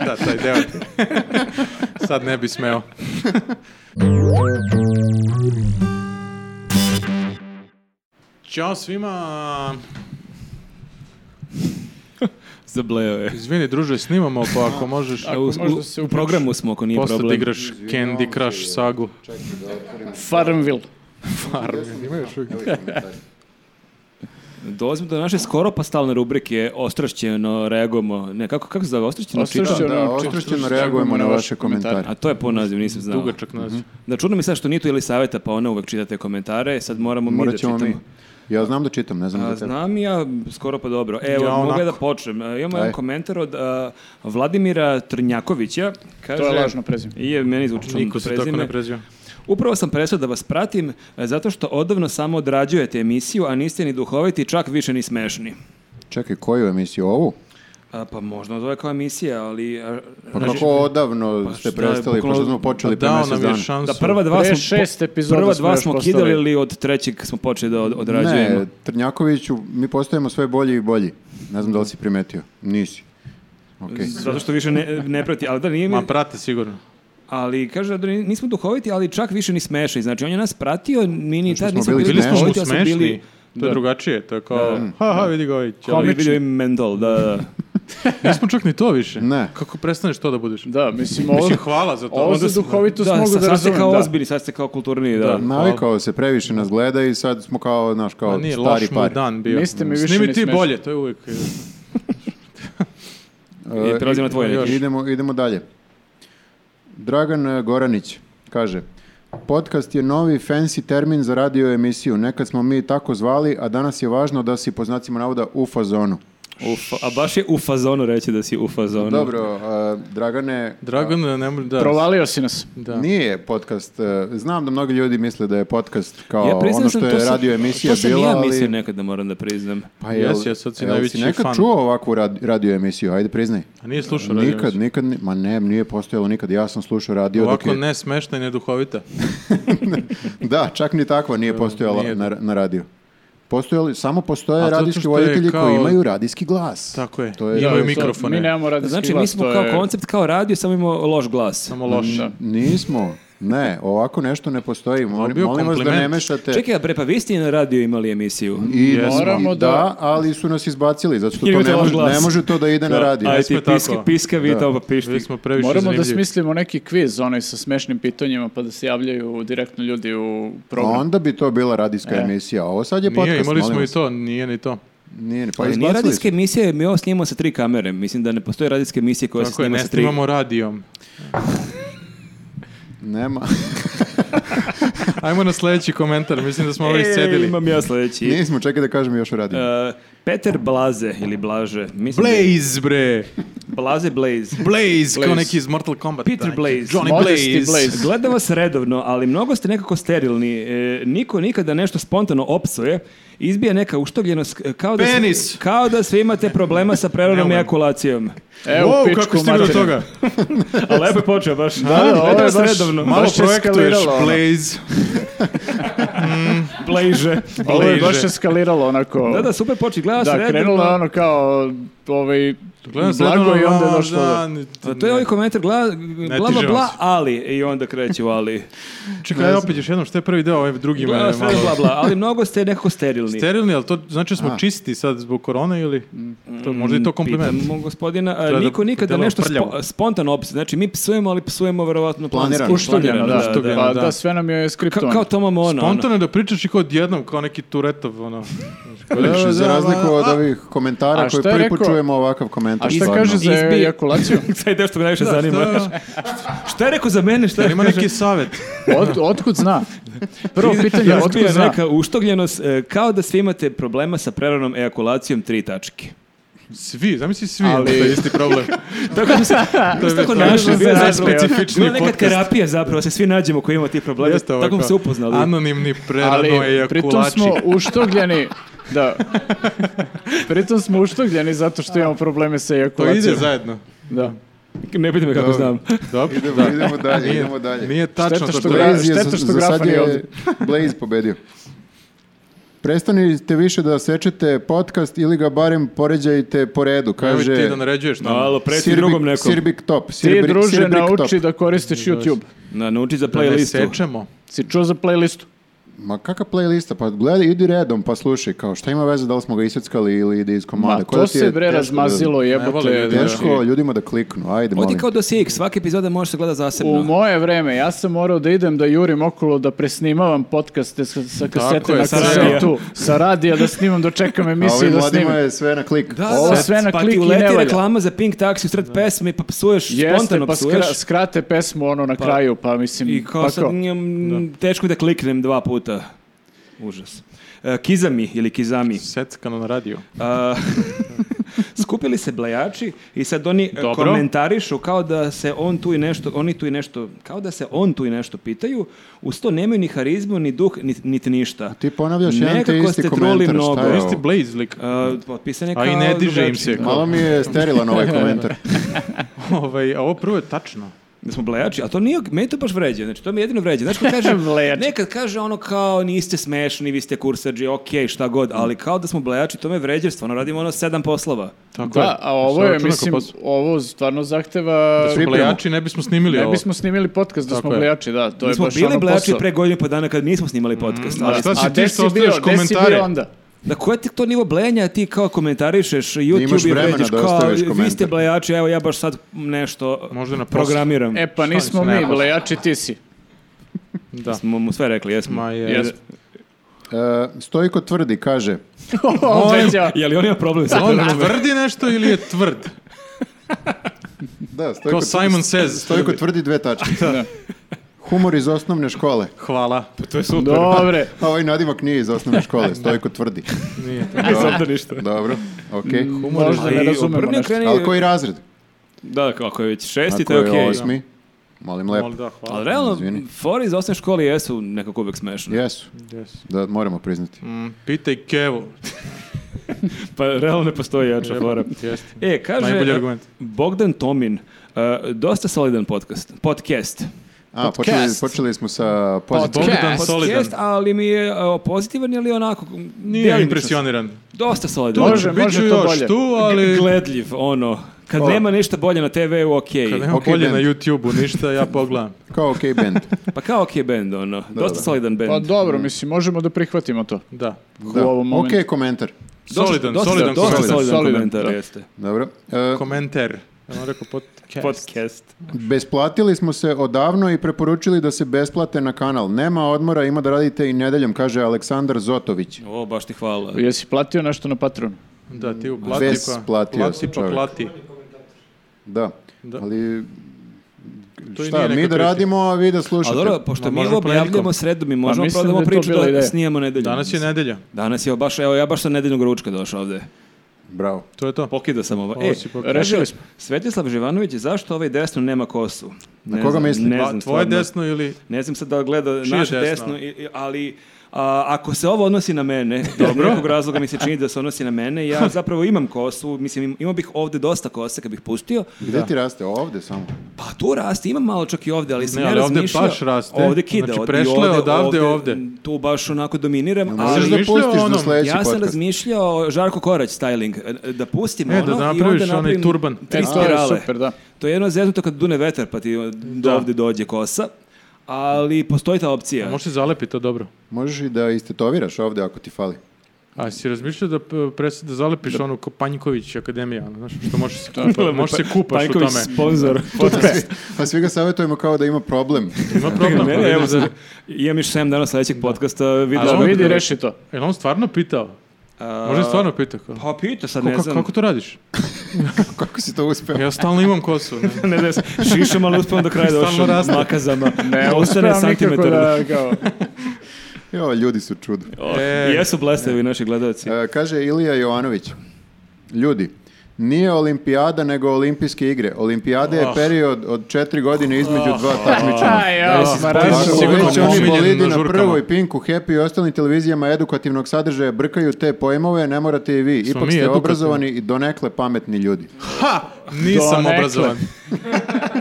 Speaker 4: Da, taj deo. Sad ne bi smeo. Ćao svima.
Speaker 1: Zableo je.
Speaker 4: Izvini, druže, snimamo, pa ako možeš...
Speaker 1: U,
Speaker 3: možda
Speaker 1: u-
Speaker 3: se
Speaker 1: u
Speaker 3: uključi.
Speaker 1: programu smo, ako nije
Speaker 4: Posle da
Speaker 1: problem.
Speaker 4: igraš Candy Crush sagu.
Speaker 3: Farmville.
Speaker 1: Dolazimo do naše skoro pa stalne rubrike Ostrašćeno reagujemo. Ne, kako, kako se zove? Ostrašćeno?
Speaker 3: Ostrašćeno.
Speaker 1: čita?
Speaker 2: Da,
Speaker 3: Ono,
Speaker 2: ostrušćeno
Speaker 3: čuš-
Speaker 2: reagujemo
Speaker 3: čuš-
Speaker 2: na
Speaker 3: čuš-
Speaker 2: vaše komentare.
Speaker 1: A to je po nazivu, nisam znao. Mhm.
Speaker 4: Dugačak naziv.
Speaker 1: Da čudno mi sad što nije tu ili saveta, pa ona uvek čita te komentare, sad moramo mi da
Speaker 2: Morat ćemo
Speaker 1: čitamo.
Speaker 2: mi. Ja znam da čitam, ne znam
Speaker 1: A,
Speaker 2: da tebe.
Speaker 1: znam ja, skoro pa dobro. Evo,
Speaker 4: Ja
Speaker 1: mogu
Speaker 4: onako.
Speaker 1: ja da počnem. E, Imamo
Speaker 2: Aj.
Speaker 1: jedan komentar od a, Vladimira Trnjakovića. Kaže,
Speaker 3: To je lažno prezime.
Speaker 1: Je, meni zvuči čudno
Speaker 4: Niko
Speaker 1: to
Speaker 4: se tako
Speaker 1: prezime.
Speaker 4: ne prezio.
Speaker 1: Upravo sam prestao da vas pratim e, zato što odavno samo odrađujete emisiju, a niste ni duhoviti, čak više ni smešni.
Speaker 2: Čekaj, koju emisiju? Ovu?
Speaker 1: A, pa možda zove kao emisija, ali... a,
Speaker 2: Pa
Speaker 1: znači,
Speaker 2: kako odavno ste
Speaker 1: šta je,
Speaker 2: prestali, pošto
Speaker 1: bukvalno-
Speaker 2: smo počeli pre
Speaker 4: Dao
Speaker 2: mjesec
Speaker 4: nam je
Speaker 2: dana?
Speaker 4: šansu.
Speaker 1: Da, prva dva
Speaker 3: Pre
Speaker 1: smo...
Speaker 3: šest epizoda
Speaker 1: Prva
Speaker 3: smo
Speaker 1: dva
Speaker 3: još
Speaker 1: smo
Speaker 3: postali.
Speaker 1: kidali ili od trećeg smo počeli da od- odrađujemo?
Speaker 2: Ne, Trnjakoviću, mi postajemo sve bolji i bolji. Ne znam da li si primetio. Nisi. Okej.
Speaker 1: Zato što više ne, ne prati, ali da nije...
Speaker 4: Ma prate sigurno.
Speaker 1: Ali kaže da ni- nismo duhoviti, ali čak više ni smešni. Znači on je nas pratio, mi ni tad
Speaker 2: smo
Speaker 1: nismo
Speaker 2: bili
Speaker 1: bili,
Speaker 2: smešni.
Speaker 1: duhoviti, ali smo
Speaker 4: Bili smo
Speaker 1: bili...
Speaker 4: To je drugačije, to je kao, ha, ha, vidi ga ovaj ćao.
Speaker 1: Komični. Vidio i mental, da, da.
Speaker 4: Nismo čak ni to više.
Speaker 2: Ne.
Speaker 4: Kako prestaneš to da budeš?
Speaker 3: Da, mislim, ovo,
Speaker 4: Mislim, hvala za to.
Speaker 3: ovo za
Speaker 4: Onda smo-
Speaker 3: duhovitost
Speaker 1: Da,
Speaker 3: mogu
Speaker 1: sa-
Speaker 3: da
Speaker 1: sad ste
Speaker 3: razumem.
Speaker 1: kao
Speaker 3: da.
Speaker 1: ozbiljni, sad ste kao kulturni, da.
Speaker 2: Navikao se, previše nas gleda i sad smo kao, znaš, kao
Speaker 4: A nije,
Speaker 2: stari
Speaker 4: loš mu je
Speaker 2: par.
Speaker 4: dan bio.
Speaker 3: Niste mi više
Speaker 4: Snimi
Speaker 3: ni
Speaker 4: ti
Speaker 3: smešni.
Speaker 4: bolje, to je uvijek... e,
Speaker 1: I prelazimo na tvoje neki.
Speaker 2: E, Idemo, idemo dalje. Dragan e, Goranić kaže, podcast je novi fancy termin za radio emisiju. Nekad smo mi tako zvali, a danas je važno da si po znacima navoda u fazonu.
Speaker 1: Ufa, a baš je u fazonu reći da si u fazonu.
Speaker 2: Dobro, e, Dragane,
Speaker 4: Dragan, ne može da...
Speaker 3: Provalio si nas.
Speaker 4: Da.
Speaker 2: nije podcast, e, znam da mnogi ljudi misle da je podcast kao
Speaker 1: Ja priznam
Speaker 2: ono
Speaker 1: sam,
Speaker 2: što
Speaker 1: to
Speaker 2: je
Speaker 1: sam-
Speaker 2: radio emisija
Speaker 1: To sam i
Speaker 2: bila,
Speaker 1: ja
Speaker 2: ali-
Speaker 1: mislio nekad da moram da priznam.
Speaker 2: Pa jel,
Speaker 4: Jesi, ja sad si
Speaker 2: jel
Speaker 4: najveći
Speaker 2: nekad
Speaker 4: fan.
Speaker 2: čuo ovakvu rad- radio emisiju, ajde priznaj.
Speaker 4: A nije slušao radio
Speaker 2: Nikad,
Speaker 4: emisiju.
Speaker 2: nikad, ni- ma ne, nije postojalo nikad, ja sam slušao radio dok
Speaker 4: Ovako
Speaker 2: je-
Speaker 4: ne smešna i neduhovita.
Speaker 2: Da, čak ni takva nije postojala
Speaker 4: nije.
Speaker 2: na, na radiju. Postojali, samo postoje
Speaker 4: A zato
Speaker 2: radijski
Speaker 4: što je
Speaker 2: voditelji
Speaker 4: kao-
Speaker 2: koji imaju radijski glas.
Speaker 4: Tako je.
Speaker 2: To je-
Speaker 4: Imaju
Speaker 3: Da,
Speaker 4: mikrofone.
Speaker 3: Mi nemamo radijski
Speaker 1: Znači, mi
Speaker 3: glas,
Speaker 1: smo
Speaker 3: to
Speaker 1: kao
Speaker 3: je-
Speaker 1: koncept, kao radio, samo imamo loš glas.
Speaker 4: Samo loša.
Speaker 2: Nismo. Ne, ovako nešto ne postoji. Moli-
Speaker 4: bio
Speaker 2: molim vas da
Speaker 4: kompliment.
Speaker 2: ne mešate.
Speaker 1: Čekaj, a bre, pa vi ste i na radio imali emisiju.
Speaker 2: I
Speaker 4: Jesmo.
Speaker 2: moramo
Speaker 3: Moramo
Speaker 2: da,
Speaker 3: da-
Speaker 2: ali su nas izbacili, zato što
Speaker 1: Ili
Speaker 2: to ne
Speaker 1: imate loš
Speaker 2: može,
Speaker 1: glas.
Speaker 2: ne može to da ide na radio.
Speaker 1: Ajde,
Speaker 4: Jesmo
Speaker 1: ti
Speaker 4: tako.
Speaker 1: piska, piska, vi tamo pa pišti.
Speaker 4: Mi smo previše
Speaker 3: Moramo da
Speaker 4: zanimljivi.
Speaker 3: smislimo neki kviz, onaj sa smešnim pitanjima, pa da se javljaju direktno ljudi u program.
Speaker 2: Onda bi to bila radijska emisija. Ovo sad je podcast.
Speaker 4: E. Nije, imali smo
Speaker 2: molim
Speaker 4: i
Speaker 2: vas.
Speaker 4: to, nije ni to.
Speaker 2: Nije, pa
Speaker 1: Ali
Speaker 2: izbacili
Speaker 1: nije radijska
Speaker 2: su.
Speaker 1: emisija, mi ovo snimamo sa tri kamere. Mislim da ne postoje radijske emisije koja se
Speaker 4: Tako je,
Speaker 1: snima
Speaker 4: ne
Speaker 1: sa tri...
Speaker 4: snimamo radijom.
Speaker 2: Nema.
Speaker 4: Ajmo na sljedeći komentar, mislim da smo ovo
Speaker 1: E,
Speaker 4: iscedili.
Speaker 1: imam ja sledeći.
Speaker 2: Nismo, čekaj da kažem još o radiju.
Speaker 1: E, Peter Blaze ili Blaže. Mislim da je-
Speaker 4: Blaze, bre!
Speaker 1: Blaze Blaze.
Speaker 4: Blaze, kao
Speaker 1: Blaze.
Speaker 4: neki iz Mortal Kombat.
Speaker 1: Peter Blaze.
Speaker 4: Johnny
Speaker 3: Modesty
Speaker 4: Blaze.
Speaker 3: Blaze.
Speaker 1: Gledam vas redovno, ali mnogo ste nekako sterilni. E, niko nikada nešto spontano opsuje. Izbija neka uštovljenost e, kao da,
Speaker 4: Penis.
Speaker 1: Sve, kao da sve imate problema sa preranom
Speaker 4: Nemam.
Speaker 1: ejakulacijom.
Speaker 3: Evo,
Speaker 4: Wow,
Speaker 3: pičku
Speaker 4: kako stigli do
Speaker 3: materinu.
Speaker 4: toga?
Speaker 1: A lepo je počeo baš. Da,
Speaker 3: da, ovo je
Speaker 1: vas
Speaker 3: baš
Speaker 1: redovno.
Speaker 4: Malo
Speaker 3: Baš je
Speaker 4: projektuješ,
Speaker 3: eskaliralo, ono.
Speaker 4: Blaze.
Speaker 1: Blaže.
Speaker 3: Ovo je baš
Speaker 4: Bliže.
Speaker 3: eskaliralo onako.
Speaker 1: Da, da, super počeo. Gleda se
Speaker 3: Da,
Speaker 1: redovno.
Speaker 3: krenulo je ono kao ovaj,
Speaker 4: Gledam ono se
Speaker 3: blago
Speaker 4: jedno,
Speaker 3: i onda je
Speaker 4: a,
Speaker 3: došlo.
Speaker 4: da,
Speaker 3: do-
Speaker 4: ni-
Speaker 1: A to je ovaj komentar, gla, bla, bla,
Speaker 4: tiže
Speaker 1: bla,
Speaker 4: vas.
Speaker 1: ali, i onda kreće u ali.
Speaker 4: Čekaj, ajde opet još jednom, što je prvi deo, ovaj drugi
Speaker 1: Bla,
Speaker 4: mene
Speaker 1: sve bla,
Speaker 4: malo...
Speaker 1: bla, ali mnogo ste nekako sterilni.
Speaker 4: Sterilni, ali to znači da smo čisti sad zbog korone ili...
Speaker 3: Mm,
Speaker 4: To, možda je to kompliment.
Speaker 1: Pitamo gospodina, a,
Speaker 4: da
Speaker 1: niko nikada
Speaker 4: delo
Speaker 1: nešto
Speaker 4: prljavo.
Speaker 1: spo- spontano opsuje. Znači, mi psujemo, ali psujemo verovatno planski.
Speaker 2: Planirano.
Speaker 3: Uštovljeno, da,
Speaker 4: uštovljeno,
Speaker 3: Pa
Speaker 4: da.
Speaker 3: da, sve nam je
Speaker 1: Ka-
Speaker 3: skriptovano.
Speaker 1: kao Toma Mona. ono.
Speaker 4: Spontano je da pričaš i kao odjednom, kao neki turetov, ono...
Speaker 2: Vidiš, za razliku od ovih komentara
Speaker 3: E, A
Speaker 2: koji
Speaker 3: šta je
Speaker 2: prvi put
Speaker 3: rekao?
Speaker 2: čujemo ovakav komentar.
Speaker 3: A šta
Speaker 2: stvarno.
Speaker 3: kaže za
Speaker 1: Izbi-
Speaker 3: ejakulaciju?
Speaker 1: Sad je što e, me najviše zanima.
Speaker 4: da.
Speaker 1: Šta je rekao za mene? Šta je
Speaker 4: Ima neki savjet.
Speaker 3: Od, otkud zna? Prvo pitanje, otkud
Speaker 1: Izbija
Speaker 3: zna?
Speaker 1: neka uštogljenost, e, kao da svi imate problema sa preranom ejakulacijom tri tačke.
Speaker 4: Svi, zamisli svi,
Speaker 3: Ali-
Speaker 4: ali... to je isti problem.
Speaker 1: Tako mi se, to je tako našli,
Speaker 3: je
Speaker 1: bio zapravo-
Speaker 3: za-
Speaker 4: specifični
Speaker 1: bila neka
Speaker 4: podcast.
Speaker 1: terapija zapravo, se svi nađemo koji imamo ti problemi,
Speaker 4: Jeste ovo
Speaker 1: tako smo
Speaker 4: kao
Speaker 1: se upoznali.
Speaker 4: Anonimni prerano
Speaker 3: Ali pritom
Speaker 4: ejakulači.
Speaker 3: smo uštogljeni, da, pritom smo uštogljeni zato što imamo probleme sa
Speaker 4: To ide
Speaker 3: ejakulacijom.
Speaker 4: zajedno.
Speaker 3: Da.
Speaker 1: Ne pitaj me kako
Speaker 2: Dobro.
Speaker 1: znam.
Speaker 4: Dobro,
Speaker 2: Idemo,
Speaker 4: da.
Speaker 2: idemo
Speaker 3: Pa
Speaker 2: dalje,
Speaker 4: Nije-
Speaker 2: idemo dalje.
Speaker 4: Nije tačno to
Speaker 3: Šteta što
Speaker 4: što-
Speaker 3: ga-
Speaker 2: Blaze je
Speaker 3: šteta
Speaker 2: za,
Speaker 3: što
Speaker 2: za
Speaker 3: grafa
Speaker 2: sad
Speaker 3: nije
Speaker 2: je
Speaker 3: ovdje.
Speaker 2: Blaze pobedio. Prestanite više da sečete podcast ili ga barem poređajte po redu,
Speaker 4: Evo i
Speaker 2: kaže
Speaker 4: ti da naređuješ nama.
Speaker 1: Alo, preti
Speaker 2: Sirbik-
Speaker 1: drugom nekom.
Speaker 2: Sirbik Top.
Speaker 3: Ti,
Speaker 2: Sirbik,
Speaker 3: druže,
Speaker 2: Sirbik
Speaker 3: nauči
Speaker 2: Top.
Speaker 3: da koristiš YouTube.
Speaker 1: Na, nauči za
Speaker 4: Da ne
Speaker 1: playlistu.
Speaker 4: sečemo.
Speaker 3: Si čuo za playlistu?
Speaker 2: Ma kakva playlista? Pa gledaj, idi redom, pa slušaj. Kao, šta ima veze da li smo ga isjeckali ili ide iz komada?
Speaker 3: Ma,
Speaker 2: Koja
Speaker 3: to
Speaker 2: ti je
Speaker 3: se bre
Speaker 2: teško da-
Speaker 3: razmazilo,
Speaker 4: Ne vole
Speaker 3: jebote.
Speaker 4: ljudi,
Speaker 3: znaš,
Speaker 2: Teško ljudima da kliknu, ajde
Speaker 1: Odi
Speaker 2: molim.
Speaker 1: kao dosijek, svaka epizoda može se gleda
Speaker 3: U
Speaker 1: zasebno.
Speaker 3: moje vreme, ja sam morao da idem da jurim okolo, da presnimavam podcaste sa, sa kasete
Speaker 4: je,
Speaker 3: na
Speaker 4: sa
Speaker 1: radija.
Speaker 3: kasetu, sa radija da snimam, da čekam
Speaker 2: A
Speaker 3: emisiju
Speaker 2: ovim
Speaker 3: da
Speaker 2: mladima
Speaker 3: snimam.
Speaker 2: je sve na klik.
Speaker 1: Da,
Speaker 3: Ovo
Speaker 1: da,
Speaker 3: sve na
Speaker 1: pa
Speaker 3: klik
Speaker 1: ti
Speaker 3: i ne
Speaker 1: uleti
Speaker 3: valja.
Speaker 1: reklama za Pink Taxi u sred pesme, pa psuješ,
Speaker 3: Jeste,
Speaker 1: spontano
Speaker 3: pa
Speaker 1: psuješ.
Speaker 3: skra- skrate pesmu ono na kraju, pa mislim,
Speaker 1: I kao
Speaker 3: pa
Speaker 1: sad,
Speaker 3: kao,
Speaker 1: njam, teško je da kliknem dva puta. Užas. E, Kizami ili Kizami.
Speaker 4: Seckano na radio.
Speaker 1: A, skupili se blejači i sad oni e,
Speaker 4: Dobro.
Speaker 1: komentarišu kao da se on tu i nešto, oni tu i nešto, kao da se on tu i nešto pitaju, uz to nemaju ni harizmu, ni duh, ni, niti ništa.
Speaker 2: Ti ponavljaš jedan te
Speaker 1: Nekako
Speaker 2: isti
Speaker 1: ste
Speaker 2: komentar,
Speaker 1: truli
Speaker 2: šta
Speaker 1: mnogo.
Speaker 2: je
Speaker 4: Isti
Speaker 2: ovo?
Speaker 4: Blaze lik.
Speaker 1: A, potpisan je kao
Speaker 4: A i ne diže im
Speaker 1: drugačiji.
Speaker 4: se.
Speaker 2: Malo mi je sterilan ovaj komentar.
Speaker 4: Ovaj, a ovo prvo je tačno.
Speaker 1: Da smo blejači, a to nije, meni to baš vređa, znači to mi jedino vređa. Znaš ko kaže,
Speaker 3: Blejači.
Speaker 1: nekad kaže ono kao niste smešni, vi ste kursađi, okej, šta god, ali kao da smo blejači, to me vređa, jer stvarno radimo ono sedam poslova.
Speaker 4: Tako je.
Speaker 3: da, a ovo
Speaker 4: Što
Speaker 3: je,
Speaker 4: računa ko
Speaker 3: mislim,
Speaker 4: posao?
Speaker 3: ovo stvarno zahteva...
Speaker 4: Su Plejači ne bismo snimili
Speaker 3: Ne
Speaker 4: ovo.
Speaker 3: bismo snimili podcast da
Speaker 4: Tako
Speaker 3: smo
Speaker 4: je.
Speaker 3: blejači, da, to
Speaker 1: Mi
Speaker 3: je
Speaker 1: smo
Speaker 3: baš
Speaker 1: bili
Speaker 3: ono
Speaker 1: blejači
Speaker 3: posao. Mm,
Speaker 1: pre godinu i po dana kad nismo snimali podcast, ali
Speaker 4: Šta
Speaker 3: A
Speaker 4: si
Speaker 3: gde
Speaker 4: ti
Speaker 3: si
Speaker 4: što
Speaker 3: bio,
Speaker 4: ostavljaš
Speaker 3: gde si bio
Speaker 4: komentare?
Speaker 3: onda?
Speaker 1: Da koji ti to nivo blejenja ti kao komentarišeš
Speaker 2: imaš
Speaker 1: YouTube i
Speaker 2: vremena
Speaker 1: vređaš
Speaker 2: da
Speaker 1: kao
Speaker 2: ostaviš
Speaker 1: vi ste
Speaker 2: komentar.
Speaker 1: blejači, evo ja baš sad nešto
Speaker 4: Možda na poslu.
Speaker 1: programiram.
Speaker 3: E pa
Speaker 4: Šta
Speaker 3: nismo
Speaker 4: mislim,
Speaker 3: mi,
Speaker 4: nema.
Speaker 3: blejači ti si.
Speaker 4: Da.
Speaker 1: Smo mu sve rekli, jesmo.
Speaker 4: Ma je.
Speaker 3: Jesmo.
Speaker 2: E, Stojko tvrdi, kaže,
Speaker 3: Obećao.
Speaker 1: Je li on ima problem sa
Speaker 4: On
Speaker 1: tim?
Speaker 4: tvrdi nešto ili je tvrd?
Speaker 2: da, Stojko,
Speaker 4: Kao Simon says.
Speaker 2: Stojko tvrdi dve tačke. Humor iz osnovne škole.
Speaker 4: Hvala.
Speaker 1: To je super.
Speaker 3: Dobre.
Speaker 2: A ovaj nadimak nije iz osnovne škole, Stojko tvrdi.
Speaker 4: Nije to.
Speaker 1: Bez obzira ništa.
Speaker 2: Dobro, okej.
Speaker 3: Možda ne razumemo
Speaker 1: obrni,
Speaker 3: nešto.
Speaker 1: okreni-
Speaker 2: Ali koji razred?
Speaker 1: Da, ako je već šesti,
Speaker 2: Ako
Speaker 1: to je okej.
Speaker 2: je osmi, molim lepo.
Speaker 4: Mol, da, hvala.
Speaker 1: Ali Pa, realno,
Speaker 2: Izvini.
Speaker 1: fore iz osnovne škole jesu nekako uvek smešne.
Speaker 2: Jesu,
Speaker 4: Yes.
Speaker 2: da moramo priznati.
Speaker 4: Mm, pitaj Kevo.
Speaker 1: Pa realno ne postoji jača fora.
Speaker 4: Jeste.
Speaker 1: E, kaže
Speaker 4: Najbolji argument.
Speaker 1: Bogdan Tomin, uh, dosta solidan podcast. Podcast.
Speaker 2: A, počeli, počeli smo sa pozitivnim.
Speaker 3: Podcast.
Speaker 4: Bogdan Solidan.
Speaker 1: Podcast, ali mi je uh, pozitivan ili onako...
Speaker 4: Nije
Speaker 1: delimično.
Speaker 4: impresioniran.
Speaker 1: Dosta solidan.
Speaker 3: Može,
Speaker 4: Biću
Speaker 3: može to
Speaker 4: još
Speaker 3: bolje.
Speaker 4: tu, ali...
Speaker 1: Gledljiv, ono. Kad nema ništa bolje na TV-u, okej.
Speaker 4: Kad nema
Speaker 2: Okej,
Speaker 4: bolje na
Speaker 2: band.
Speaker 4: YouTube-u, ništa, ja pogledam.
Speaker 2: Kao OK band.
Speaker 1: Pa kao okej band, ono. dosta
Speaker 2: da.
Speaker 1: solidan band.
Speaker 3: Pa dobro, mislim, možemo da prihvatimo to.
Speaker 4: Da.
Speaker 2: Da.
Speaker 3: U ovom momentu.
Speaker 2: OK komentar.
Speaker 1: Dosta-
Speaker 4: Solidan,
Speaker 1: dosta,
Speaker 4: solidan
Speaker 1: dosta
Speaker 4: komentar.
Speaker 1: solidan,
Speaker 3: Solidan,
Speaker 1: komentar,
Speaker 3: da.
Speaker 1: jeste.
Speaker 2: Dobro. E,
Speaker 4: Komenter. Ja vam rekao podcast.
Speaker 1: Podcast.
Speaker 2: besplatili smo se odavno i preporučili da se besplate na kanal. Nema odmora, ima da radite i nedeljom, kaže Aleksandar Zotović.
Speaker 1: O, baš ti hvala.
Speaker 3: Jesi platio nešto na Patreonu?
Speaker 4: Da, ti uplati
Speaker 2: Ves
Speaker 4: pa...
Speaker 2: platio
Speaker 4: plati
Speaker 2: sam
Speaker 4: pa
Speaker 2: čovjek.
Speaker 4: plati.
Speaker 2: Da.
Speaker 4: Da.
Speaker 2: Ali
Speaker 4: To i
Speaker 2: šta, mi
Speaker 4: nije neka
Speaker 2: da
Speaker 4: kritika.
Speaker 2: radimo, a vi da slušate.
Speaker 1: A dobro, pošto
Speaker 4: Ma,
Speaker 1: mi
Speaker 4: možemo
Speaker 1: ovo objavljamo
Speaker 4: ponedjeljkom.
Speaker 1: sredom i možemo
Speaker 3: mislim
Speaker 1: prodamo
Speaker 3: da je to
Speaker 1: priču
Speaker 3: bila
Speaker 1: da
Speaker 3: ideja.
Speaker 1: snijemo nedelju.
Speaker 4: Danas je
Speaker 1: Mislim.
Speaker 4: nedelja.
Speaker 1: Danas je ovo baš, evo ja baš sa nedeljnog ručka došao ovde.
Speaker 2: Bravo.
Speaker 4: To je to.
Speaker 1: Pokida sam ovo.
Speaker 4: Ovo
Speaker 1: E,
Speaker 4: si pokida.
Speaker 1: rešili
Speaker 3: Rešili
Speaker 1: smo.
Speaker 3: smo.
Speaker 1: Svetislav Živanović, zašto ovaj desno nema kosu? Na
Speaker 2: koga misli?
Speaker 1: Ne
Speaker 4: Pa,
Speaker 1: znam,
Speaker 4: tvoje
Speaker 1: stvarno.
Speaker 4: desno ili...
Speaker 1: Ne znam sad da gleda
Speaker 4: Čije
Speaker 1: naše
Speaker 4: desno?
Speaker 1: desno, i- i- ali a, ako se ovo odnosi na mene, iz nekog razloga mi se čini da se odnosi na mene, ja zapravo imam kosu, mislim im- imao bih ovde dosta kose kad bih pustio,
Speaker 2: Gde ti raste? Ovde samo.
Speaker 1: pa tu raste, imam malo čak i ovde, ali sam
Speaker 4: Ne,
Speaker 1: ja
Speaker 4: ali ovde
Speaker 1: razmišljao,
Speaker 4: baš raste.
Speaker 1: ovde kida,
Speaker 4: Znači,
Speaker 1: ovde,
Speaker 4: prešlo je
Speaker 1: ovde,
Speaker 4: odavde ovde.
Speaker 1: tu baš onako dominiram,
Speaker 2: Možeš
Speaker 1: ali
Speaker 2: da
Speaker 4: razmišljao
Speaker 2: pustiš
Speaker 4: Pa o
Speaker 2: za
Speaker 4: onom?
Speaker 2: sledeći
Speaker 1: ja sam
Speaker 2: podcast.
Speaker 1: razmišljao Žarko Korać styling, e, da pustim
Speaker 4: E, da
Speaker 1: ono i
Speaker 4: napraviš
Speaker 1: onda
Speaker 4: onaj
Speaker 1: napravim
Speaker 4: turban.
Speaker 1: tri
Speaker 3: E, to je
Speaker 1: spirale.
Speaker 3: super, da.
Speaker 1: To je jedno zeznuto kad dune vetar pa ti do ovde dođe kosa, ali postoji ta opcija.
Speaker 4: Može se zalepiti to dobro.
Speaker 2: Možeš i da istetoviraš ovde ako ti fali.
Speaker 4: A si razmišljao da, p- pres, da zalepiš onu ko Panjković akademija, ono, znaš, što možeš se kupati, možeš se
Speaker 1: pa
Speaker 4: kupaš u
Speaker 1: Pajković
Speaker 4: tome.
Speaker 1: sponsor.
Speaker 2: Pa svi ga savjetujemo kao da ima problem.
Speaker 4: Ima problem.
Speaker 1: Ne, ne,
Speaker 4: ali
Speaker 1: evo
Speaker 4: da-
Speaker 1: za... Imam još 7 dana sledećeg podcasta,
Speaker 4: Ali
Speaker 1: vidio.
Speaker 3: Da
Speaker 4: dobro,
Speaker 3: vidi,
Speaker 4: dobro.
Speaker 3: reši to.
Speaker 4: Jel on stvarno pitao? Možda je stvarno pitao. Kao,
Speaker 1: Pa pita sad,
Speaker 4: "Ko-
Speaker 1: ne
Speaker 4: ka-
Speaker 1: znam.
Speaker 4: kako to radiš?
Speaker 2: Kako si to uspeo?
Speaker 4: Ja stalno imam kosu. Ne?
Speaker 1: Ne znam, šišam, ali uspevam do kraja
Speaker 4: Stalno
Speaker 1: došao
Speaker 4: raste.
Speaker 1: makazama.
Speaker 3: Ne,
Speaker 1: ostane
Speaker 3: uspevam nikako
Speaker 1: santimetar.
Speaker 3: da, kao,
Speaker 2: Jo, ljudi su čudo.
Speaker 1: O,
Speaker 4: E.
Speaker 1: Oh, Jesu blesavi naši gledalci.
Speaker 2: E, kaže Ilija Jovanović. Ljudi, nije olimpijada nego olimpijske igre. Olimpijada
Speaker 4: Ah.
Speaker 2: je period od četiri godine između dva takmičenja.
Speaker 3: Aj, jo, ma
Speaker 2: Ako
Speaker 3: različno.
Speaker 4: sigurno
Speaker 2: već oni
Speaker 4: omiljeni
Speaker 2: bolidi
Speaker 4: na
Speaker 2: na
Speaker 4: žurkama.
Speaker 2: prvoj, Pinku, Happy i ostalim televizijama edukativnog sadržaja brkaju te pojmove, ne morate i vi. Ipak
Speaker 4: mi
Speaker 2: ste
Speaker 4: edukativni?
Speaker 2: obrazovani i donekle pametni ljudi.
Speaker 4: Nisam
Speaker 3: Donekle.
Speaker 4: obrazovan.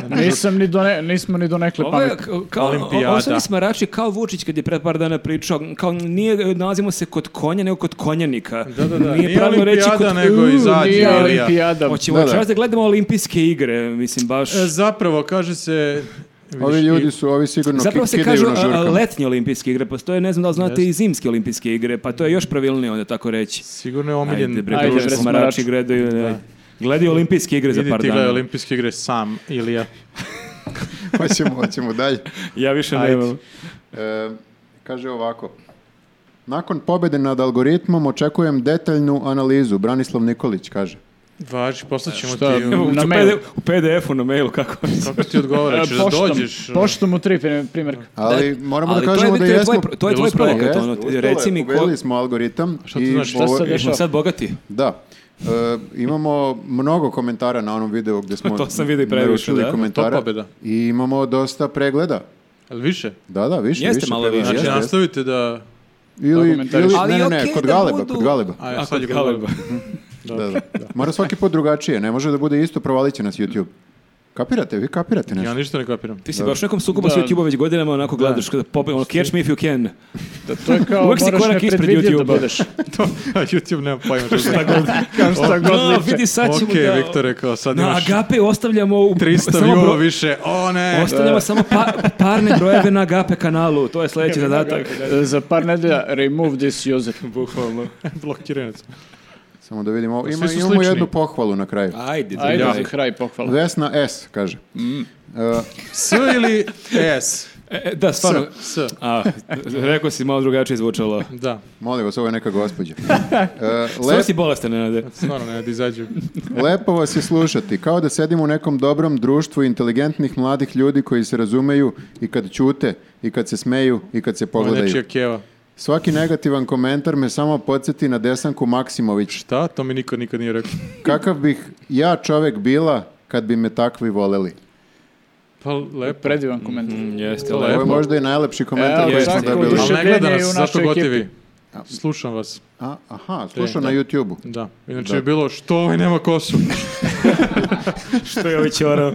Speaker 3: Nisam ni done, nismo ni donekle
Speaker 1: Ovo je
Speaker 3: pametni.
Speaker 1: k- kao,
Speaker 4: Olimpijada.
Speaker 1: ovo su oni smarači kao Vučić kad je pred par dana pričao, kao nije, nalazimo se kod konja, nego kod konjanika.
Speaker 4: Da, da, da.
Speaker 1: Nije,
Speaker 4: Nije
Speaker 1: pravilno reći
Speaker 4: olimpijada,
Speaker 1: kod...
Speaker 4: nego izađe
Speaker 3: Nije
Speaker 4: Ilija.
Speaker 3: olimpijada.
Speaker 1: Hoćemo
Speaker 2: Da, da.
Speaker 1: večeras da gledamo olimpijske igre, mislim baš...
Speaker 4: E, Zapravo, kaže se...
Speaker 2: Ovi
Speaker 4: vidiš,
Speaker 2: ljudi
Speaker 4: i-
Speaker 2: su, ovi sigurno
Speaker 1: Zapravo
Speaker 2: ki-
Speaker 1: se
Speaker 2: kidaju
Speaker 1: kažu
Speaker 2: na
Speaker 1: a, a,
Speaker 2: žurkama.
Speaker 1: letnje olimpijske igre, postoje, ne znam da li znate,
Speaker 4: Jeste.
Speaker 1: i zimske olimpijske igre, pa to je još pravilnije onda tako reći.
Speaker 4: Sigurno je omiljen.
Speaker 1: Ajde bre,
Speaker 3: Ajde,
Speaker 1: druže,
Speaker 3: bre,
Speaker 1: smarači
Speaker 3: smarači.
Speaker 1: gledaju, ne. Gledaju olimpijske igre za
Speaker 4: Idi
Speaker 1: par
Speaker 4: ti gledaj
Speaker 1: dana.
Speaker 4: olimpijske igre sam, Ilija.
Speaker 2: hoćemo, hoćemo dalje.
Speaker 1: Ja više
Speaker 4: Ajde.
Speaker 1: nemam.
Speaker 2: E, kaže ovako. Nakon pobede nad algoritmom očekujem detaljnu analizu. Branislav Nikolić kaže.
Speaker 4: Važi, poslaćemo ti...
Speaker 3: Šta?
Speaker 1: Evo,
Speaker 3: Na
Speaker 1: u
Speaker 3: mailu.
Speaker 1: PD u PDF-u na mailu, kako
Speaker 4: Kako ti odgovaraš? Pa
Speaker 3: E,
Speaker 4: Da
Speaker 3: poštom-
Speaker 4: dođeš... ono.
Speaker 3: Poštom u tri prim- primjerka.
Speaker 2: Ali moramo da kažemo
Speaker 1: to
Speaker 2: da
Speaker 1: je, to je
Speaker 2: jesmo...
Speaker 1: tvoj, pro- to je
Speaker 4: Jel
Speaker 1: tvoj
Speaker 4: uspelo?
Speaker 1: projekat,
Speaker 2: Jeste,
Speaker 1: ono,
Speaker 2: uspelo je,
Speaker 1: reci mi ko...
Speaker 2: Uveli smo algoritam.
Speaker 4: Šta to
Speaker 2: i
Speaker 4: znači, šta
Speaker 2: ovo-
Speaker 3: sad
Speaker 1: Jesmo sad bogati?
Speaker 2: Da. E, imamo mnogo komentara na onom videu gdje smo
Speaker 1: To sam vidio i previše,
Speaker 2: narušili
Speaker 1: da.
Speaker 2: komentara.
Speaker 4: To pobjeda.
Speaker 2: I imamo dosta pregleda.
Speaker 4: Jel više?
Speaker 2: Da, da, više,
Speaker 1: Jeste
Speaker 2: više
Speaker 1: malo
Speaker 2: pregleda,
Speaker 1: više.
Speaker 4: Znači,
Speaker 2: jeste, jeste.
Speaker 4: nastavite da...
Speaker 2: Ili,
Speaker 3: komentariš.
Speaker 2: ili,
Speaker 1: Ali
Speaker 2: ne, ne, ne,
Speaker 1: okej
Speaker 2: kod
Speaker 1: da
Speaker 2: Galeba,
Speaker 1: budu-
Speaker 2: kod Galeba.
Speaker 4: A,
Speaker 1: A,
Speaker 4: ja
Speaker 1: kod
Speaker 4: sad je Galeba.
Speaker 2: Da, da. Mora svaki put drugačije, ne može da bude isto, provalit će nas YouTube. Kapirate, vi kapirate nešto.
Speaker 4: Ja ništa ne kapiram.
Speaker 1: Ti si baš u nekom sukobu s YouTube-om već godinama, onako gledaš, kada pobe, ono, catch me if you can.
Speaker 3: Da, to je kao
Speaker 1: Uvek si
Speaker 3: moraš
Speaker 1: korak ispred
Speaker 3: nepredvidljiv da
Speaker 1: YouTubea.
Speaker 3: budeš.
Speaker 4: to, a YouTube nema pojma što šta god.
Speaker 3: Kao šta god
Speaker 1: No,
Speaker 3: liče.
Speaker 1: vidi sad ćemo
Speaker 4: Ok,
Speaker 1: da...
Speaker 4: Viktor rekao, sad
Speaker 1: Na
Speaker 4: imaš
Speaker 1: agape ostavljamo... U,
Speaker 4: 300
Speaker 1: samo
Speaker 4: view
Speaker 1: bro-
Speaker 4: više. O ne!
Speaker 1: Ostavljamo samo pa- parne brojeve na agape kanalu. To je sledeći zadatak.
Speaker 3: E, Za par nedelja remove this user.
Speaker 4: Bukvalno. Blokiranac.
Speaker 2: Samo da vidimo.
Speaker 1: Pa
Speaker 2: ovo. Ima,
Speaker 4: su
Speaker 2: imamo
Speaker 4: slični.
Speaker 2: jednu pohvalu na kraju.
Speaker 1: Ajde,
Speaker 3: Ajde
Speaker 1: ja.
Speaker 3: za kraj pohvala.
Speaker 2: Vesna S, kaže. E,
Speaker 4: S ili S?
Speaker 1: E, Da, stvarno.
Speaker 4: S.
Speaker 1: A, rekao si malo drugačije zvučalo.
Speaker 4: Da,
Speaker 2: molim vas, ovo je neka gospođa. E,
Speaker 1: Sve
Speaker 2: lep-
Speaker 1: si bolestan, Nenade.
Speaker 4: stvarno ne, da izađu.
Speaker 2: lepo vas je slušati. Kao da sedimo u nekom dobrom društvu inteligentnih mladih ljudi koji se razumeju i kad čute, i kad se smeju, i kad se
Speaker 4: Ovo je
Speaker 2: pogledaju.
Speaker 4: nečija keva.
Speaker 2: Svaki negativan komentar me samo podsjeti na Desanku Maksimović.
Speaker 4: Šta? To mi niko nikad nije rekao.
Speaker 2: Kakav bih ja čovek bila kad bi me takvi voleli?
Speaker 4: Pa lepo.
Speaker 3: Predivan komentar.
Speaker 1: Jeste,
Speaker 4: To
Speaker 1: lepo.
Speaker 2: Ovo je možda i najlepši komentar
Speaker 3: Evo,
Speaker 2: koji smo
Speaker 1: jeste.
Speaker 2: dobili.
Speaker 4: Ali ne gleda
Speaker 3: Oduševljenje je u
Speaker 4: nas, zašto
Speaker 3: našoj
Speaker 4: gotivi? Slušam vas.
Speaker 2: A, aha, slušao
Speaker 4: Da.
Speaker 2: na YouTube-u.
Speaker 4: Da. Inače je bilo što ovaj nema kosu.
Speaker 1: To je ovaj čorao.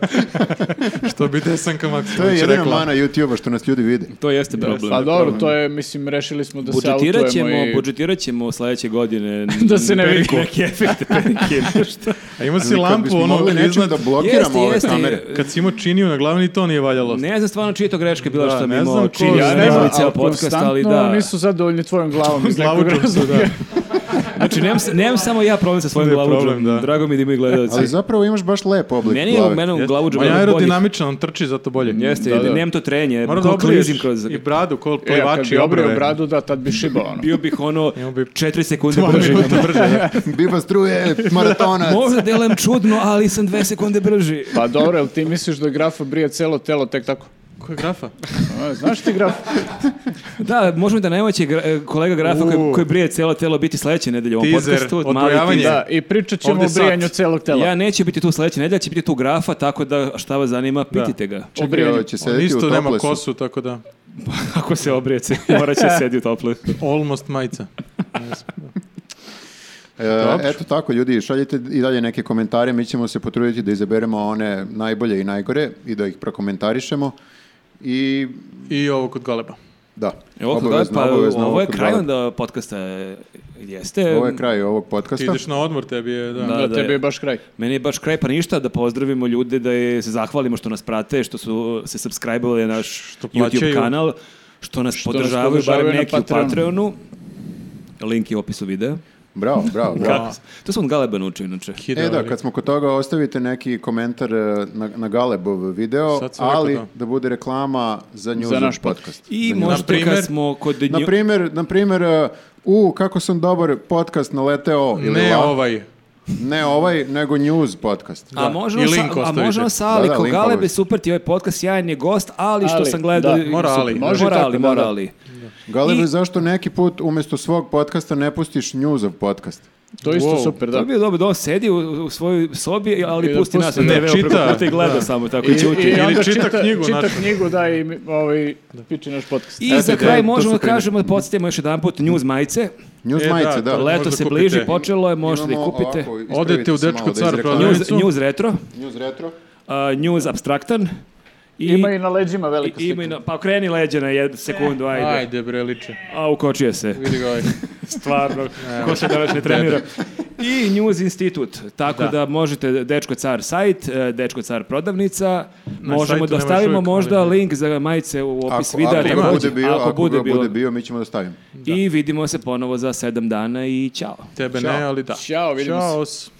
Speaker 4: što bi Desanka
Speaker 2: To je
Speaker 4: Maksimović
Speaker 2: jedina
Speaker 4: rekla.
Speaker 2: mana YouTube-a što nas ljudi vide.
Speaker 1: To jeste problem.
Speaker 3: Pa dobro, to je, mislim, rešili smo da se
Speaker 1: Budžetirat ćemo,
Speaker 3: autujemo i...
Speaker 1: budžetirat ćemo sledeće godine.
Speaker 3: Da se ne vidi.
Speaker 1: Neki- Neki efekte, perikir. Šta?
Speaker 4: A ima si
Speaker 2: Kad
Speaker 4: lampu
Speaker 2: bismo
Speaker 4: ono
Speaker 2: mogli nečim
Speaker 4: iznad...
Speaker 2: da blokiramo
Speaker 1: Jeste,
Speaker 2: ove
Speaker 1: jeste.
Speaker 2: kamere.
Speaker 4: Kad si imao činiju na glavi ni to nije valjalo.
Speaker 1: Ne znam stvarno čija je to greška bila
Speaker 4: Da,
Speaker 1: što mi
Speaker 4: ne
Speaker 1: imao
Speaker 4: znam ko-
Speaker 1: čini
Speaker 4: Ja
Speaker 1: ja
Speaker 4: ne znam,
Speaker 1: ceo podcast, ali da.
Speaker 3: nisu zadovoljni tvojom glavom iz nekog
Speaker 4: Glavučom su,
Speaker 3: razloga.
Speaker 4: da.
Speaker 1: Znači, nemam, s- nemam samo ja problem sa svojim
Speaker 4: Da je problem,
Speaker 1: glavuđom.
Speaker 4: da.
Speaker 1: Drago mi je da imaju gledalci.
Speaker 2: Ali zapravo imaš baš lep oblik
Speaker 1: Meni je
Speaker 2: glave.
Speaker 1: mene u glavuđu
Speaker 4: Ma ja
Speaker 1: jedan od boljih.
Speaker 4: aerodinamičan, on trči zato bolje.
Speaker 1: Jeste,
Speaker 3: Da, da.
Speaker 1: nemam to trenje.
Speaker 4: Moram da
Speaker 1: ko
Speaker 4: obriješ
Speaker 1: klizim kroz...
Speaker 4: i bradu, kol
Speaker 3: E, a kad
Speaker 4: plivači
Speaker 3: bi obrio
Speaker 4: obrove.
Speaker 3: bradu, da, tad bi šibao, ono.
Speaker 1: Bio bih ono
Speaker 4: Imao bi
Speaker 1: 4 sekunde
Speaker 4: Dva
Speaker 1: brži.
Speaker 4: minuta brže. da.
Speaker 2: Biba struje, maratonac.
Speaker 1: Možda delujem čudno, ali sam 2 sekunde brži.
Speaker 3: Pa dobro, jel ti misliš da grafa brije celo telo tek tako?
Speaker 4: Ko je grafa?
Speaker 3: A, Znaš ti graf?
Speaker 1: Da, možemo i da najmoći kolega Grafa koji,
Speaker 4: U.
Speaker 1: koji brije cijelo telo biti sledeće nedelje u ovom
Speaker 4: Teaser,
Speaker 1: podcastu. mali
Speaker 4: odbrojavanje.
Speaker 1: teaser.
Speaker 3: Da, i pričat ćemo
Speaker 4: Ovdje
Speaker 3: o
Speaker 4: sat.
Speaker 3: brijanju celog tela.
Speaker 1: Ja neću biti tu sledeće nedelje, će biti tu Grafa, tako da šta vas zanima, pitajte ga.
Speaker 3: O
Speaker 2: Čekaj, ovo
Speaker 3: brijanju.
Speaker 2: će
Speaker 4: On
Speaker 2: sedeti u
Speaker 4: isto nema
Speaker 2: toplesu.
Speaker 4: kosu, tako da...
Speaker 1: Ako se obrijece, morat će sedi u toplu.
Speaker 4: Almost majica.
Speaker 2: E, eto tako, ljudi, šaljite i dalje neke komentare, mi ćemo se potruditi da izaberemo one najbolje i najgore i da ih prokomentarišemo. I
Speaker 4: I ovo kod galeba.
Speaker 2: da,
Speaker 1: Evo,
Speaker 2: obavezno,
Speaker 1: pa,
Speaker 2: obavezno.
Speaker 1: ovo je
Speaker 2: kod
Speaker 1: kraj
Speaker 2: Galeba.
Speaker 1: onda podcasta. Jeste.
Speaker 2: Ovo je kraj ovog
Speaker 4: Ti
Speaker 2: podcasta.
Speaker 4: ideš na odmor, tebi je... Da.
Speaker 1: Da.
Speaker 3: Da, tebi je baš kraj.
Speaker 1: Meni je baš kraj pa ništa da pozdravimo ljude, da je, se zahvalimo što nas prate, što su se subscribe-ovali na naš YouTube
Speaker 4: plaćaju.
Speaker 1: kanal, što nas podržavaju,
Speaker 3: podržavaju
Speaker 1: barem
Speaker 3: na
Speaker 1: neki u
Speaker 3: Patreonu.
Speaker 1: Patreonu. Link je u opisu videa.
Speaker 2: Bravo, bravo, bravo.
Speaker 1: Kako? se- To sam od Galeba naučio, inače.
Speaker 4: Hideo
Speaker 2: E da,
Speaker 4: ili-
Speaker 2: kad smo kod toga ostavite neki komentar e, na, na Galebov video,
Speaker 4: Sad sam rekao
Speaker 2: ali
Speaker 4: to.
Speaker 2: da bude reklama za news
Speaker 3: Za naš
Speaker 2: podcast.
Speaker 1: I
Speaker 2: Za Njuzu.
Speaker 1: možda kad
Speaker 4: primer-
Speaker 1: smo kod nju...
Speaker 2: Na primjer, na primjer, e, u, kako sam dobar podcast naleteo, ili
Speaker 4: Ne
Speaker 2: la-
Speaker 4: ovaj.
Speaker 2: ne ovaj, nego news podcast.
Speaker 1: A možemo
Speaker 4: I
Speaker 1: sa,
Speaker 4: link
Speaker 1: a
Speaker 4: ostavite.
Speaker 1: možemo sa Ali,
Speaker 2: Da, da,
Speaker 1: ko
Speaker 2: link
Speaker 1: Galeb je
Speaker 2: obavezno.
Speaker 1: super ti ovaj podcast, sjajan je gost, ali što
Speaker 3: Ali,
Speaker 1: sam gledao...
Speaker 3: da,
Speaker 4: mora
Speaker 1: super.
Speaker 4: ali.
Speaker 3: Može
Speaker 1: mora
Speaker 3: i tako,
Speaker 1: ali,
Speaker 3: da,
Speaker 1: mora
Speaker 3: da.
Speaker 1: ali.
Speaker 2: Galebe,
Speaker 1: I-
Speaker 2: zašto neki put umjesto svog podcasta ne pustiš newsov podcast?
Speaker 3: To je isto
Speaker 4: Wow.
Speaker 3: super,
Speaker 1: Da.
Speaker 3: da.
Speaker 1: To bi dobro da on sedi u, u svojoj sobi, ali
Speaker 3: I da
Speaker 1: pusti nas
Speaker 3: pusti-
Speaker 1: na
Speaker 4: Ne,
Speaker 1: TV-u
Speaker 4: čita.
Speaker 1: preko puta i gleda
Speaker 4: Da.
Speaker 1: samo tako i ćuti.
Speaker 4: Ili
Speaker 3: onda
Speaker 4: čita knjigu
Speaker 3: Čita
Speaker 4: našu.
Speaker 3: knjigu, da, i mi- ovaj, piči naš podcast.
Speaker 1: I za
Speaker 4: Eto,
Speaker 1: kraj
Speaker 4: to su
Speaker 1: možemo da
Speaker 4: primjer.
Speaker 1: kažemo da podsjetimo još jedan put News majice.
Speaker 2: News
Speaker 4: E, da,
Speaker 2: majice, da.
Speaker 4: to je-
Speaker 1: Leto
Speaker 4: možda
Speaker 1: se
Speaker 4: kupite.
Speaker 1: bliži, počelo je, možete da ih
Speaker 2: Imamo
Speaker 1: kupite.
Speaker 2: ovako, ispravite
Speaker 4: Odete u
Speaker 2: se malo
Speaker 4: Dečko
Speaker 2: da
Speaker 4: car
Speaker 2: izreklamiramo.
Speaker 4: prodavnicu.
Speaker 1: News, news retro,
Speaker 2: News retro.
Speaker 1: a, news abstraktan. I,
Speaker 3: Ima i na leđima velika
Speaker 1: i- ima
Speaker 3: slika.
Speaker 1: i na- pa okreni leđa na jednu sekundu, ajde.
Speaker 4: E, Ajde bre, liče.
Speaker 1: A ukočio se.
Speaker 4: Vidi ga ovaj.
Speaker 1: stvarno, ko se danas ne trenira. I News Institut, tako da, možete Dečko Car sajt, e, Dečko Car prodavnica, možemo
Speaker 4: sajtu
Speaker 1: da
Speaker 4: nemaš
Speaker 1: stavimo
Speaker 4: uvijek,
Speaker 1: možda
Speaker 4: ali-
Speaker 1: link za majice u opis
Speaker 2: Ako,
Speaker 1: videa.
Speaker 2: ako
Speaker 1: također.
Speaker 2: bude bio, ako, bude,
Speaker 1: bilo.
Speaker 2: bude bio, mi ćemo da stavimo.
Speaker 1: I vidimo se ponovo za sedam dana i ćao.
Speaker 4: Tebe ne, ali da.
Speaker 3: Ćao, vidimo se.
Speaker 4: Ćao. s-